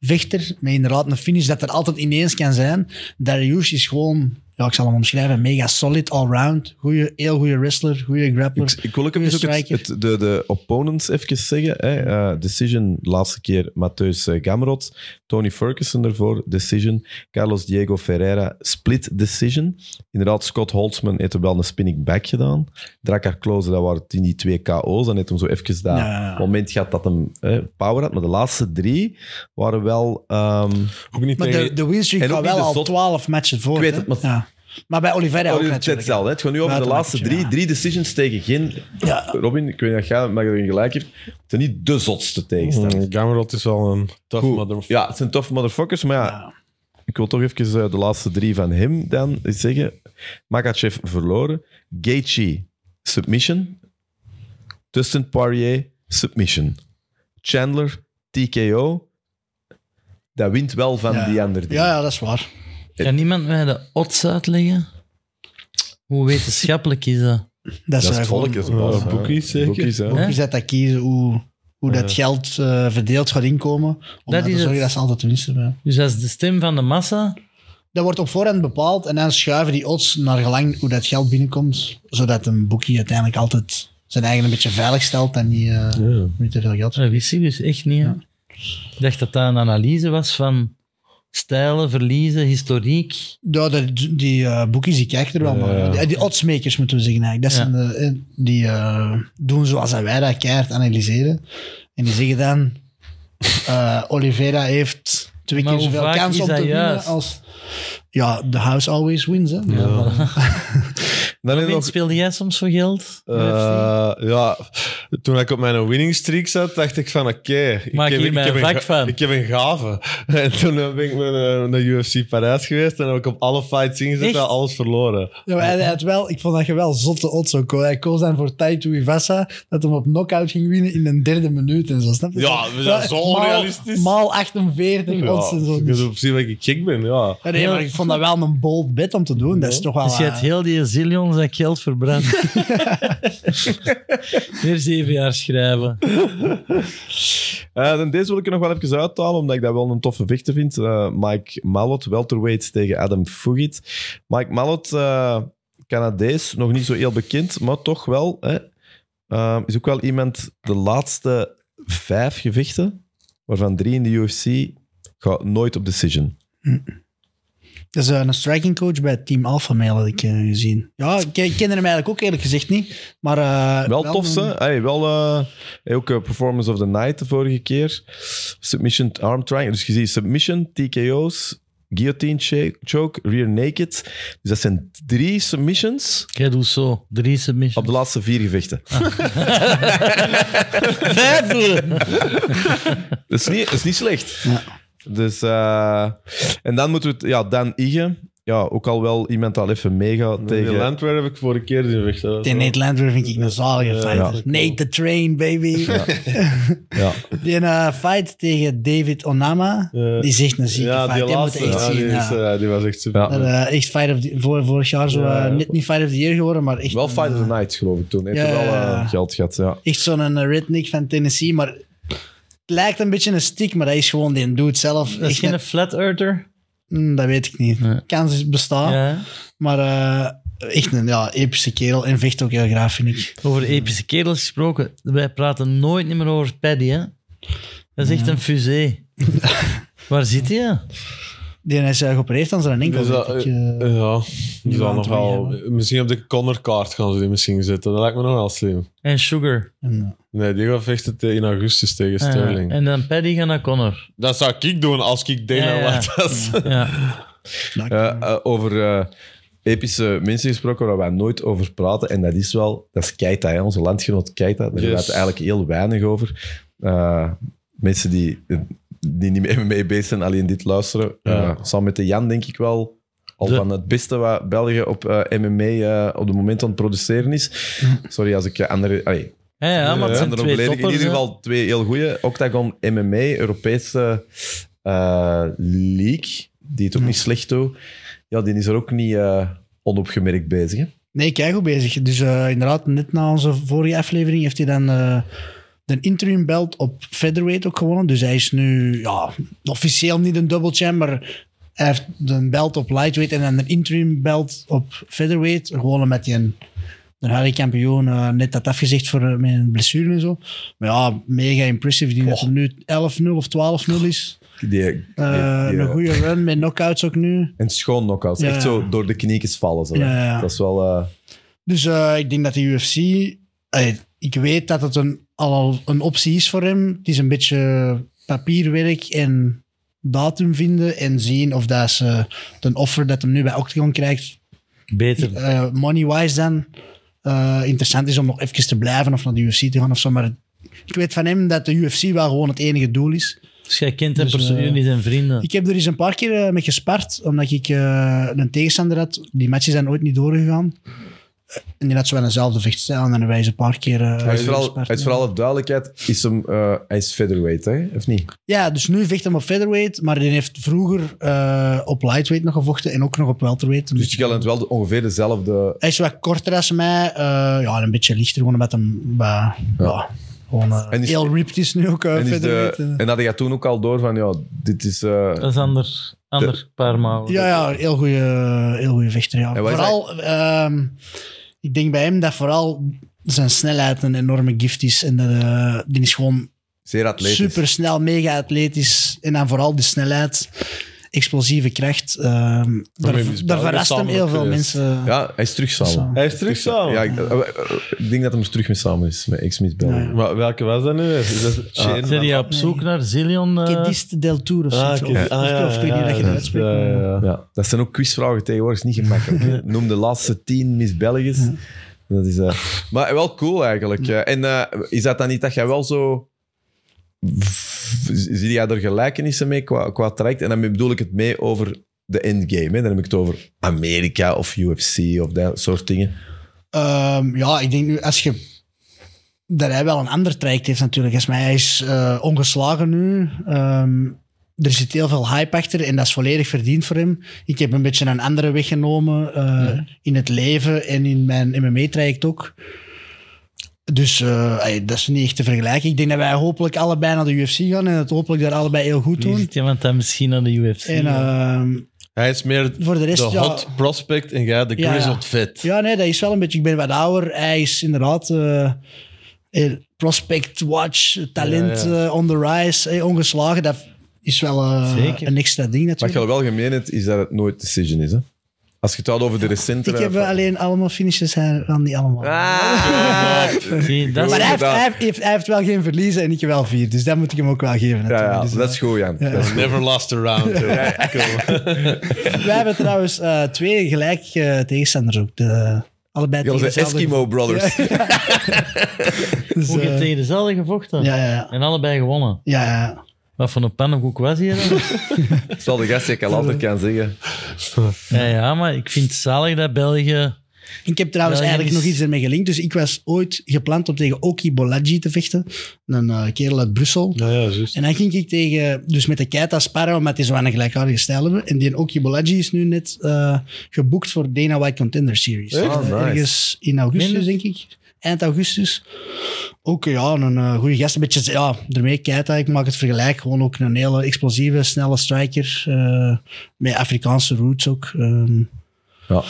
Speaker 4: vechter. Met inderdaad een finish dat er altijd ineens kan zijn. Darius is gewoon, ja, ik zal hem omschrijven, mega solid allround. Goeie, heel goede wrestler, goede grappler.
Speaker 1: Ik, ik wil ook even
Speaker 4: Goeie
Speaker 1: ook het,
Speaker 4: striker.
Speaker 1: het- de, de opponents even zeggen. Hè. Eh, decision, laatste keer Matthäus eh, Gamrot. Tony Ferguson ervoor, decision. Carlos Diego Ferreira, split decision. Inderdaad, Scott Holtzman heeft er wel een spinning back gedaan. Drakkar Klose, dat waren die twee KO's. Dan heeft hem zo even daar
Speaker 4: Ja.
Speaker 1: het moment gehad dat hem hè, power had. Maar de laatste drie waren wel... ehm,
Speaker 3: Ook niet
Speaker 4: maar
Speaker 3: tegen...
Speaker 4: de, de winstreak
Speaker 1: en ook
Speaker 4: gaat
Speaker 1: niet
Speaker 4: wel
Speaker 1: de
Speaker 4: al
Speaker 1: zot-
Speaker 4: 12 matchen voor.
Speaker 1: Ik weet
Speaker 4: hè.
Speaker 1: het, maar-
Speaker 4: Ja. maar bij Oliveira
Speaker 1: Oh,
Speaker 4: ook
Speaker 1: het is
Speaker 4: natuurlijk. hè.
Speaker 1: hetzelfde. hè. Het gaat nu over de
Speaker 4: Buiten
Speaker 1: laatste
Speaker 4: makketje,
Speaker 1: drie.
Speaker 4: ja.
Speaker 1: Drie decisions tegen geen...
Speaker 4: Ja.
Speaker 1: Robin, ik weet niet of jij maar erin gelijk hebt. Het zijn niet de zotste tegenstanders.
Speaker 4: Mhm.
Speaker 3: Mm, Gamrot is wel een tough
Speaker 1: Goed.
Speaker 3: motherfucker.
Speaker 1: Ja, het zijn toffe motherfuckers, maar ja,
Speaker 4: Ja.
Speaker 1: ik wil toch even eh, de laatste drie van hem dan zeggen. Makachev verloren. Gaethje, submission. Dustin Poirier, submission. Chandler, TKO. Dat wint wel van
Speaker 4: Ja.
Speaker 1: die andere dingen.
Speaker 4: Ja, ja, dat is waar.
Speaker 2: Kan niemand mij de odds uitleggen? Hoe wetenschappelijk is dat?
Speaker 4: Dat,
Speaker 1: Dat is
Speaker 4: is eh,
Speaker 1: het
Speaker 4: gewoon-
Speaker 1: volk, is
Speaker 3: Ja,
Speaker 1: wel
Speaker 3: eh, boekies zeker.
Speaker 1: Boekies, hè.
Speaker 2: Ja.
Speaker 4: Je zet dat kiezen hoe, hoe dat geld eh, verdeeld gaat inkomen. Om
Speaker 2: Dat
Speaker 4: dat te
Speaker 2: is het.
Speaker 4: zorgen dat ze altijd winsten hebben.
Speaker 2: Dus dat is de stem van de massa.
Speaker 4: Dat wordt op voorhand bepaald en dan schuiven die odds naar gelang hoe dat geld binnenkomt, zodat een boekie uiteindelijk altijd zijn eigen een beetje veilig stelt en niet, eh, niet te veel geld.
Speaker 2: Dat wist ik dus echt niet. hè. Ik dacht dat dat een analyse was van stijlen, verliezen, historiek.
Speaker 4: Ja, dat- die eh boekies die kijken er wel naar. Die, die oddsmakers moeten we zeggen eigenlijk. Dat
Speaker 2: Ja.
Speaker 4: zijn de, eh, die eh, doen zoals dat wij dat keihard analyseren. En die zeggen dan, eh, Oliveira heeft twee
Speaker 2: Maar
Speaker 4: keer
Speaker 2: hoe
Speaker 4: zoveel
Speaker 2: vaak
Speaker 4: kans
Speaker 2: is
Speaker 4: om te
Speaker 2: dat
Speaker 4: winnen
Speaker 2: juist?
Speaker 4: als... Ja, the house always wins. Hè?
Speaker 2: Ja.
Speaker 1: Dan heb je nog...
Speaker 2: speelde jij soms voor geld?
Speaker 3: Eh, ja, toen ik op mijn winning streak zat, dacht ik van oké, ik,
Speaker 2: Maak hier mijn
Speaker 3: een
Speaker 2: vak
Speaker 3: ga-
Speaker 2: van.
Speaker 3: ik heb een gave. En toen eh, ben ik naar, eh, naar UFC Parijs geweest en heb ik op alle fights ingezet
Speaker 2: Echt?
Speaker 3: en alles verloren.
Speaker 4: Ja, maar hij had wel, ik vond dat je wel zotte odds ook koos. Hij koos dan voor Taito Ivasa dat hem op knockout ging winnen in de derde minuut en zo. Snap je?
Speaker 3: Ja, we zijn zo
Speaker 4: Maal-
Speaker 3: onrealistisch.
Speaker 4: Maal 48 odds
Speaker 3: Ja,
Speaker 4: en zo.
Speaker 3: ik
Speaker 4: Dus-
Speaker 3: heb op zich dat ik gek ben, ja.
Speaker 4: Ja, nee, maar ik vond dat wel een bold bet om te doen. Dat is toch wel...
Speaker 2: Dus je
Speaker 4: eh,
Speaker 2: hebt heel die zillion zak geld verbrand. Weer zeven jaar schrijven.
Speaker 1: Eh, dan deze wil ik er nog wel even uithalen, omdat ik dat wel een toffe vechter vind. Eh, Mike Mallot, welterweight tegen Adam Fugit. Mike Mallot, eh, Canadees, nog niet zo heel bekend, maar toch wel. Hè, Eh, is ook wel iemand de laatste vijf gevechten, waarvan drie in de UFC, gaat nooit op decision.
Speaker 4: Dat is eh, een striking coach bij Team Alpha Male, had ik eh, gezien. Ja, ik, ik kende hem eigenlijk ook eerlijk gezegd niet. Maar, eh,
Speaker 1: Wel tof,
Speaker 4: een-
Speaker 1: hè? Hey, wel, eh, hey, ook eh, Performance of the Night de vorige keer. Submission Arm Triangle. Dus je ziet Submission, TKO's, Guillotine cha- Choke, Rear Naked. Dus dat zijn drie submissions
Speaker 2: Jij doet zo. Drie
Speaker 1: op
Speaker 2: submissions.
Speaker 1: de laatste vier gevechten.
Speaker 2: Vijf doen.
Speaker 1: Dat is niet, dat is niet slecht. Dus, eh, en dan moeten we... het- Ja, Dan Ige. Ja, ook al wel iemand al even meegaat
Speaker 3: Tegen
Speaker 1: tegen...
Speaker 3: Landweer heb ik vorige keer die weg. dat was
Speaker 4: Die
Speaker 3: wel-
Speaker 4: Nate Landweer vind ik een zalige
Speaker 3: Ja,
Speaker 4: fighter.
Speaker 3: ja.
Speaker 4: Nate the Train, baby.
Speaker 1: Ja.
Speaker 4: Die eh, fight tegen David Onama,
Speaker 3: Ja.
Speaker 4: die is echt een zieke
Speaker 3: Ja,
Speaker 4: fight. Die,
Speaker 3: die laatste.
Speaker 4: moet je echt
Speaker 3: ja,
Speaker 4: zien.
Speaker 3: die, is,
Speaker 4: ja.
Speaker 3: eh, die was echt super.
Speaker 1: Ja.
Speaker 4: Dat, eh, echt fight of the- voor, vorig jaar zo, eh,
Speaker 3: Ja, ja.
Speaker 4: net niet fight of the year geworden, maar echt,
Speaker 1: Wel
Speaker 4: een,
Speaker 1: Fight of the
Speaker 4: eh,
Speaker 1: Night, geloof ik, toen. Heeft
Speaker 4: Ja,
Speaker 1: er wel
Speaker 4: ja, ja.
Speaker 1: eh, geld gehad, ja.
Speaker 4: echt zo'n eh, redneck van Tennessee, maar het lijkt een beetje een stick, maar dat is gewoon die doet zelf.
Speaker 2: Dat is
Speaker 4: Echt
Speaker 2: geen
Speaker 4: net-
Speaker 2: flat earther.
Speaker 4: Mm, dat weet ik niet.
Speaker 2: Nee.
Speaker 4: Kans is bestaan.
Speaker 2: Ja.
Speaker 4: Maar eh, echt een ja, epische kerel. En vecht ook heel graag, vind ik.
Speaker 2: Over epische kerels gesproken. Wij praten nooit niet meer over Paddy, hè? Dat is echt een fusée. Waar zit hij?
Speaker 4: Die is eh, geopereerd aan zijn enkel.
Speaker 3: Dus dat,
Speaker 4: weet ik,
Speaker 3: eh,
Speaker 4: eh.
Speaker 3: ja, die
Speaker 4: aan
Speaker 3: zal
Speaker 4: het
Speaker 3: nog wel.
Speaker 4: draaien,
Speaker 3: Misschien op de Connor-kaart gaan ze die misschien zetten. Dat lijkt me nog wel slim.
Speaker 2: En Sugar.
Speaker 4: En,
Speaker 3: Nee, die gaat vechten te- eh, in augustus tegen
Speaker 2: Ah,
Speaker 3: Sterling.
Speaker 2: en dan Paddy gaat naar Connor.
Speaker 3: Dat zou ik doen als ik Dana
Speaker 2: Ja, ja.
Speaker 3: White was.
Speaker 2: Ja.
Speaker 4: eh,
Speaker 1: Eh, eh, over eh, epische mensen gesproken waar wij nooit over praten. En dat is wel, dat is Keita, hè, onze landgenoot Keita. Daar hebben we
Speaker 3: Yes.
Speaker 1: het eigenlijk heel weinig over. Eh, mensen die, die niet meer mee bezig zijn, alleen dit luisteren. Eh,
Speaker 3: Ja.
Speaker 1: Samen met de Jan, denk ik wel. Al
Speaker 2: De-
Speaker 1: van het beste wat België op eh, MMA eh, op het moment aan het produceren is.
Speaker 3: Hm.
Speaker 1: Sorry als ik eh, andere. allee,
Speaker 2: Ja, ja, maar het zijn
Speaker 1: andere
Speaker 2: twee
Speaker 1: beledigen.
Speaker 2: toppers.
Speaker 1: In ieder
Speaker 2: hè.
Speaker 1: geval twee heel goede. Octagon MMA, Europese eh, league, die het ook niet slecht doet. Ja, die is er ook niet eh, onopgemerkt bezig. Hè?
Speaker 4: Nee, kijk goed bezig. Dus eh, inderdaad, net na onze vorige aflevering heeft hij dan eh de interim belt op featherweight ook gewonnen. Dus hij is nu ja, officieel niet een double champ, maar hij heeft de belt op lightweight en dan een interim belt op featherweight. Gewoon met die een de huidige kampioen eh, net dat afgezegd voor eh, met een blessure en zo. Maar ja, mega impressive. Die dat hem nu 11-0 of 12-0 is.
Speaker 1: Die, die-
Speaker 4: Eh,
Speaker 1: die-
Speaker 4: een goede run met knockouts ook nu.
Speaker 1: En schoon knockouts.
Speaker 4: Ja.
Speaker 1: Echt zo door de kniekjes vallen. Zo, hè.
Speaker 4: Ja, ja.
Speaker 1: Dat is wel... eh,
Speaker 4: Dus eh, ik denk dat de UFC. eh, ik weet dat het een, al een optie is voor hem. Het is een beetje papierwerk en datum vinden en zien of dat ze een offer dat hem nu bij Octagon krijgt,
Speaker 2: Beter.
Speaker 4: eh, money-wise dan, eh, interessant is om nog even te blijven of naar de UFC te gaan of zo. Maar ik weet van hem dat de UFC wel gewoon het enige doel is.
Speaker 2: Dus jij kent hem
Speaker 4: Dus,
Speaker 2: persoonlijk,
Speaker 4: eh,
Speaker 2: jullie zijn vrienden.
Speaker 4: Ik heb er eens een paar keer eh, mee gespart, omdat ik eh, een tegenstander had. Die matches zijn ooit niet doorgegaan. Eh, En die had zo wel eenzelfde vechtstijl. En dan hebben wij eens een paar keer eh,
Speaker 1: hij is vooral,
Speaker 4: gespart,
Speaker 1: hij is
Speaker 4: ja.
Speaker 1: voor alle duidelijkheid, is hem, eh, hij is featherweight, hè? of niet?
Speaker 4: Ja, dus nu vecht hem op featherweight, maar die heeft vroeger eh, op lightweight nog gevochten en ook nog op welterweight.
Speaker 1: Dus je kan wel de- ongeveer dezelfde...
Speaker 4: Hij is wat korter als mij. eh, ja, en een beetje lichter, gewoon met hem... ja. ja, gewoon eh,
Speaker 1: En is-
Speaker 4: heel ripped is nu ook eh,
Speaker 1: En, is de,
Speaker 4: featherweight. eh.
Speaker 1: en had je toen ook al door van, ja, dit is... eh,
Speaker 2: Dat is ander, ander paar malen.
Speaker 4: Ja, ja heel goede heel goeie vechter. Ja.
Speaker 1: En wat is
Speaker 4: Vooral, ehm, ik denk bij hem dat vooral zijn snelheid een enorme gift is. En dat, eh, die is gewoon
Speaker 1: zeer atletisch.
Speaker 4: super snel, mega atletisch. En dan vooral de snelheid, explosieve kracht. ehm daar
Speaker 3: hem is
Speaker 4: daar
Speaker 3: België
Speaker 4: verrast hem
Speaker 3: samen eh,
Speaker 4: heel veel
Speaker 3: geweest.
Speaker 4: mensen.
Speaker 1: Ja, hij is terug samen.
Speaker 3: Hij is terug samen.
Speaker 1: Ja, ik, eh, ik denk dat hem er terug mee samen is, met X-Meet Belgium.
Speaker 3: Maar welke was dat nu? Is dat Ah, Shane?
Speaker 2: Zijn jij op zoek naar Zillion? eh,
Speaker 4: Kedist del Tour of zo.
Speaker 3: Ah,
Speaker 4: Of-
Speaker 3: oké.
Speaker 4: of-
Speaker 3: Ah, ja,
Speaker 4: Of ik weet niet
Speaker 3: ja,
Speaker 4: dat je
Speaker 3: ja,
Speaker 4: dat uitspreekt.
Speaker 3: ja,
Speaker 4: maar-
Speaker 1: eh,
Speaker 3: ja, ja.
Speaker 1: Ja, dat zijn ook quizvragen tegenwoordig, is niet gemakkelijk. Noem de laatste tien Miss Belgisch. Dat is, eh, maar wel cool eigenlijk. eh. En eh, is dat dan niet dat jij wel zo... v- Zie jij er gelijkenissen mee qua, qua traject? En dan bedoel ik het mee over de endgame. Hè? Dan heb ik het over Amerika of UFC of dat soort dingen.
Speaker 4: Ehm, ja, ik denk nu, als je... Dat hij wel een ander traject heeft natuurlijk. Als mij, hij is eh, ongeslagen nu. Ehm, er zit heel veel hype achter en dat is volledig verdiend voor hem. Ik heb een beetje een andere weg genomen eh, in het leven en in mijn MMA-traject ook. Dus eh, ey, dat is niet echt te vergelijken. Ik denk dat wij hopelijk allebei naar de UFC gaan en dat hopelijk daar allebei heel goed
Speaker 2: Hier
Speaker 4: doen.
Speaker 2: zit iemand dat misschien aan de UFC.
Speaker 4: En
Speaker 2: gaat.
Speaker 4: ehm,
Speaker 3: Hij is meer
Speaker 4: voor de rest...
Speaker 3: de
Speaker 4: ja,
Speaker 3: hot prospect en jij de
Speaker 4: Ja, ja.
Speaker 3: grizzled vet.
Speaker 4: Ja, nee, dat is wel een beetje. Ik ben wat ouder. Hij is inderdaad eh, eh, prospect, watch, talent
Speaker 3: Ja, ja.
Speaker 4: eh, on the rise, eh, ongeslagen. Dat is wel eh,
Speaker 2: Zeker.
Speaker 4: een extra ding
Speaker 1: Wat je
Speaker 4: natuurlijk.
Speaker 1: wel gemeen hebt, is dat het nooit decision is. Hè? Als je het houdt over de recentere...
Speaker 4: Ik heb eh, alleen allemaal finishes hij- van die allemaal.
Speaker 1: Ah.
Speaker 2: Zie, dat
Speaker 4: maar
Speaker 2: is
Speaker 4: hij heeft,
Speaker 1: gedaan.
Speaker 4: hij, heeft, hij heeft wel geen verliezen en ik wel vier. Dus dat moet ik hem ook wel geven.
Speaker 1: Ja,
Speaker 4: natuurlijk.
Speaker 1: ja,
Speaker 4: Dus, eh,
Speaker 1: dat is goed, Jan. Dat is goed.
Speaker 3: Never lost a round. joh. Cool.
Speaker 4: Wij hebben trouwens eh, twee gelijk eh, tegenstanders ook. De, allebei
Speaker 1: Ja,
Speaker 4: tegen
Speaker 1: onze
Speaker 4: dezelfde-
Speaker 1: Eskimo Brothers.
Speaker 4: Dus,
Speaker 2: hoe je
Speaker 4: eh,
Speaker 2: tegen dezelfde gevochten.
Speaker 4: ja, ja, ja.
Speaker 2: En allebei gewonnen.
Speaker 4: ja, ja.
Speaker 2: Wat voor een pannenkoek was hij dan?
Speaker 1: Zal de gast die ik al altijd kan zeggen.
Speaker 2: ja, ja, maar ik vind het zalig dat België...
Speaker 4: Ik heb trouwens
Speaker 2: Ja,
Speaker 4: eigenlijk
Speaker 2: jullie-
Speaker 4: nog iets ermee gelinkt. Dus ik was ooit gepland om tegen Oki Bolaji te vechten. Een eh, kerel uit Brussel.
Speaker 3: Ja, ja, juist.
Speaker 4: En dan ging ik tegen, dus met de Keita sparren, omdat die zo'n gelijkaardige stijl hebben. En die Oki Bolaji is nu net eh, geboekt voor Dana White Contender Series.
Speaker 1: Echt?
Speaker 4: Eh,
Speaker 1: Oh, nice.
Speaker 4: Ergens in augustus,
Speaker 2: Minder?
Speaker 4: denk ik. Eind augustus. Ook eh, ja, een eh, goede gast. Een beetje, ja, daarmee Keita, ik maak het vergelijk. Gewoon ook een hele explosieve, snelle striker. eh, met Afrikaanse roots ook. ehm.
Speaker 1: Ja.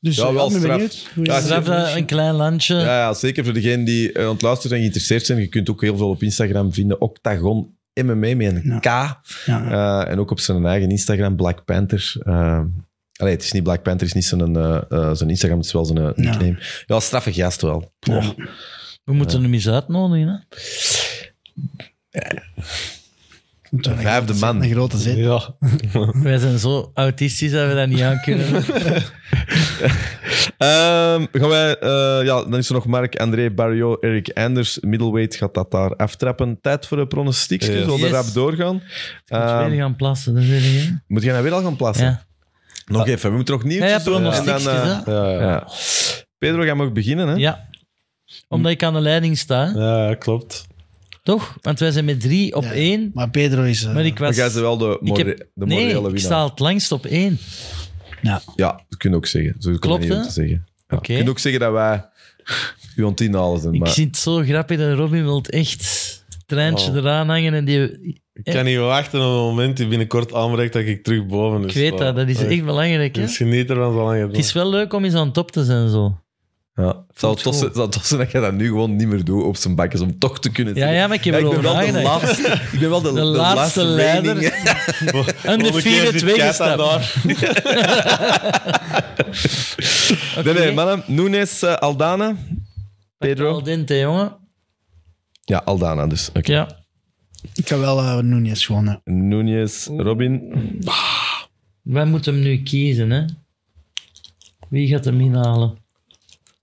Speaker 4: Dus
Speaker 1: Ja,
Speaker 4: eh,
Speaker 1: wel
Speaker 4: ik ben
Speaker 1: straf.
Speaker 4: benieuwd. Hoe
Speaker 1: Ja,
Speaker 4: je-
Speaker 2: Straf eh, dat een klein landje.
Speaker 1: Ja, ja, zeker voor degenen die eh, aan het luisteren en geïnteresseerd zijn. Je kunt ook heel veel op Instagram vinden. Octagon MMA met een
Speaker 4: Ja.
Speaker 1: K. Eh, en ook op zijn eigen Instagram, Black Panther. Eh, allee, het is niet Black Panther, het is niet zijn, eh, eh, zijn Instagram, het is wel zijn eh, nickname. Ja, straffe gast wel.
Speaker 4: Ja.
Speaker 1: Oh.
Speaker 2: We moeten hem eens uitnodigen. Hè?
Speaker 4: Een
Speaker 1: vijfde
Speaker 4: grote
Speaker 1: man.
Speaker 4: zet, Een grote zet.
Speaker 3: Ja.
Speaker 2: Wij zijn zo autistisch dat we dat niet aan kunnen.
Speaker 1: Ehm, gaan wij, eh, ja, dan is er nog Mark, André, Barrio, Eric Anders. Middleweight gaat dat daar aftrappen. Tijd voor de pronostiek.
Speaker 3: Yes.
Speaker 1: Zullen we
Speaker 2: Yes.
Speaker 1: rap doorgaan?
Speaker 2: Moet
Speaker 1: Ehm,
Speaker 2: weer gaan plassen, dat weet ik. hè.
Speaker 1: moet jij nou weer al gaan plassen?
Speaker 2: Ja.
Speaker 1: Nog even, we moeten nog
Speaker 2: Ja,
Speaker 1: nieuwtjes
Speaker 2: ja,
Speaker 1: doen. En dan,
Speaker 2: pronostiekjes,
Speaker 1: eh,
Speaker 2: hè.
Speaker 3: Ja, ja.
Speaker 1: ja. Pedro, jij mag beginnen. Hè?
Speaker 2: Ja. Omdat ik aan de leiding sta, hè.
Speaker 3: Ja, klopt.
Speaker 2: toch? Want wij zijn met drie op
Speaker 4: Ja.
Speaker 2: één.
Speaker 4: Maar Pedro is... eh,
Speaker 2: Maar ik
Speaker 1: Maar
Speaker 2: was...
Speaker 1: jij is wel de, more,
Speaker 2: ik heb-
Speaker 1: de
Speaker 2: nee,
Speaker 1: morele
Speaker 2: ik
Speaker 1: winnaar.
Speaker 2: sta het langst op één.
Speaker 1: Ja, dat kun je ook zeggen. Zo kan
Speaker 2: Klopt,
Speaker 1: je niet
Speaker 2: hè?
Speaker 1: om te zeggen. Ja.
Speaker 2: Oké.
Speaker 1: Je kunt ook zeggen dat wij u aan het inhalen zijn.
Speaker 2: Ik
Speaker 1: Maar...
Speaker 2: vind het zo grappig dat Robin wilt echt het treintje
Speaker 3: Oh.
Speaker 2: eraan hangen en die...
Speaker 3: Ik kan niet wachten op het moment die binnenkort aanbreekt dat ik terug boven is.
Speaker 2: Ik weet dat, dat is echt belangrijk. Hè?
Speaker 3: Dus geniet ervan zolang je het
Speaker 2: Het is wel leuk om eens aan top te zijn zo.
Speaker 1: Ja. Het zou tof zijn- het zou tof zijn dat jij dat nu gewoon niet meer doet op zijn bakjes, om toch te kunnen
Speaker 2: Ja,
Speaker 1: zeggen,
Speaker 2: ja, maar ik heb
Speaker 1: ik
Speaker 2: erover
Speaker 1: ben wel de
Speaker 2: nagedacht.
Speaker 1: laatste. Ik ben wel de,
Speaker 2: De laatste
Speaker 1: leider.
Speaker 2: leider. En
Speaker 3: doet.
Speaker 2: de
Speaker 3: Volgende keer
Speaker 2: vierde
Speaker 3: zit
Speaker 2: twee
Speaker 3: Keita
Speaker 2: gestapt.
Speaker 3: daar.
Speaker 1: Nee, nee,
Speaker 2: Oké.
Speaker 1: mannen. Nunes, eh, Aldana. Pedro.
Speaker 2: Al dente, jongen.
Speaker 1: Ja, Aldana dus. Oké.
Speaker 2: Ja.
Speaker 4: Ik ga wel eh Nunes gewoon... hè.
Speaker 1: Nunes, Robin.
Speaker 2: Wij moeten hem nu kiezen, hè. Wie gaat hem inhalen?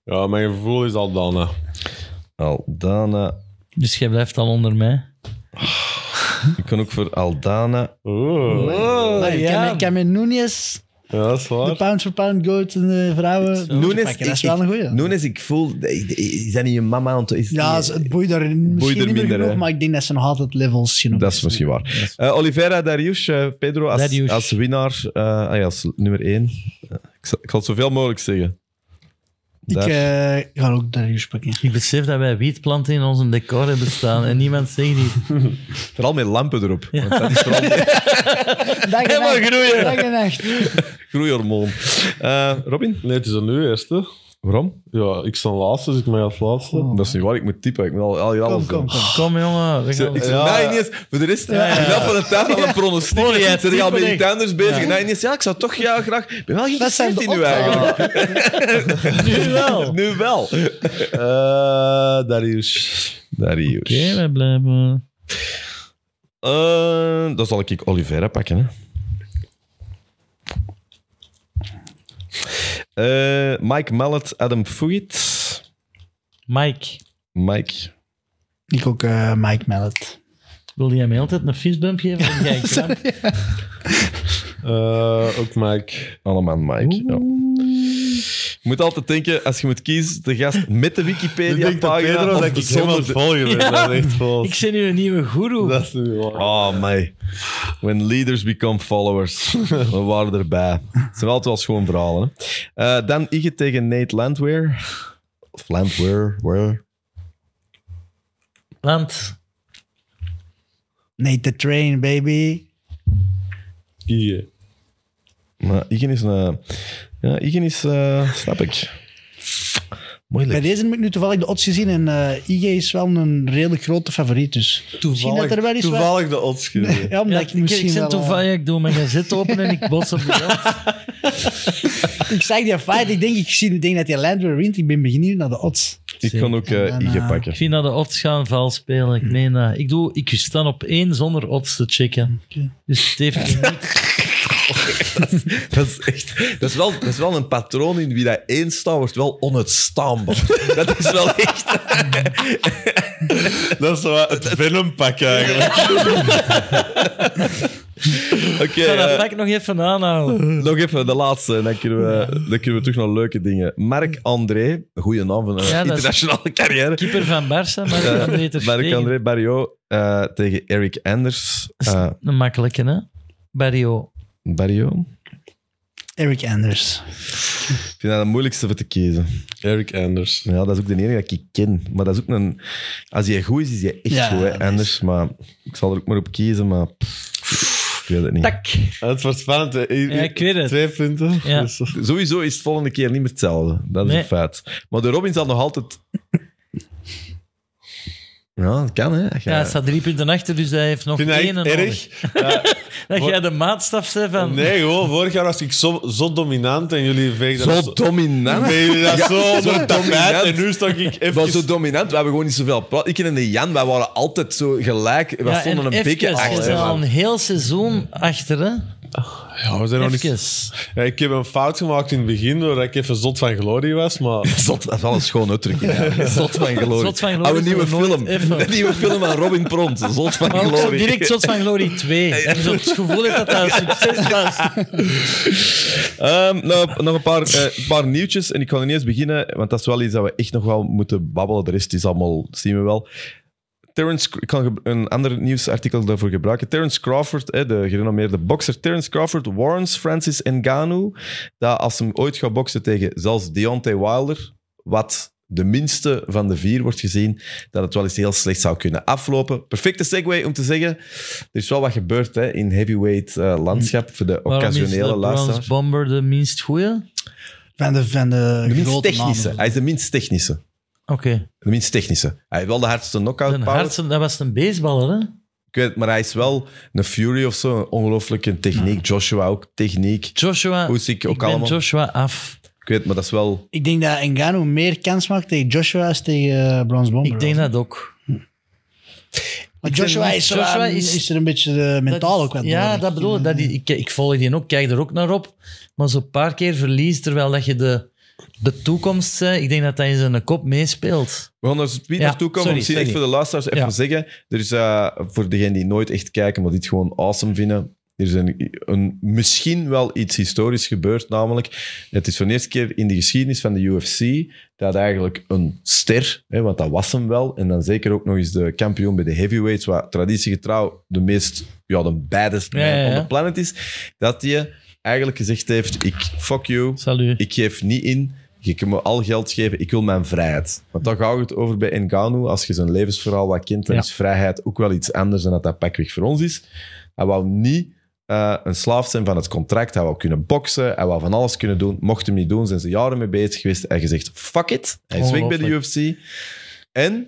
Speaker 3: Ja, mijn gevoel is al dan. hè.
Speaker 1: Aldana.
Speaker 2: Dus jij blijft al onder mij.
Speaker 1: Ik kan ook voor Aldana.
Speaker 3: Oeh.
Speaker 4: Maar ik, kan, ik kan met Nunes,
Speaker 3: Ja, dat is
Speaker 4: de
Speaker 3: waar.
Speaker 4: pound for pound goat en de vrouwen... moeten
Speaker 1: Nunes,
Speaker 4: pakken. dat is
Speaker 1: ik-
Speaker 4: wel een goeie.
Speaker 1: Nunes, ik voel... Is dat niet je mama? Want is
Speaker 4: ja, ze- het boeit daar misschien
Speaker 1: Boeit er
Speaker 4: niet meer
Speaker 1: minder,
Speaker 4: genoeg,
Speaker 1: hè.
Speaker 4: maar ik denk dat ze nog altijd levels genoeg
Speaker 1: Dat is misschien waar. Eh Oliveira, Darius, eh, Pedro als,
Speaker 2: Darius.
Speaker 1: als winnaar, eh, ah ja, als nummer één. Eh, ik, zal, ik zal het zoveel mogelijk zeggen.
Speaker 4: Ik
Speaker 1: Daar.
Speaker 4: eh, ga ook Darius pakken.
Speaker 2: Ik besef dat wij wietplanten in ons decor hebben staan en niemand zegt iets.
Speaker 1: Vooral met lampen erop. want dat is vooral
Speaker 4: Dag en
Speaker 1: Helemaal
Speaker 4: nacht,
Speaker 1: groeien.
Speaker 4: Dag en nacht.
Speaker 1: groeihormoon. Eh, Robin,
Speaker 3: Nee, het is dan nu eerst, hè.
Speaker 1: waarom?
Speaker 3: Ja, ik sta laatste, dus ik ben als laatste.
Speaker 1: Dat is niet waar, ik moet typen. Ik moet al, al, alles
Speaker 4: Oh. Kom,
Speaker 1: doen.
Speaker 4: kom, kom.
Speaker 2: Kom jongen, we
Speaker 1: Ik zeg,
Speaker 2: gaan...
Speaker 1: ik zeg,
Speaker 3: Ja.
Speaker 1: nou ineens, voor de rest, ik dacht van de tijd van een pronostiek.
Speaker 2: Hoor jij
Speaker 1: Ik zit hier al met
Speaker 2: typen,
Speaker 1: die tenders bezig.
Speaker 2: Ja.
Speaker 1: Nou ineens, ja, ik zou toch jou graag... Ik ben wel
Speaker 4: Dat zijn
Speaker 1: geïnteresseerd
Speaker 4: de
Speaker 1: in nu
Speaker 4: opdrachten.
Speaker 1: eigenlijk.
Speaker 2: nu wel. Oké,
Speaker 1: Nu wel.
Speaker 3: Eh, Darius.
Speaker 1: Darius.
Speaker 2: wij blijven.
Speaker 1: Eh, dan zal ik Oliveira pakken. Hè. Eh, Mike Mallet, Adam Fugit.
Speaker 2: Mike,
Speaker 1: Mike.
Speaker 4: Ik ook eh, Mike Mallet.
Speaker 2: wil jij mij altijd een fistbump geven? Dan ga ik kramp.
Speaker 3: Eh, ook Mike.
Speaker 1: Allemaal Mike. Ja. Je moet altijd denken, als je moet kiezen, de gast met de
Speaker 3: Ik denk dat
Speaker 1: Wikipedia-pagina
Speaker 3: Pedro
Speaker 1: of
Speaker 3: dat ik
Speaker 1: zonder
Speaker 3: helemaal
Speaker 1: de-
Speaker 3: volgen ben.
Speaker 2: Ja.
Speaker 3: Dat is echt vol.
Speaker 2: ik ben nu een nieuwe goeroe.
Speaker 3: Dat is nu wel.
Speaker 1: Oh, my. When leaders become followers. We waren erbij. Het zijn altijd wel schoon verhalen. Hè? Eh, dan Ige tegen Nate Landweer. Of Landweer, where?
Speaker 2: Want
Speaker 4: Nate the Train, baby.
Speaker 3: Yeah.
Speaker 1: Maar Ige Nou, is een... Ja, Ige is... eh, snap ik.
Speaker 4: Bij
Speaker 1: Moeilijk.
Speaker 4: deze heb ik nu toevallig de odds gezien en eh IG is wel een redelijk grote favoriet. Dus misschien dat er wel eens wat-
Speaker 3: toevallig de odds gezien.
Speaker 4: Ja,
Speaker 2: ja,
Speaker 4: omdat ik,
Speaker 2: ik, ik,
Speaker 4: misschien
Speaker 2: zit
Speaker 4: wel, eh,
Speaker 2: toevallig, ik doe mijn gazet open en ik bots op de geld.
Speaker 4: ik zag die fight, ik denk, ik zie, ik denk dat die Landweer wint. Ik ben benieuwd naar de odds.
Speaker 1: Ik kan ook eh,
Speaker 4: En dan,
Speaker 1: Ige
Speaker 4: eh,
Speaker 1: pakken.
Speaker 2: Ik vind dat de odds gaan vals spelen. Ik meen dat. Ik, doe, ik sta op één zonder odds te checken.
Speaker 4: Oké.
Speaker 2: Dus het heeft niks.
Speaker 1: Dat is echt... Dat is, wel, dat is wel een patroon in wie dat één staat, wordt wel onuitstaanbaar. Dat is wel echt...
Speaker 3: Dat is zo wat het Venom-pak eigenlijk.
Speaker 1: Oké,
Speaker 2: Ik ga dat
Speaker 1: eh,
Speaker 2: pak nog even aanhouden.
Speaker 1: nog even de laatste. en Dan kunnen we, dan kunnen we terug naar leuke dingen. Marc André. Goede naam van een
Speaker 2: Ja, dat is-
Speaker 1: internationale carrière.
Speaker 2: Keeper van Barça, maar ik André ter Stegen.
Speaker 1: Marc-André Barrio eh, tegen Eric Anders. Eh
Speaker 2: Een makkelijke, hè? Barrio.
Speaker 1: Barrio?
Speaker 4: Eric Anders.
Speaker 1: Ik vind dat de moeilijkste voor te kiezen.
Speaker 3: Eric Anders.
Speaker 1: Ja, dat is ook de enige dat ik ken. Maar dat is ook een... Als hij goed is, is hij echt
Speaker 4: Ja,
Speaker 1: goed.
Speaker 4: dat
Speaker 1: Hè?
Speaker 4: is-
Speaker 1: Anders, maar ik zal er ook maar op kiezen. Maar pff, ik weet het niet.
Speaker 2: Tak.
Speaker 3: Het wordt spannend. hè.
Speaker 2: Ja, ik weet het.
Speaker 3: Twee punten.
Speaker 2: Ja.
Speaker 3: Dus,
Speaker 1: Sowieso is het volgende keer niet meer hetzelfde. Dat is
Speaker 2: Nee.
Speaker 1: een feit. Maar de Robin zal nog altijd... Ja, dat kan, hè. Als jij-
Speaker 2: Ja, hij staat drie punten achter, dus hij heeft nog
Speaker 3: ik vind dat
Speaker 2: één
Speaker 3: echt
Speaker 2: nodig.
Speaker 3: erg.
Speaker 2: Dat jij de maatstaf bent van...
Speaker 3: Nee, gewoon. Vorig jaar was ik zo, zo dominant en jullie veegden dat
Speaker 1: Zo dominant.
Speaker 3: Nee, jullie dat
Speaker 1: Ja,
Speaker 3: zo
Speaker 1: zo
Speaker 3: onder het tapijt
Speaker 1: dominant.
Speaker 3: en nu stak ik
Speaker 1: Het was
Speaker 3: even...
Speaker 1: zo dominant, we hebben gewoon niet zoveel plat. Ik en de Jan, wij waren altijd zo gelijk. We
Speaker 2: Ja,
Speaker 1: stonden
Speaker 2: en
Speaker 1: een beetje
Speaker 2: even,
Speaker 1: achter.
Speaker 2: is al een heel seizoen achter, hè?
Speaker 3: Ja, we zijn nog
Speaker 2: Even.
Speaker 3: niet... Ja, ik heb een fout gemaakt in het begin, doordat ik even zot van glorie was, maar...
Speaker 1: Zot, dat is wel een schoon uitdrukking. eigenlijk. Zot van glorie.
Speaker 2: Zot van glorie
Speaker 1: Oude nieuwe
Speaker 2: doen we nooit
Speaker 1: film.
Speaker 2: even.
Speaker 1: De nieuwe film aan Robin Pront. Zot van
Speaker 2: Maar ook zo
Speaker 1: glorie.
Speaker 2: direct Shots van Glory 2. En zo het gevoel heeft dat dat een succes was.
Speaker 1: Ehm, nou, nog een paar, eh, een paar nieuwtjes. En ik ga niet eens beginnen, want dat is wel iets dat we echt nog wel moeten babbelen. De rest is allemaal, zien we wel. Terence, ik kan ge- een ander nieuwsartikel daarvoor gebruiken. Terence Crawford, hè, de gerenommeerde bokser Terence Crawford, warns Francis Ngannou dat als hem ooit gaat boksen tegen zelfs Deontay Wilder, wat de minste van de vier wordt gezien, dat het wel eens heel slecht zou kunnen aflopen. Perfecte segue om te zeggen, er is wel wat gebeurd hè, in heavyweight eh, landschap voor de
Speaker 2: Mm. Waarom is
Speaker 1: occasionele
Speaker 2: de
Speaker 1: luisteraar.
Speaker 2: Browns Bomber de minst goeie?
Speaker 4: Van de, van de,
Speaker 1: De minst
Speaker 4: grote
Speaker 1: technische.
Speaker 4: namen.
Speaker 1: Hij is de minst technische.
Speaker 2: Oké.
Speaker 1: De minst technische. Hij heeft wel de hardste knockout
Speaker 2: Zijn
Speaker 1: power.
Speaker 2: Hartsen, Dat was een baseballer, hè?
Speaker 1: Ik weet, het, maar hij is wel een Fury of zo. Een ongelooflijke techniek. Joshua ook techniek.
Speaker 2: Joshua...
Speaker 1: Usyk ook
Speaker 2: ik ben
Speaker 1: allemaal.
Speaker 2: Joshua af.
Speaker 1: Ik weet, maar dat is wel...
Speaker 4: Ik denk dat Engano meer kans maakt tegen Joshua als tegen uh, Bronze Bomber.
Speaker 2: Ik denk dat ook.
Speaker 4: Maar Joshua,
Speaker 2: vind-
Speaker 4: is, wel-
Speaker 2: Joshua
Speaker 4: is,
Speaker 2: is-
Speaker 4: er een beetje eh, mentaal
Speaker 2: Dat is-
Speaker 4: ook wat
Speaker 2: Ja,
Speaker 4: nodig.
Speaker 2: dat bedoel ik. Dat die- ik. Ik volg die ook, kijk er ook naar op. Maar zo'n paar keer verliest, terwijl dat je de, de toekomst... eh, Ik denk dat dat in zijn kop meespeelt.
Speaker 1: We gaan er speed
Speaker 2: Ja,
Speaker 1: naartoe komen.
Speaker 2: sorry,
Speaker 1: Misschien echt
Speaker 2: sorry.
Speaker 1: voor de luisteraars even
Speaker 2: Ja.
Speaker 1: zeggen. Er is, eh, voor degenen die nooit echt kijken, maar dit gewoon awesome vinden... Er is een, een, misschien wel iets historisch gebeurd, namelijk... Het is voor de eerste keer in de geschiedenis van de UFC dat eigenlijk een ster, hè, want dat was hem wel, en dan zeker ook nog eens de kampioen bij de heavyweights, wat traditiegetrouw de meest, ja, de baddest man
Speaker 2: Ja, ja, ja.
Speaker 1: on the planet is, dat hij eigenlijk gezegd heeft, ik fuck you,
Speaker 2: Salut.
Speaker 1: ik geef niet in. Je kunt me al geld geven, ik wil mijn vrijheid. Want daar gaat het over bij Ngannou. Als je zijn levensverhaal wat kent, dan
Speaker 2: Ja.
Speaker 1: is vrijheid ook wel iets anders dan dat dat pakweg voor ons is. Hij wou niet eh, een slaaf zijn van het contract. Hij wou kunnen boksen, hij wou van alles kunnen doen. Mocht hem niet doen, zijn ze jaren mee bezig geweest. Hij gezegd, fuck it. Hij is weg bij de UFC. En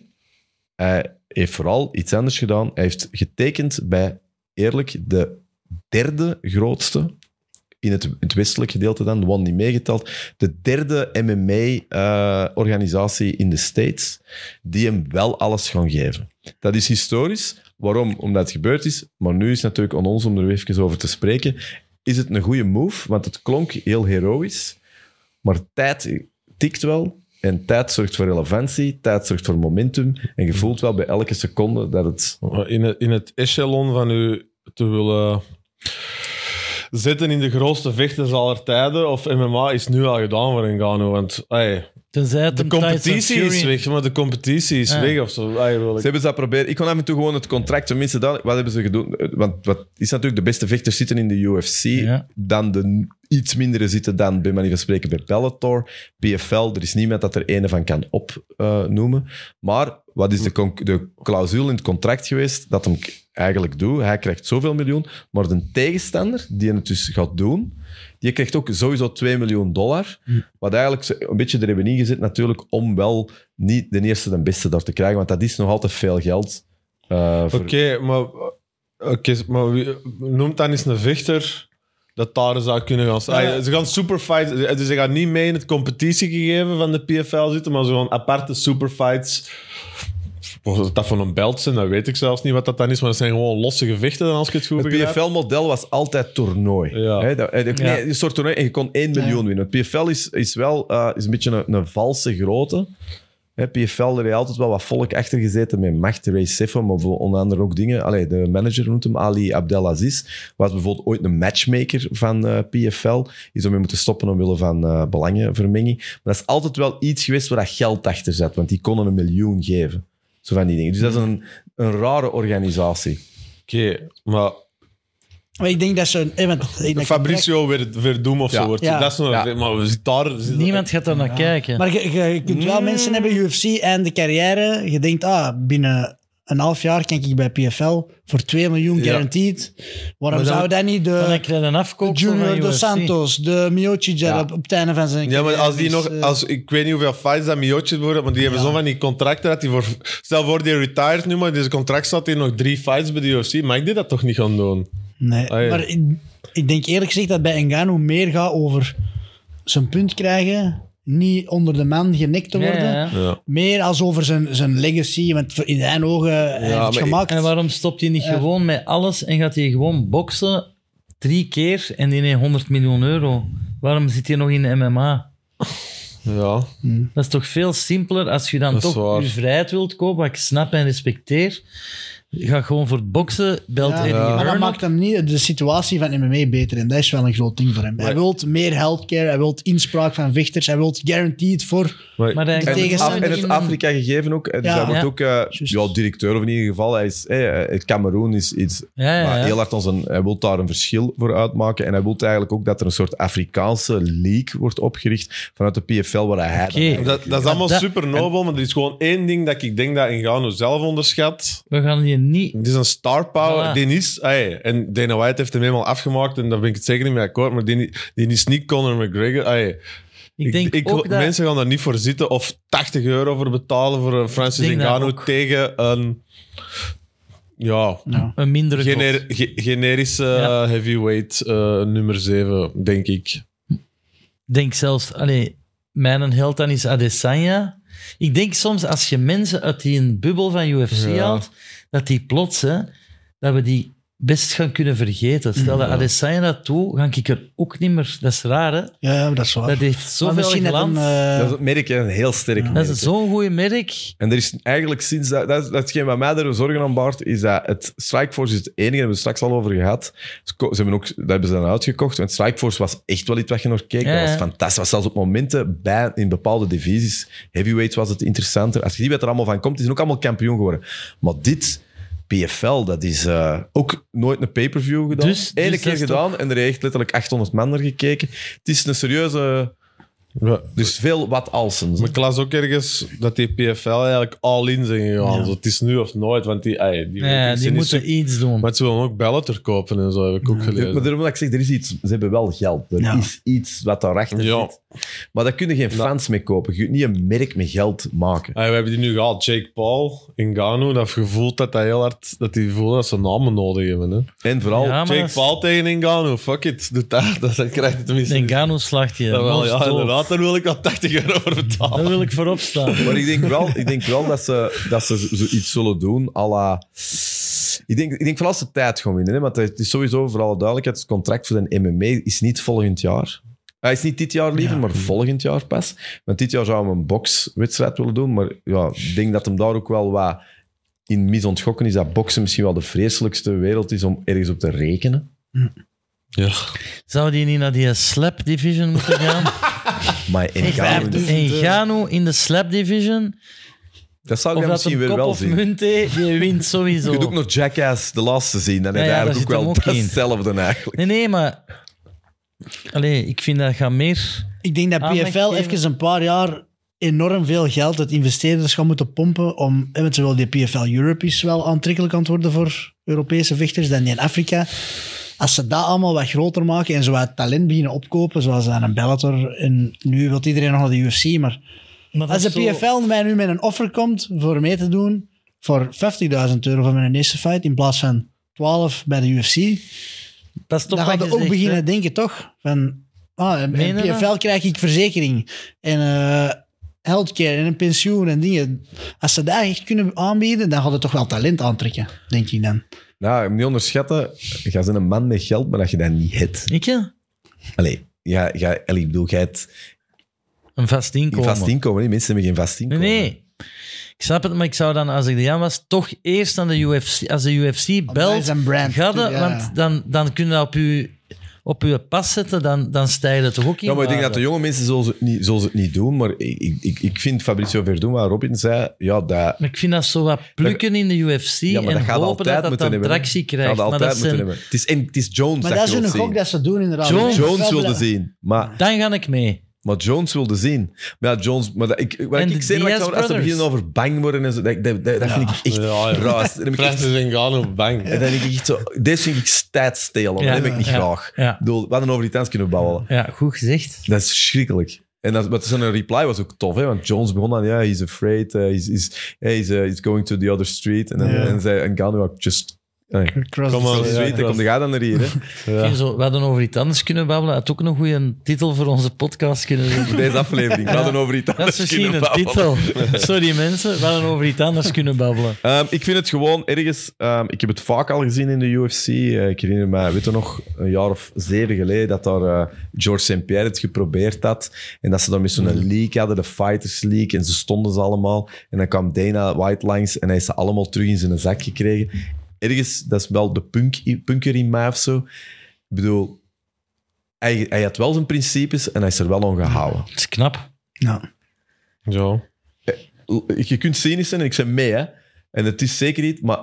Speaker 1: hij heeft vooral iets anders gedaan. Hij heeft getekend bij, eerlijk, de derde grootste in het, in het westelijk gedeelte dan, de one niet meegeteld, de derde MMA-organisatie eh, in de States, die hem wel alles gaan geven. Dat is historisch. Waarom? Omdat het gebeurd is. Maar nu is het natuurlijk aan ons om er even over te spreken. Is het een goede move? Want het klonk heel heroïs. Maar tijd tikt wel. En tijd zorgt voor relevantie, tijd zorgt voor momentum. En je voelt wel bij elke seconde dat het...
Speaker 3: In het, in het echelon van u te willen zitten in de grootste vechters aller tijden, of MMA, is nu al gedaan voor Ngannou. Want hey,
Speaker 2: Tenzij het
Speaker 3: de
Speaker 2: een Tyson
Speaker 3: competitie is
Speaker 2: Fury-
Speaker 3: weg, maar de competitie is
Speaker 2: Ja.
Speaker 3: weg of zo. Hey, wil
Speaker 1: Ze
Speaker 3: ik...
Speaker 1: hebben dat proberen. Ik kon af en toe gewoon het contract, tenminste, dat, wat hebben ze gedaan? Want wat is natuurlijk, de beste vechters zitten in de UFC,
Speaker 2: Ja.
Speaker 1: dan de n- iets mindere zitten dan, bij manier van spreken, bij Bellator, PFL. Er is niemand dat er ene van kan opnoemen. maar wat is de, conc- de clausule in het contract geweest dat hem k- eigenlijk doet? Hij krijgt zoveel miljoen, maar de tegenstander die het dus gaat doen, die krijgt ook sowieso 2 miljoen dollar. Wat eigenlijk ze- een beetje er hebben ingezet natuurlijk om wel niet de eerste de beste daar te krijgen, want dat is nog altijd veel geld. eh, voor-
Speaker 3: Oké, maar, oké, maar wie, noem dan eens een vechter dat daar zou kunnen gaan staan. Hey, Ze gaan superfights, dus ze gaan niet mee in het competitiegegeven van de PFL zitten, maar ze gaan aparte superfights. Of dat van een belt zijn, dat weet ik zelfs niet wat dat dan is, maar het zijn gewoon losse gevechten dan als ik het goed
Speaker 1: Het
Speaker 3: begrijp.
Speaker 1: PFL-model was altijd toernooi.
Speaker 3: Ja.
Speaker 1: Hè, dat- eh, nee,
Speaker 2: Ja.
Speaker 1: Een soort toernooi en je kon 1 miljoen winnen. Het PFL is, is wel eh, is een beetje een, een valse grootte. Hè, PFL, er heeft altijd wel wat volk achter gezeten met macht. Ray Sefam, maar voor onder andere ook dingen. Allee, de manager noemt hem Ali Abdelaziz. Was bijvoorbeeld ooit een matchmaker van eh, PFL. Is ermee moeten stoppen omwille van eh, belangenvermenging. Maar dat is altijd wel iets geweest waar dat geld achter zat. Want die konden een miljoen geven. Zo van die dingen. Dus dat is een, een rare organisatie.
Speaker 3: Oké, maar
Speaker 4: Maar ik denk dat zo'n... eh, want- ik denk-
Speaker 3: Fabrizio weer, weer doen of
Speaker 1: Ja.
Speaker 3: zo wordt.
Speaker 4: Ja.
Speaker 3: Dat is nog,
Speaker 1: Ja.
Speaker 3: Maar we zitten daar... we zitten-
Speaker 2: Niemand gaat daar naar kijken.
Speaker 4: Maar je, je- je kunt
Speaker 2: Mm.
Speaker 4: wel mensen hebben, UFC en de carrière. Je denkt, ah, binnen een half jaar kan ik bij PFL voor 2 miljoen guaranteed. Waarom
Speaker 2: Maar dan-
Speaker 4: zou dat niet de...
Speaker 2: Dan krijg je een afkoop
Speaker 4: eh, Junior Dos Santos, de Miocic daar op, op het einde van zijn
Speaker 3: Ja, maar
Speaker 4: carrière
Speaker 3: als die
Speaker 4: is,
Speaker 3: nog...
Speaker 4: eh,
Speaker 3: Als, ik weet niet hoeveel fights dat Miocic worden, maar die hebben zo van die contracten dat die voor... Stel voor, die retired nu, maar in deze contract staat hier nog drie fights bij de UFC. Mag die dat toch niet gaan doen?
Speaker 4: nee,
Speaker 3: Ah, ja.
Speaker 4: maar ik, ik denk eerlijk gezegd dat bij Ngannou meer gaat over zijn punt krijgen, niet onder de man genekt te worden,
Speaker 3: Ja.
Speaker 4: meer als over zijn, zijn legacy, want voor- in zijn ogen hij heeft het
Speaker 3: maar ik-
Speaker 4: gemaakt.
Speaker 2: En waarom stopt hij niet gewoon met alles en gaat hij gewoon boksen drie keer en die neemt 100 miljoen euro? Waarom zit hij nog in de MMA?
Speaker 3: Ja.
Speaker 2: Dat is toch veel simpeler als je dan
Speaker 3: Dat is
Speaker 2: toch
Speaker 3: waar.
Speaker 2: je vrijheid wilt kopen, wat ik snap en respecteer. Ga gewoon voor het boksen, belt
Speaker 4: Ja,
Speaker 2: Eddie
Speaker 4: Maar dat
Speaker 2: Hearn
Speaker 4: maakt
Speaker 2: op.
Speaker 4: hem niet de situatie van MMA beter. En dat is wel een groot ding voor hem. Hij
Speaker 3: Maar-
Speaker 4: wil meer healthcare, hij wil inspraak van vechters, hij wil guaranteed voor...
Speaker 2: Maar hij
Speaker 4: En
Speaker 1: En
Speaker 2: kan
Speaker 1: het,
Speaker 4: tegenstander
Speaker 1: Af- en het
Speaker 4: in-
Speaker 1: Afrika gegeven ook. eh, Dus
Speaker 4: Ja.
Speaker 1: hij wordt
Speaker 2: Ja.
Speaker 1: ook eh, ja, directeur, of in ieder geval. Hij is, eh, eh, het Cameroen is iets.
Speaker 2: Ja, ja,
Speaker 1: Maar
Speaker 2: ja.
Speaker 1: heel hard als een, hij wil daar een verschil voor uitmaken. En hij wil eigenlijk ook dat er een soort Afrikaanse league wordt opgericht vanuit de PFL, waar hij. dan
Speaker 2: Oké.
Speaker 1: eigenlijk-
Speaker 3: Dat, dat is allemaal
Speaker 2: dat-
Speaker 3: super nobel, maar er is gewoon één ding dat ik denk dat Ngannou zelf onderschat.
Speaker 2: We gaan hier niet...
Speaker 3: Het is een star power.
Speaker 2: Voilà.
Speaker 3: Die is, ey, en Dana White heeft hem helemaal afgemaakt en daar ben ik het zeker niet mee akkoord, maar die, die is niet Conor McGregor. ey.
Speaker 2: Ik denk ook dat...
Speaker 3: Mensen gaan daar niet voor zitten of 80 euro voor betalen voor een Francis
Speaker 2: Ik denk dat
Speaker 3: Ngannou
Speaker 2: ook.
Speaker 3: tegen een... Ja,
Speaker 2: Een mindere
Speaker 3: gener-
Speaker 2: kost.
Speaker 3: ge- generische
Speaker 2: Ja.
Speaker 3: eh, heavyweight eh, nummer 7, denk ik.
Speaker 2: denk zelfs, allee, mijn held dan is Adesanya. Ik denk soms als je mensen uit die een bubbel van UFC
Speaker 3: Ja.
Speaker 2: haalt, dat die plots, hè, dat we die best gaan kunnen vergeten. Stel dat Adesanya dat toe, ga ik er ook niet meer. Dat is raar, hè?
Speaker 4: Ja, dat is waar.
Speaker 2: Dat heeft
Speaker 4: maar
Speaker 2: zoveel
Speaker 4: misschien dat
Speaker 2: glans.
Speaker 4: hem... eh,
Speaker 1: Dat is het merk, hè, een heel sterk merk.
Speaker 2: dat is zo'n goeie merk.
Speaker 1: En er is eigenlijk sinds dat, dat, is- dat is hetgeen wat mij er zorgen aan baart, is dat het Strikeforce is het enige, daar hebben we het straks al over gehad. Ze ko- Ze hebben ook, dat hebben ze dan uitgekocht. Want Strikeforce was echt wel iets wat je nog keek.
Speaker 2: Ja,
Speaker 1: dat was
Speaker 2: ja.
Speaker 1: fantastisch. was zelfs op momenten bij, in bepaalde divisies. Heavyweight was het interessanter. Als je ziet wat er allemaal van komt, die zijn ook allemaal kampioen geworden. Maar dit, PFL, dat is eh, ook nooit een pay-per-view gedaan.
Speaker 2: Dus-
Speaker 1: Eén
Speaker 2: dus
Speaker 1: keer
Speaker 2: dat is
Speaker 1: gedaan en er heeft echt letterlijk 800 man naar gekeken. Het is een serieuze... Dus veel wat alsen.
Speaker 3: Maar ik las ook ergens dat die PFL eigenlijk all-in zijn gegaan. Zo, het is nu of nooit, want die, ey, die,
Speaker 2: Ja,
Speaker 3: ratings
Speaker 2: die
Speaker 3: zijn niet super-
Speaker 2: moeten iets doen.
Speaker 3: Maar ze willen ook Bellator kopen en zo, heb ik ook
Speaker 1: Ja, Maar
Speaker 3: gelezen.
Speaker 1: daarom dat ik zeg, er is iets. Ze hebben wel geld. Er
Speaker 4: Ja.
Speaker 1: is iets wat daarachter
Speaker 3: Ja.
Speaker 1: zit. Maar daar kun je geen fans mee kopen. Je kunt niet een merk met geld maken.
Speaker 3: Ey, we hebben die nu gehaald, Jake Paul, Ngannou. Dat gevoel dat hij heel hard, dat die voelen dat ze namen nodig hebben. Hè.
Speaker 1: En vooral,
Speaker 2: Ja, maar dat
Speaker 3: Jake
Speaker 2: is-
Speaker 3: Paul tegen Ngannou, fuck it, doe dat. Dat, dat krijgt het tenminste.
Speaker 2: Ngannou slacht je.
Speaker 3: Ja, wel, ja,
Speaker 2: non-stop.
Speaker 3: inderdaad, daar wil ik al 80 euro voor betalen.
Speaker 2: Daar wil ik voorop staan.
Speaker 1: maar ik denk wel, ik denk wel dat, ze, dat ze zoiets zullen doen. à la- ik, denk, ik denk vooral als ze tijd gaan winnen. Hè, want het is sowieso, voor alle duidelijkheid, het contract voor de MMA is niet volgend jaar. Hij is niet dit jaar liever, maar volgend jaar pas. Want dit jaar zou hem een bokswedstrijd willen doen. Maar ja, ik denk dat hem daar ook wel wat in mis ontgokken is. Dat boksen misschien wel de vreselijkste wereld is om ergens op te rekenen.
Speaker 3: Ja.
Speaker 2: Zou die niet naar die slap division moeten gaan?
Speaker 1: Maar in Ghana- dus-
Speaker 2: en Gano in de slap division.
Speaker 1: dat zou ik
Speaker 2: Of
Speaker 1: dan
Speaker 2: dat
Speaker 1: misschien
Speaker 2: een
Speaker 1: weer
Speaker 2: kop
Speaker 1: wel
Speaker 2: of
Speaker 1: zien.
Speaker 2: munte, die wint
Speaker 1: Je
Speaker 2: sowieso.
Speaker 1: kunt ook nog Jackass de laatste zien. Dan heb je
Speaker 2: Ja, ja,
Speaker 1: eigenlijk
Speaker 2: daar
Speaker 1: ook wel
Speaker 2: zit hem ook in.
Speaker 1: hetzelfde eigenlijk.
Speaker 2: Nee, nee, maar... Allee, ik vind dat gaat meer...
Speaker 4: Ik denk dat
Speaker 2: Aandacht
Speaker 4: PFL
Speaker 2: geven.
Speaker 4: even een paar jaar enorm veel geld uit investeerders gaan moeten pompen om, eh, want zowel die PFL Europe is wel aantrekkelijk aan het worden voor Europese vechters dan die in Afrika. Als ze dat allemaal wat groter maken en zo wat talent beginnen opkopen, zoals aan een Bellator en nu wil iedereen nog naar de UFC, maar als de PFL mij nu met een offer komt voor mee te doen voor 50.000 euro voor mijn eerste fight in plaats van 12 bij de UFC,
Speaker 2: Dat is toch
Speaker 4: dan
Speaker 2: wat
Speaker 4: gaat
Speaker 2: je
Speaker 4: je ook
Speaker 2: zegt,
Speaker 4: beginnen
Speaker 2: hè.
Speaker 4: denken, toch? Van, ah, en
Speaker 2: Meen je dat?
Speaker 4: PFL krijg ik verzekering. En eh, healthcare en een pensioen en dingen. Als ze dat echt kunnen aanbieden, dan gaat het toch wel talent aantrekken, denk ik dan.
Speaker 1: Nou, niet onderschatten. Je bent een man met geld, maar dat je dat niet hebt.
Speaker 2: Ik ja?
Speaker 1: Allee, ja, ja, allee, ik bedoel, jij hebt
Speaker 2: Een vast
Speaker 1: geen
Speaker 2: inkomen.
Speaker 1: vast inkomen. hè. Mensen hebben geen vast
Speaker 2: Nee,
Speaker 1: inkomen.
Speaker 2: nee. Ik snap het, maar ik zou dan, als ik de Jan was, toch eerst aan de UFC... Als de UFC
Speaker 4: dat
Speaker 2: belt,
Speaker 4: is een brand.
Speaker 2: ga je-
Speaker 4: Ja.
Speaker 2: want dan, dan kun je dat op je, op je pas zetten, dan, dan stijg je toch ook in
Speaker 1: Ja, maar ik denk dat de
Speaker 2: waarde.
Speaker 1: jonge mensen zullen ze het niet, zullen ze het niet doen. Maar ik, ik, ik vind Fabrizio Verdun, wat Robin zei, ja, dat,
Speaker 2: Maar ik vind dat zo wat plukken in de UFC
Speaker 1: ja, maar
Speaker 2: en
Speaker 1: dat gaat
Speaker 2: hopen
Speaker 1: altijd
Speaker 2: dat dat
Speaker 1: moeten
Speaker 2: dan
Speaker 1: hebben. hè.
Speaker 2: tractie
Speaker 1: Gaat
Speaker 2: krijgt.
Speaker 1: altijd
Speaker 2: Maar dat
Speaker 1: moeten
Speaker 2: zijn-
Speaker 1: hebben. Het is, en, het is Jones
Speaker 4: Maar
Speaker 1: dat,
Speaker 4: dat
Speaker 1: je
Speaker 4: is
Speaker 1: wilt
Speaker 4: een gok
Speaker 1: zien.
Speaker 4: dat ze doen, inderdaad.
Speaker 2: Jones-
Speaker 1: Jones wilde zien, maar,
Speaker 2: Dan ga ik mee.
Speaker 1: maar Jones wilde zien. Maar ja, Jones... Maar dat, ik, wat
Speaker 2: En
Speaker 1: ik,
Speaker 2: de
Speaker 1: zei, wat ik
Speaker 2: Diaz
Speaker 1: zou- als ze
Speaker 2: brothers.
Speaker 1: beginnen over bang worden en zo, dat, dat, dat, dat vind ik echt
Speaker 3: Ja, ja.
Speaker 1: raar. Dan heb ik echt-
Speaker 3: Francis dus Ngannou, bang.
Speaker 1: dan denk ik echt zo... Deze vind ik stijdstil, dat
Speaker 2: Ja.
Speaker 1: heb ik niet
Speaker 2: Ja.
Speaker 1: graag.
Speaker 2: Ja.
Speaker 1: Ik bedoel, we hadden over die tens kunnen babbelen.
Speaker 2: Ja, goed gezegd.
Speaker 1: Dat is schrikkelijk. En dat, maar zijn reply was ook tof, hè? want Jones begon aan, ja, he's afraid, eh, he's, he's, hey, he's, eh, he's going to the other street. En dan
Speaker 4: Ja.
Speaker 1: en zei Ngannou ook, just... eh,
Speaker 4: Cross
Speaker 3: Kom
Speaker 4: the-
Speaker 3: maar.
Speaker 1: Zoals je
Speaker 3: ja,
Speaker 1: weet, dan
Speaker 3: klopt.
Speaker 1: komt de gaten naar hier. Hè.
Speaker 2: Ik vind Zo, we hadden over iets anders kunnen babbelen. Had ook een goede titel voor onze podcast kunnen doen.
Speaker 1: Deze aflevering. We hadden over iets
Speaker 2: Dat is
Speaker 1: anders
Speaker 2: misschien
Speaker 1: kunnen
Speaker 2: een
Speaker 1: babbelen.
Speaker 2: titel. Sorry mensen, we hadden over iets anders kunnen babbelen.
Speaker 1: Ehm, ik vind het gewoon ergens... ehm, ik heb het vaak al gezien in de UFC. Eh, ik herinner me, weet je nog, een jaar of zeven geleden dat daar eh, George St. Pierre het geprobeerd had. En dat ze dan met zo'n league hadden, de Fighters League. En ze stonden ze allemaal. En dan kwam Dana White langs en hij is ze allemaal terug in zijn zak gekregen. Ergens, dat is wel de punk, punker in mij of zo. Ik bedoel... Hij, hij had wel zijn principes en hij is er wel aan gehouden.
Speaker 2: Dat is knap.
Speaker 4: Ja.
Speaker 3: Zo.
Speaker 1: je kunt cynisch zijn en ik ben mee, hè. En het is zeker niet, maar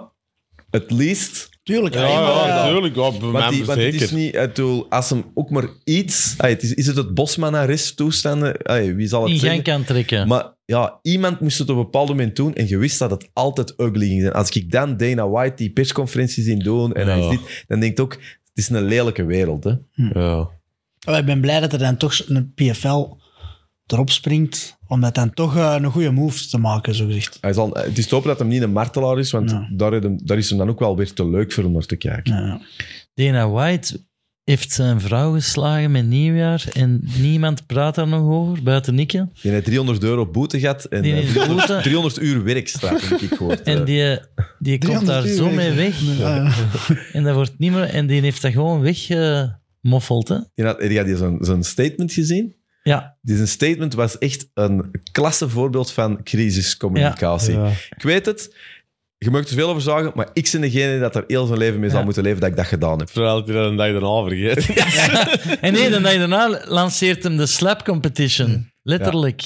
Speaker 1: at least...
Speaker 4: Tuurlijk.
Speaker 3: Ja,
Speaker 4: alleen maar-
Speaker 3: ja, natuurlijk. Ja, bij
Speaker 1: Want,
Speaker 3: mij
Speaker 1: die, want het is
Speaker 3: zeker.
Speaker 1: niet... Ik bedoel, als hem ook maar iets... Ay, het is, is het het Bosman-arrest toestanden? Ay, wie zal het
Speaker 2: In gang
Speaker 1: zeggen?
Speaker 2: kan trekken.
Speaker 1: Maar ja, iemand moest het op een bepaald moment doen en je wist dat het altijd ugly ging zijn. Als ik dan Dana White die persconferentie zien doen en hij is
Speaker 3: Ja.
Speaker 1: dit, dan denk ik ook... Het is een lelijke wereld, hè.
Speaker 3: Ja.
Speaker 4: Maar Oh, ik ben blij dat er dan toch een PFL erop springt, om dat dan toch eh, een goede move te maken, zogezegd.
Speaker 1: Hij zal, het is te hopen dat hem niet een martelaar is, want
Speaker 4: Ja.
Speaker 1: daar, hem- daar is hem dan ook wel weer te leuk voor om naar te kijken.
Speaker 4: Ja.
Speaker 2: Dana White heeft zijn vrouw geslagen met nieuwjaar en niemand praat daar nog over, buiten Nikke.
Speaker 1: Die heeft 300 euro boete gehad en
Speaker 2: Die
Speaker 1: eh,
Speaker 2: heeft
Speaker 1: 300,
Speaker 2: boete.
Speaker 1: 300 uur werkstraf, heb ik gehoord.
Speaker 2: En
Speaker 1: Eh,
Speaker 2: die, die komt daar
Speaker 4: 300
Speaker 2: zo
Speaker 4: uur
Speaker 2: mee weg.
Speaker 4: Ja, ja.
Speaker 2: En, dat wordt niet meer, en die heeft dat gewoon weggemoffeld. hè.
Speaker 1: die had, die had die zo'n, zo'n statement gezien.
Speaker 2: ja,
Speaker 1: Die zijn statement was echt een klasse voorbeeld van crisiscommunicatie.
Speaker 3: Ja.
Speaker 1: Ik weet het, je mag er veel over zagen, maar ik ben degene die dat er heel zijn leven mee zal
Speaker 2: Ja.
Speaker 1: moeten leven dat ik dat gedaan heb.
Speaker 3: Terwijl hij dat een dag daarna vergeet.
Speaker 2: En nee, dan dag daarna lanceert hem de slap competition. Letterlijk.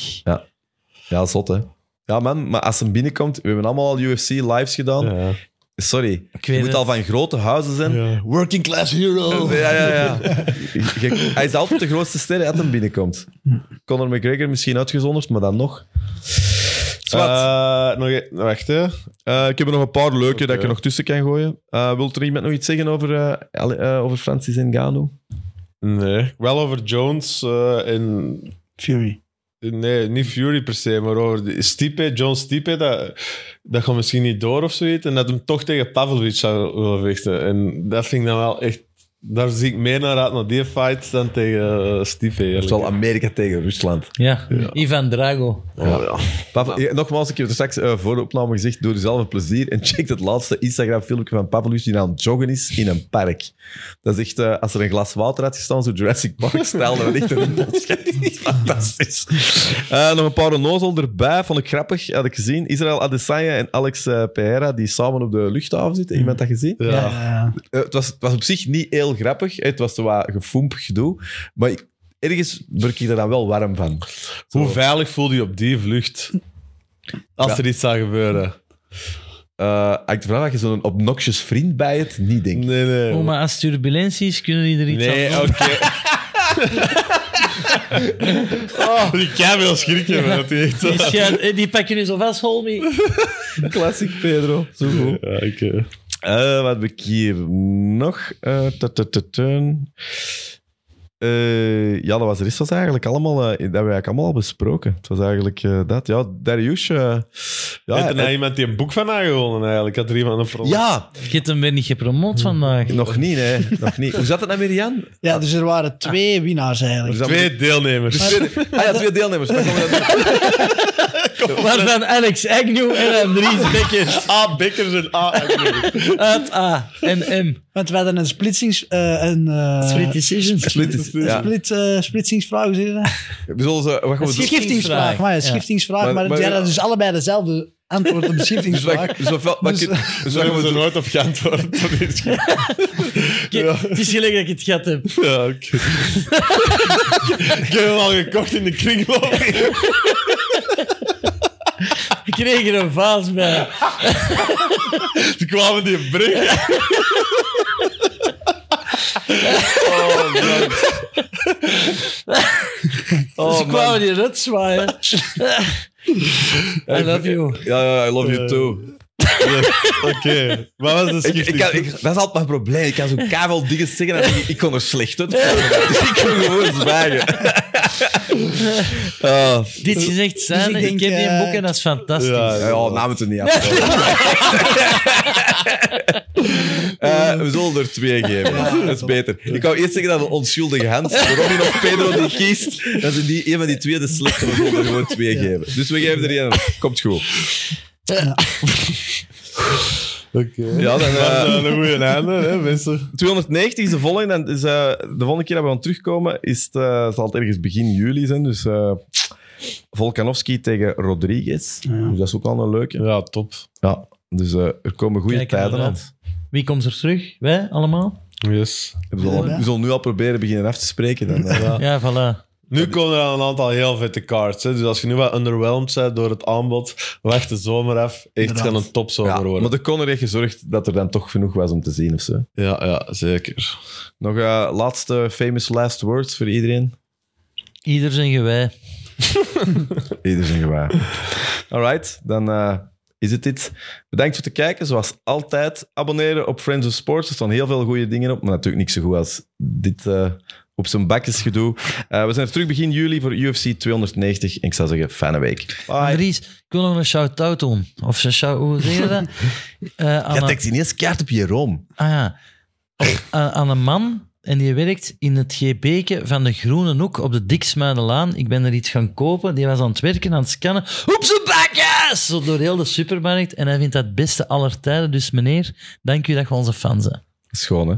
Speaker 1: Ja, zot hè. Ja man, maar als hem binnenkomt, we hebben allemaal al UFC lives gedaan.
Speaker 3: Ja.
Speaker 1: Sorry, je
Speaker 2: weet
Speaker 1: moet
Speaker 2: het.
Speaker 1: al van grote huizen zijn.
Speaker 3: Ja.
Speaker 4: Working class hero.
Speaker 1: Ja, ja, ja. Je- hij is altijd de grootste ster dat hem binnenkomt. Conor McGregor misschien uitgezonderd, maar dan nog. Zwart.
Speaker 3: Eh, nog e- wacht, hè.
Speaker 1: Eh, ik heb er nog een paar leuke dat ik
Speaker 3: Oké.
Speaker 1: er nog tussen kan gooien. Eh wilt er iemand nog iets zeggen over, eh, Ale- eh, over Francis Ngannou?
Speaker 3: Nee. Wel over Jones eh, en
Speaker 4: Fury.
Speaker 3: Nee, niet Fury per se, maar over die Stipe, John Stipe, dat, dat gaat misschien niet door of zoiets. En dat hem toch tegen Pavlovic zou willen vechten. En dat vind ik dan wel echt Daar zie ik meer naar uit naar die fight dan tegen eh, Stipe.
Speaker 1: Het is
Speaker 3: eerlijk.
Speaker 1: wel Amerika tegen Rusland.
Speaker 2: Ja. Ivan Drago.
Speaker 1: Oh, ja. Papa, eh, nogmaals, ik heb het straks eh, voor de opname gezegd, doe er zelf een plezier en check het laatste Instagram-filmpje van Pavlovich die aan het joggen is in een park. Dat is echt, eh, als er een glas water had gestaan, zo Jurassic Park stijl, dat echt een impulsje. Dat is Fantastisch. Eh, nog een paar onnozel erbij, vond ik grappig, had ik gezien. Israël Adesanya en Alex eh, Pereira, die samen op de luchthaven zitten. Iemand dat gezien?
Speaker 3: Mhm. Ja.
Speaker 4: Ja.
Speaker 1: Eh, het, was, het was op zich niet heel grappig. Het was zo wat gefoemp gedoe. Maar ik- ergens word ik er dan wel warm van.
Speaker 3: Hoe veilig voelde je op die vlucht? Als
Speaker 1: Ja.
Speaker 3: er iets zou gebeuren.
Speaker 1: Eh ik vraag dat je zo'n obnoxious vriend bij het niet denkt.
Speaker 3: Nee, nee.
Speaker 2: Oh, maar als turbulenties kunnen die er iets aan
Speaker 3: Nee,
Speaker 2: doen.
Speaker 3: oké. oh, die kan wel schrikken, man. Dat die echt zo...
Speaker 2: Die, schuin- eh, die pakken nu zo vast, homie.
Speaker 1: Classic Pedro. Zo goed.
Speaker 3: Ja, oké.
Speaker 1: Eh, wat heb ik hier nog? Eh, ta, ta, ta, tun. Eh, ja, dat was de rest was eigenlijk allemaal, eh, dat hebben we eigenlijk allemaal al besproken. Het was eigenlijk eh, dat. Ja, Darius. eh, ja,
Speaker 3: Heeft er nou
Speaker 1: eh,
Speaker 3: iemand die een boek van haar gewonnen eigenlijk? Had er iemand een probleem?
Speaker 1: ja,
Speaker 2: Je hebt hem weer niet gepromoot vandaag.
Speaker 1: nog niet, hè. Nog niet. Hoe zat het nou, Miriam?
Speaker 4: ja, dus er waren twee winnaars eigenlijk.
Speaker 1: Dus-
Speaker 3: Twee deelnemers.
Speaker 1: Ah ja, twee deelnemers. Maar komen we dat-
Speaker 2: Waarvan Alex Agnew en Andries Bekkers
Speaker 3: A, Bekkers en A.
Speaker 2: uit A en M.
Speaker 4: Want we hadden een splitsings... eh, een, eh,
Speaker 2: Split decisions.
Speaker 1: Split is-
Speaker 4: een
Speaker 1: ja.
Speaker 4: split, eh, splitsingsvraag, hoe zeg je dat?
Speaker 1: We zullen ze... Wat gaan we
Speaker 4: Een
Speaker 1: doen?
Speaker 2: schifting-
Speaker 4: schiftingsvraag, maar een
Speaker 2: Ja.
Speaker 4: schiftingsvraag.
Speaker 1: Maar-
Speaker 4: Maar,
Speaker 1: maar-
Speaker 4: die hadden dus allebei dezelfde antwoord op de
Speaker 1: Dus
Speaker 4: schiftingsvraag.
Speaker 1: wat- dus wat- wat-
Speaker 4: Dus-
Speaker 1: dus wat gaan
Speaker 3: Daar
Speaker 1: we
Speaker 3: hebben ze
Speaker 1: doen?
Speaker 3: nooit op geantwoord. Dat is goed.
Speaker 2: Kijk, Het is gelijk dat ik het gat heb.
Speaker 3: Ja, oké. Ik heb hem al gekocht in de kringloop.
Speaker 2: Ik kreeg er een vaas bij.
Speaker 3: Toen kwamen die brug.
Speaker 1: Oh, man.
Speaker 2: Dus
Speaker 1: Oh,
Speaker 2: ik
Speaker 1: man.
Speaker 2: kwam die rut zwaaien. I love you.
Speaker 1: Ja, ja, I love you too.
Speaker 3: Oké. Wat was de
Speaker 1: Ik, ik,
Speaker 3: schifting?
Speaker 1: kan- ik- dat is altijd mijn probleem. Ik kan zo kavel dingen zeggen en ik, ik kon er slecht uit. Dus ik kon gewoon zwijgen. Eh,
Speaker 2: Dit is echt zijn.
Speaker 4: Dus ik
Speaker 2: ik,
Speaker 4: denk,
Speaker 2: heb die
Speaker 4: eh,
Speaker 2: boek en dat is fantastisch.
Speaker 3: Ja,
Speaker 1: ja, ja, namen het er niet af. Eh, we zullen er twee geven. dat is beter. Ik wou eerst zeggen dat een onschuldige hand, Robin of Pedro, die kiest, dat ze die, een van die twee de slechte, we zullen er gewoon twee geven. Dus we geven er één. Komt goed.
Speaker 3: Oké.
Speaker 1: Ja, dan, eh,
Speaker 3: Dat is een goede einde, hè, mensen.
Speaker 1: 290 is de volgende. En het is, eh, de volgende keer dat we gaan terugkomen, is het, eh, zal het ergens begin juli zijn. Dus eh Volkanovski tegen Rodriguez. Dus dat is ook al een leuke.
Speaker 3: Ja, top.
Speaker 1: Ja, dus eh, er komen goede
Speaker 2: Kijken
Speaker 1: tijden aan.
Speaker 2: naar uit. Wie komt er terug? Wij allemaal?
Speaker 3: Yes.
Speaker 1: We zullen, we zullen nu al proberen beginnen af te spreken. Dan, eh.
Speaker 2: Ja, voilà.
Speaker 3: Nu komen er al een aantal heel vette cards. Hè. Dus als je nu wat underwhelmed bent door het aanbod, wacht de zomer af. Echt
Speaker 4: Inderdaad.
Speaker 3: gaan een topzomer
Speaker 1: Ja, maar
Speaker 3: worden.
Speaker 1: de Conor heeft gezorgd dat er dan toch genoeg was om te zien. Of zo.
Speaker 3: Ja, ja, zeker.
Speaker 1: Nog eh, laatste famous last words voor iedereen.
Speaker 2: Ieder zijn gewij.
Speaker 1: Ieder zijn gewaar. Alright, dan eh, is het dit. Bedankt voor het kijken. Zoals altijd, abonneren op Friends of Sports. Er staan heel veel goede dingen op, maar natuurlijk niet zo goed als dit eh, op zijn bakjes gedoe. Eh, we zijn er terug begin juli voor UFC 290. En ik zou zeggen, fijne week. Bye.
Speaker 2: Andries, ik wil nog een shout-out doen. Of een shout hoe zeg je dat? Eh, aan
Speaker 1: Ja,
Speaker 2: een-
Speaker 1: tekst ineens kaart op je room.
Speaker 2: ah, ja. Op- aan, aan een man, en die werkt in het GB'ke van de Groene Hoek op de Diksmuidenlaan. Ik ben er iets gaan kopen, die was aan het werken, aan het scannen. Hoepse bakjes! Zo door heel de supermarkt. En hij vindt dat het beste aller tijden. Dus meneer, dank u dat je onze fan bent.
Speaker 1: Schoon, hè?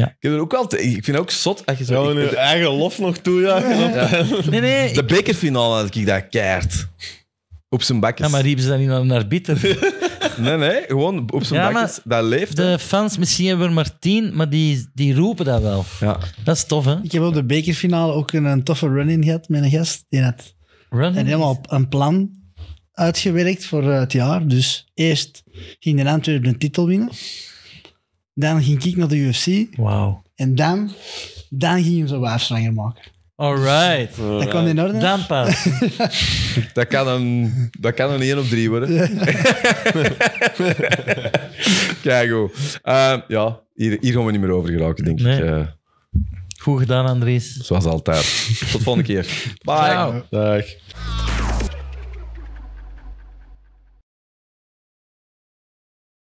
Speaker 2: Ja.
Speaker 1: Ik, heb er ook altijd, ik vind het ook zot als je
Speaker 3: Gaan
Speaker 1: zo...
Speaker 3: we nu
Speaker 1: ik-
Speaker 3: eigen lof nog toejagen?
Speaker 2: Nee, nee.
Speaker 1: de
Speaker 2: Ik,
Speaker 1: bekerfinale had ik dat keihard. Op zijn bakjes.
Speaker 2: ja, maar riepen ze dan niet naar een arbiter?
Speaker 1: Nee, nee, gewoon op zijn
Speaker 2: Ja, maar-
Speaker 1: bakjes. Dat leeft. hè.
Speaker 2: De fans, misschien hebben we er maar tien, maar die, die roepen dat wel.
Speaker 1: Ja.
Speaker 2: Dat is tof, hè?
Speaker 4: Ik heb op de bekerfinale ook een, een toffe run-in gehad met een gast. Die had
Speaker 2: Run.
Speaker 4: en helemaal op een plan uitgewerkt voor eh, het jaar. Dus eerst ging de Antwerpen een titel winnen. Dan ging ik naar de UFC.
Speaker 2: Wauw.
Speaker 4: En dan, dan ging hem zo afzwanger maken.
Speaker 2: Alright.
Speaker 4: Dat kwam in orde.
Speaker 2: Dan pas.
Speaker 1: Dat kan een, dat kan een 1 op 3 worden. Kijk hoe. ja, hier, hier gaan we niet meer over geraken, denk
Speaker 2: Nee.
Speaker 1: ik. eh,
Speaker 2: Goed gedaan, Andries.
Speaker 1: zoals altijd. Tot volgende keer. Bye.
Speaker 2: Ciao.
Speaker 3: Dag.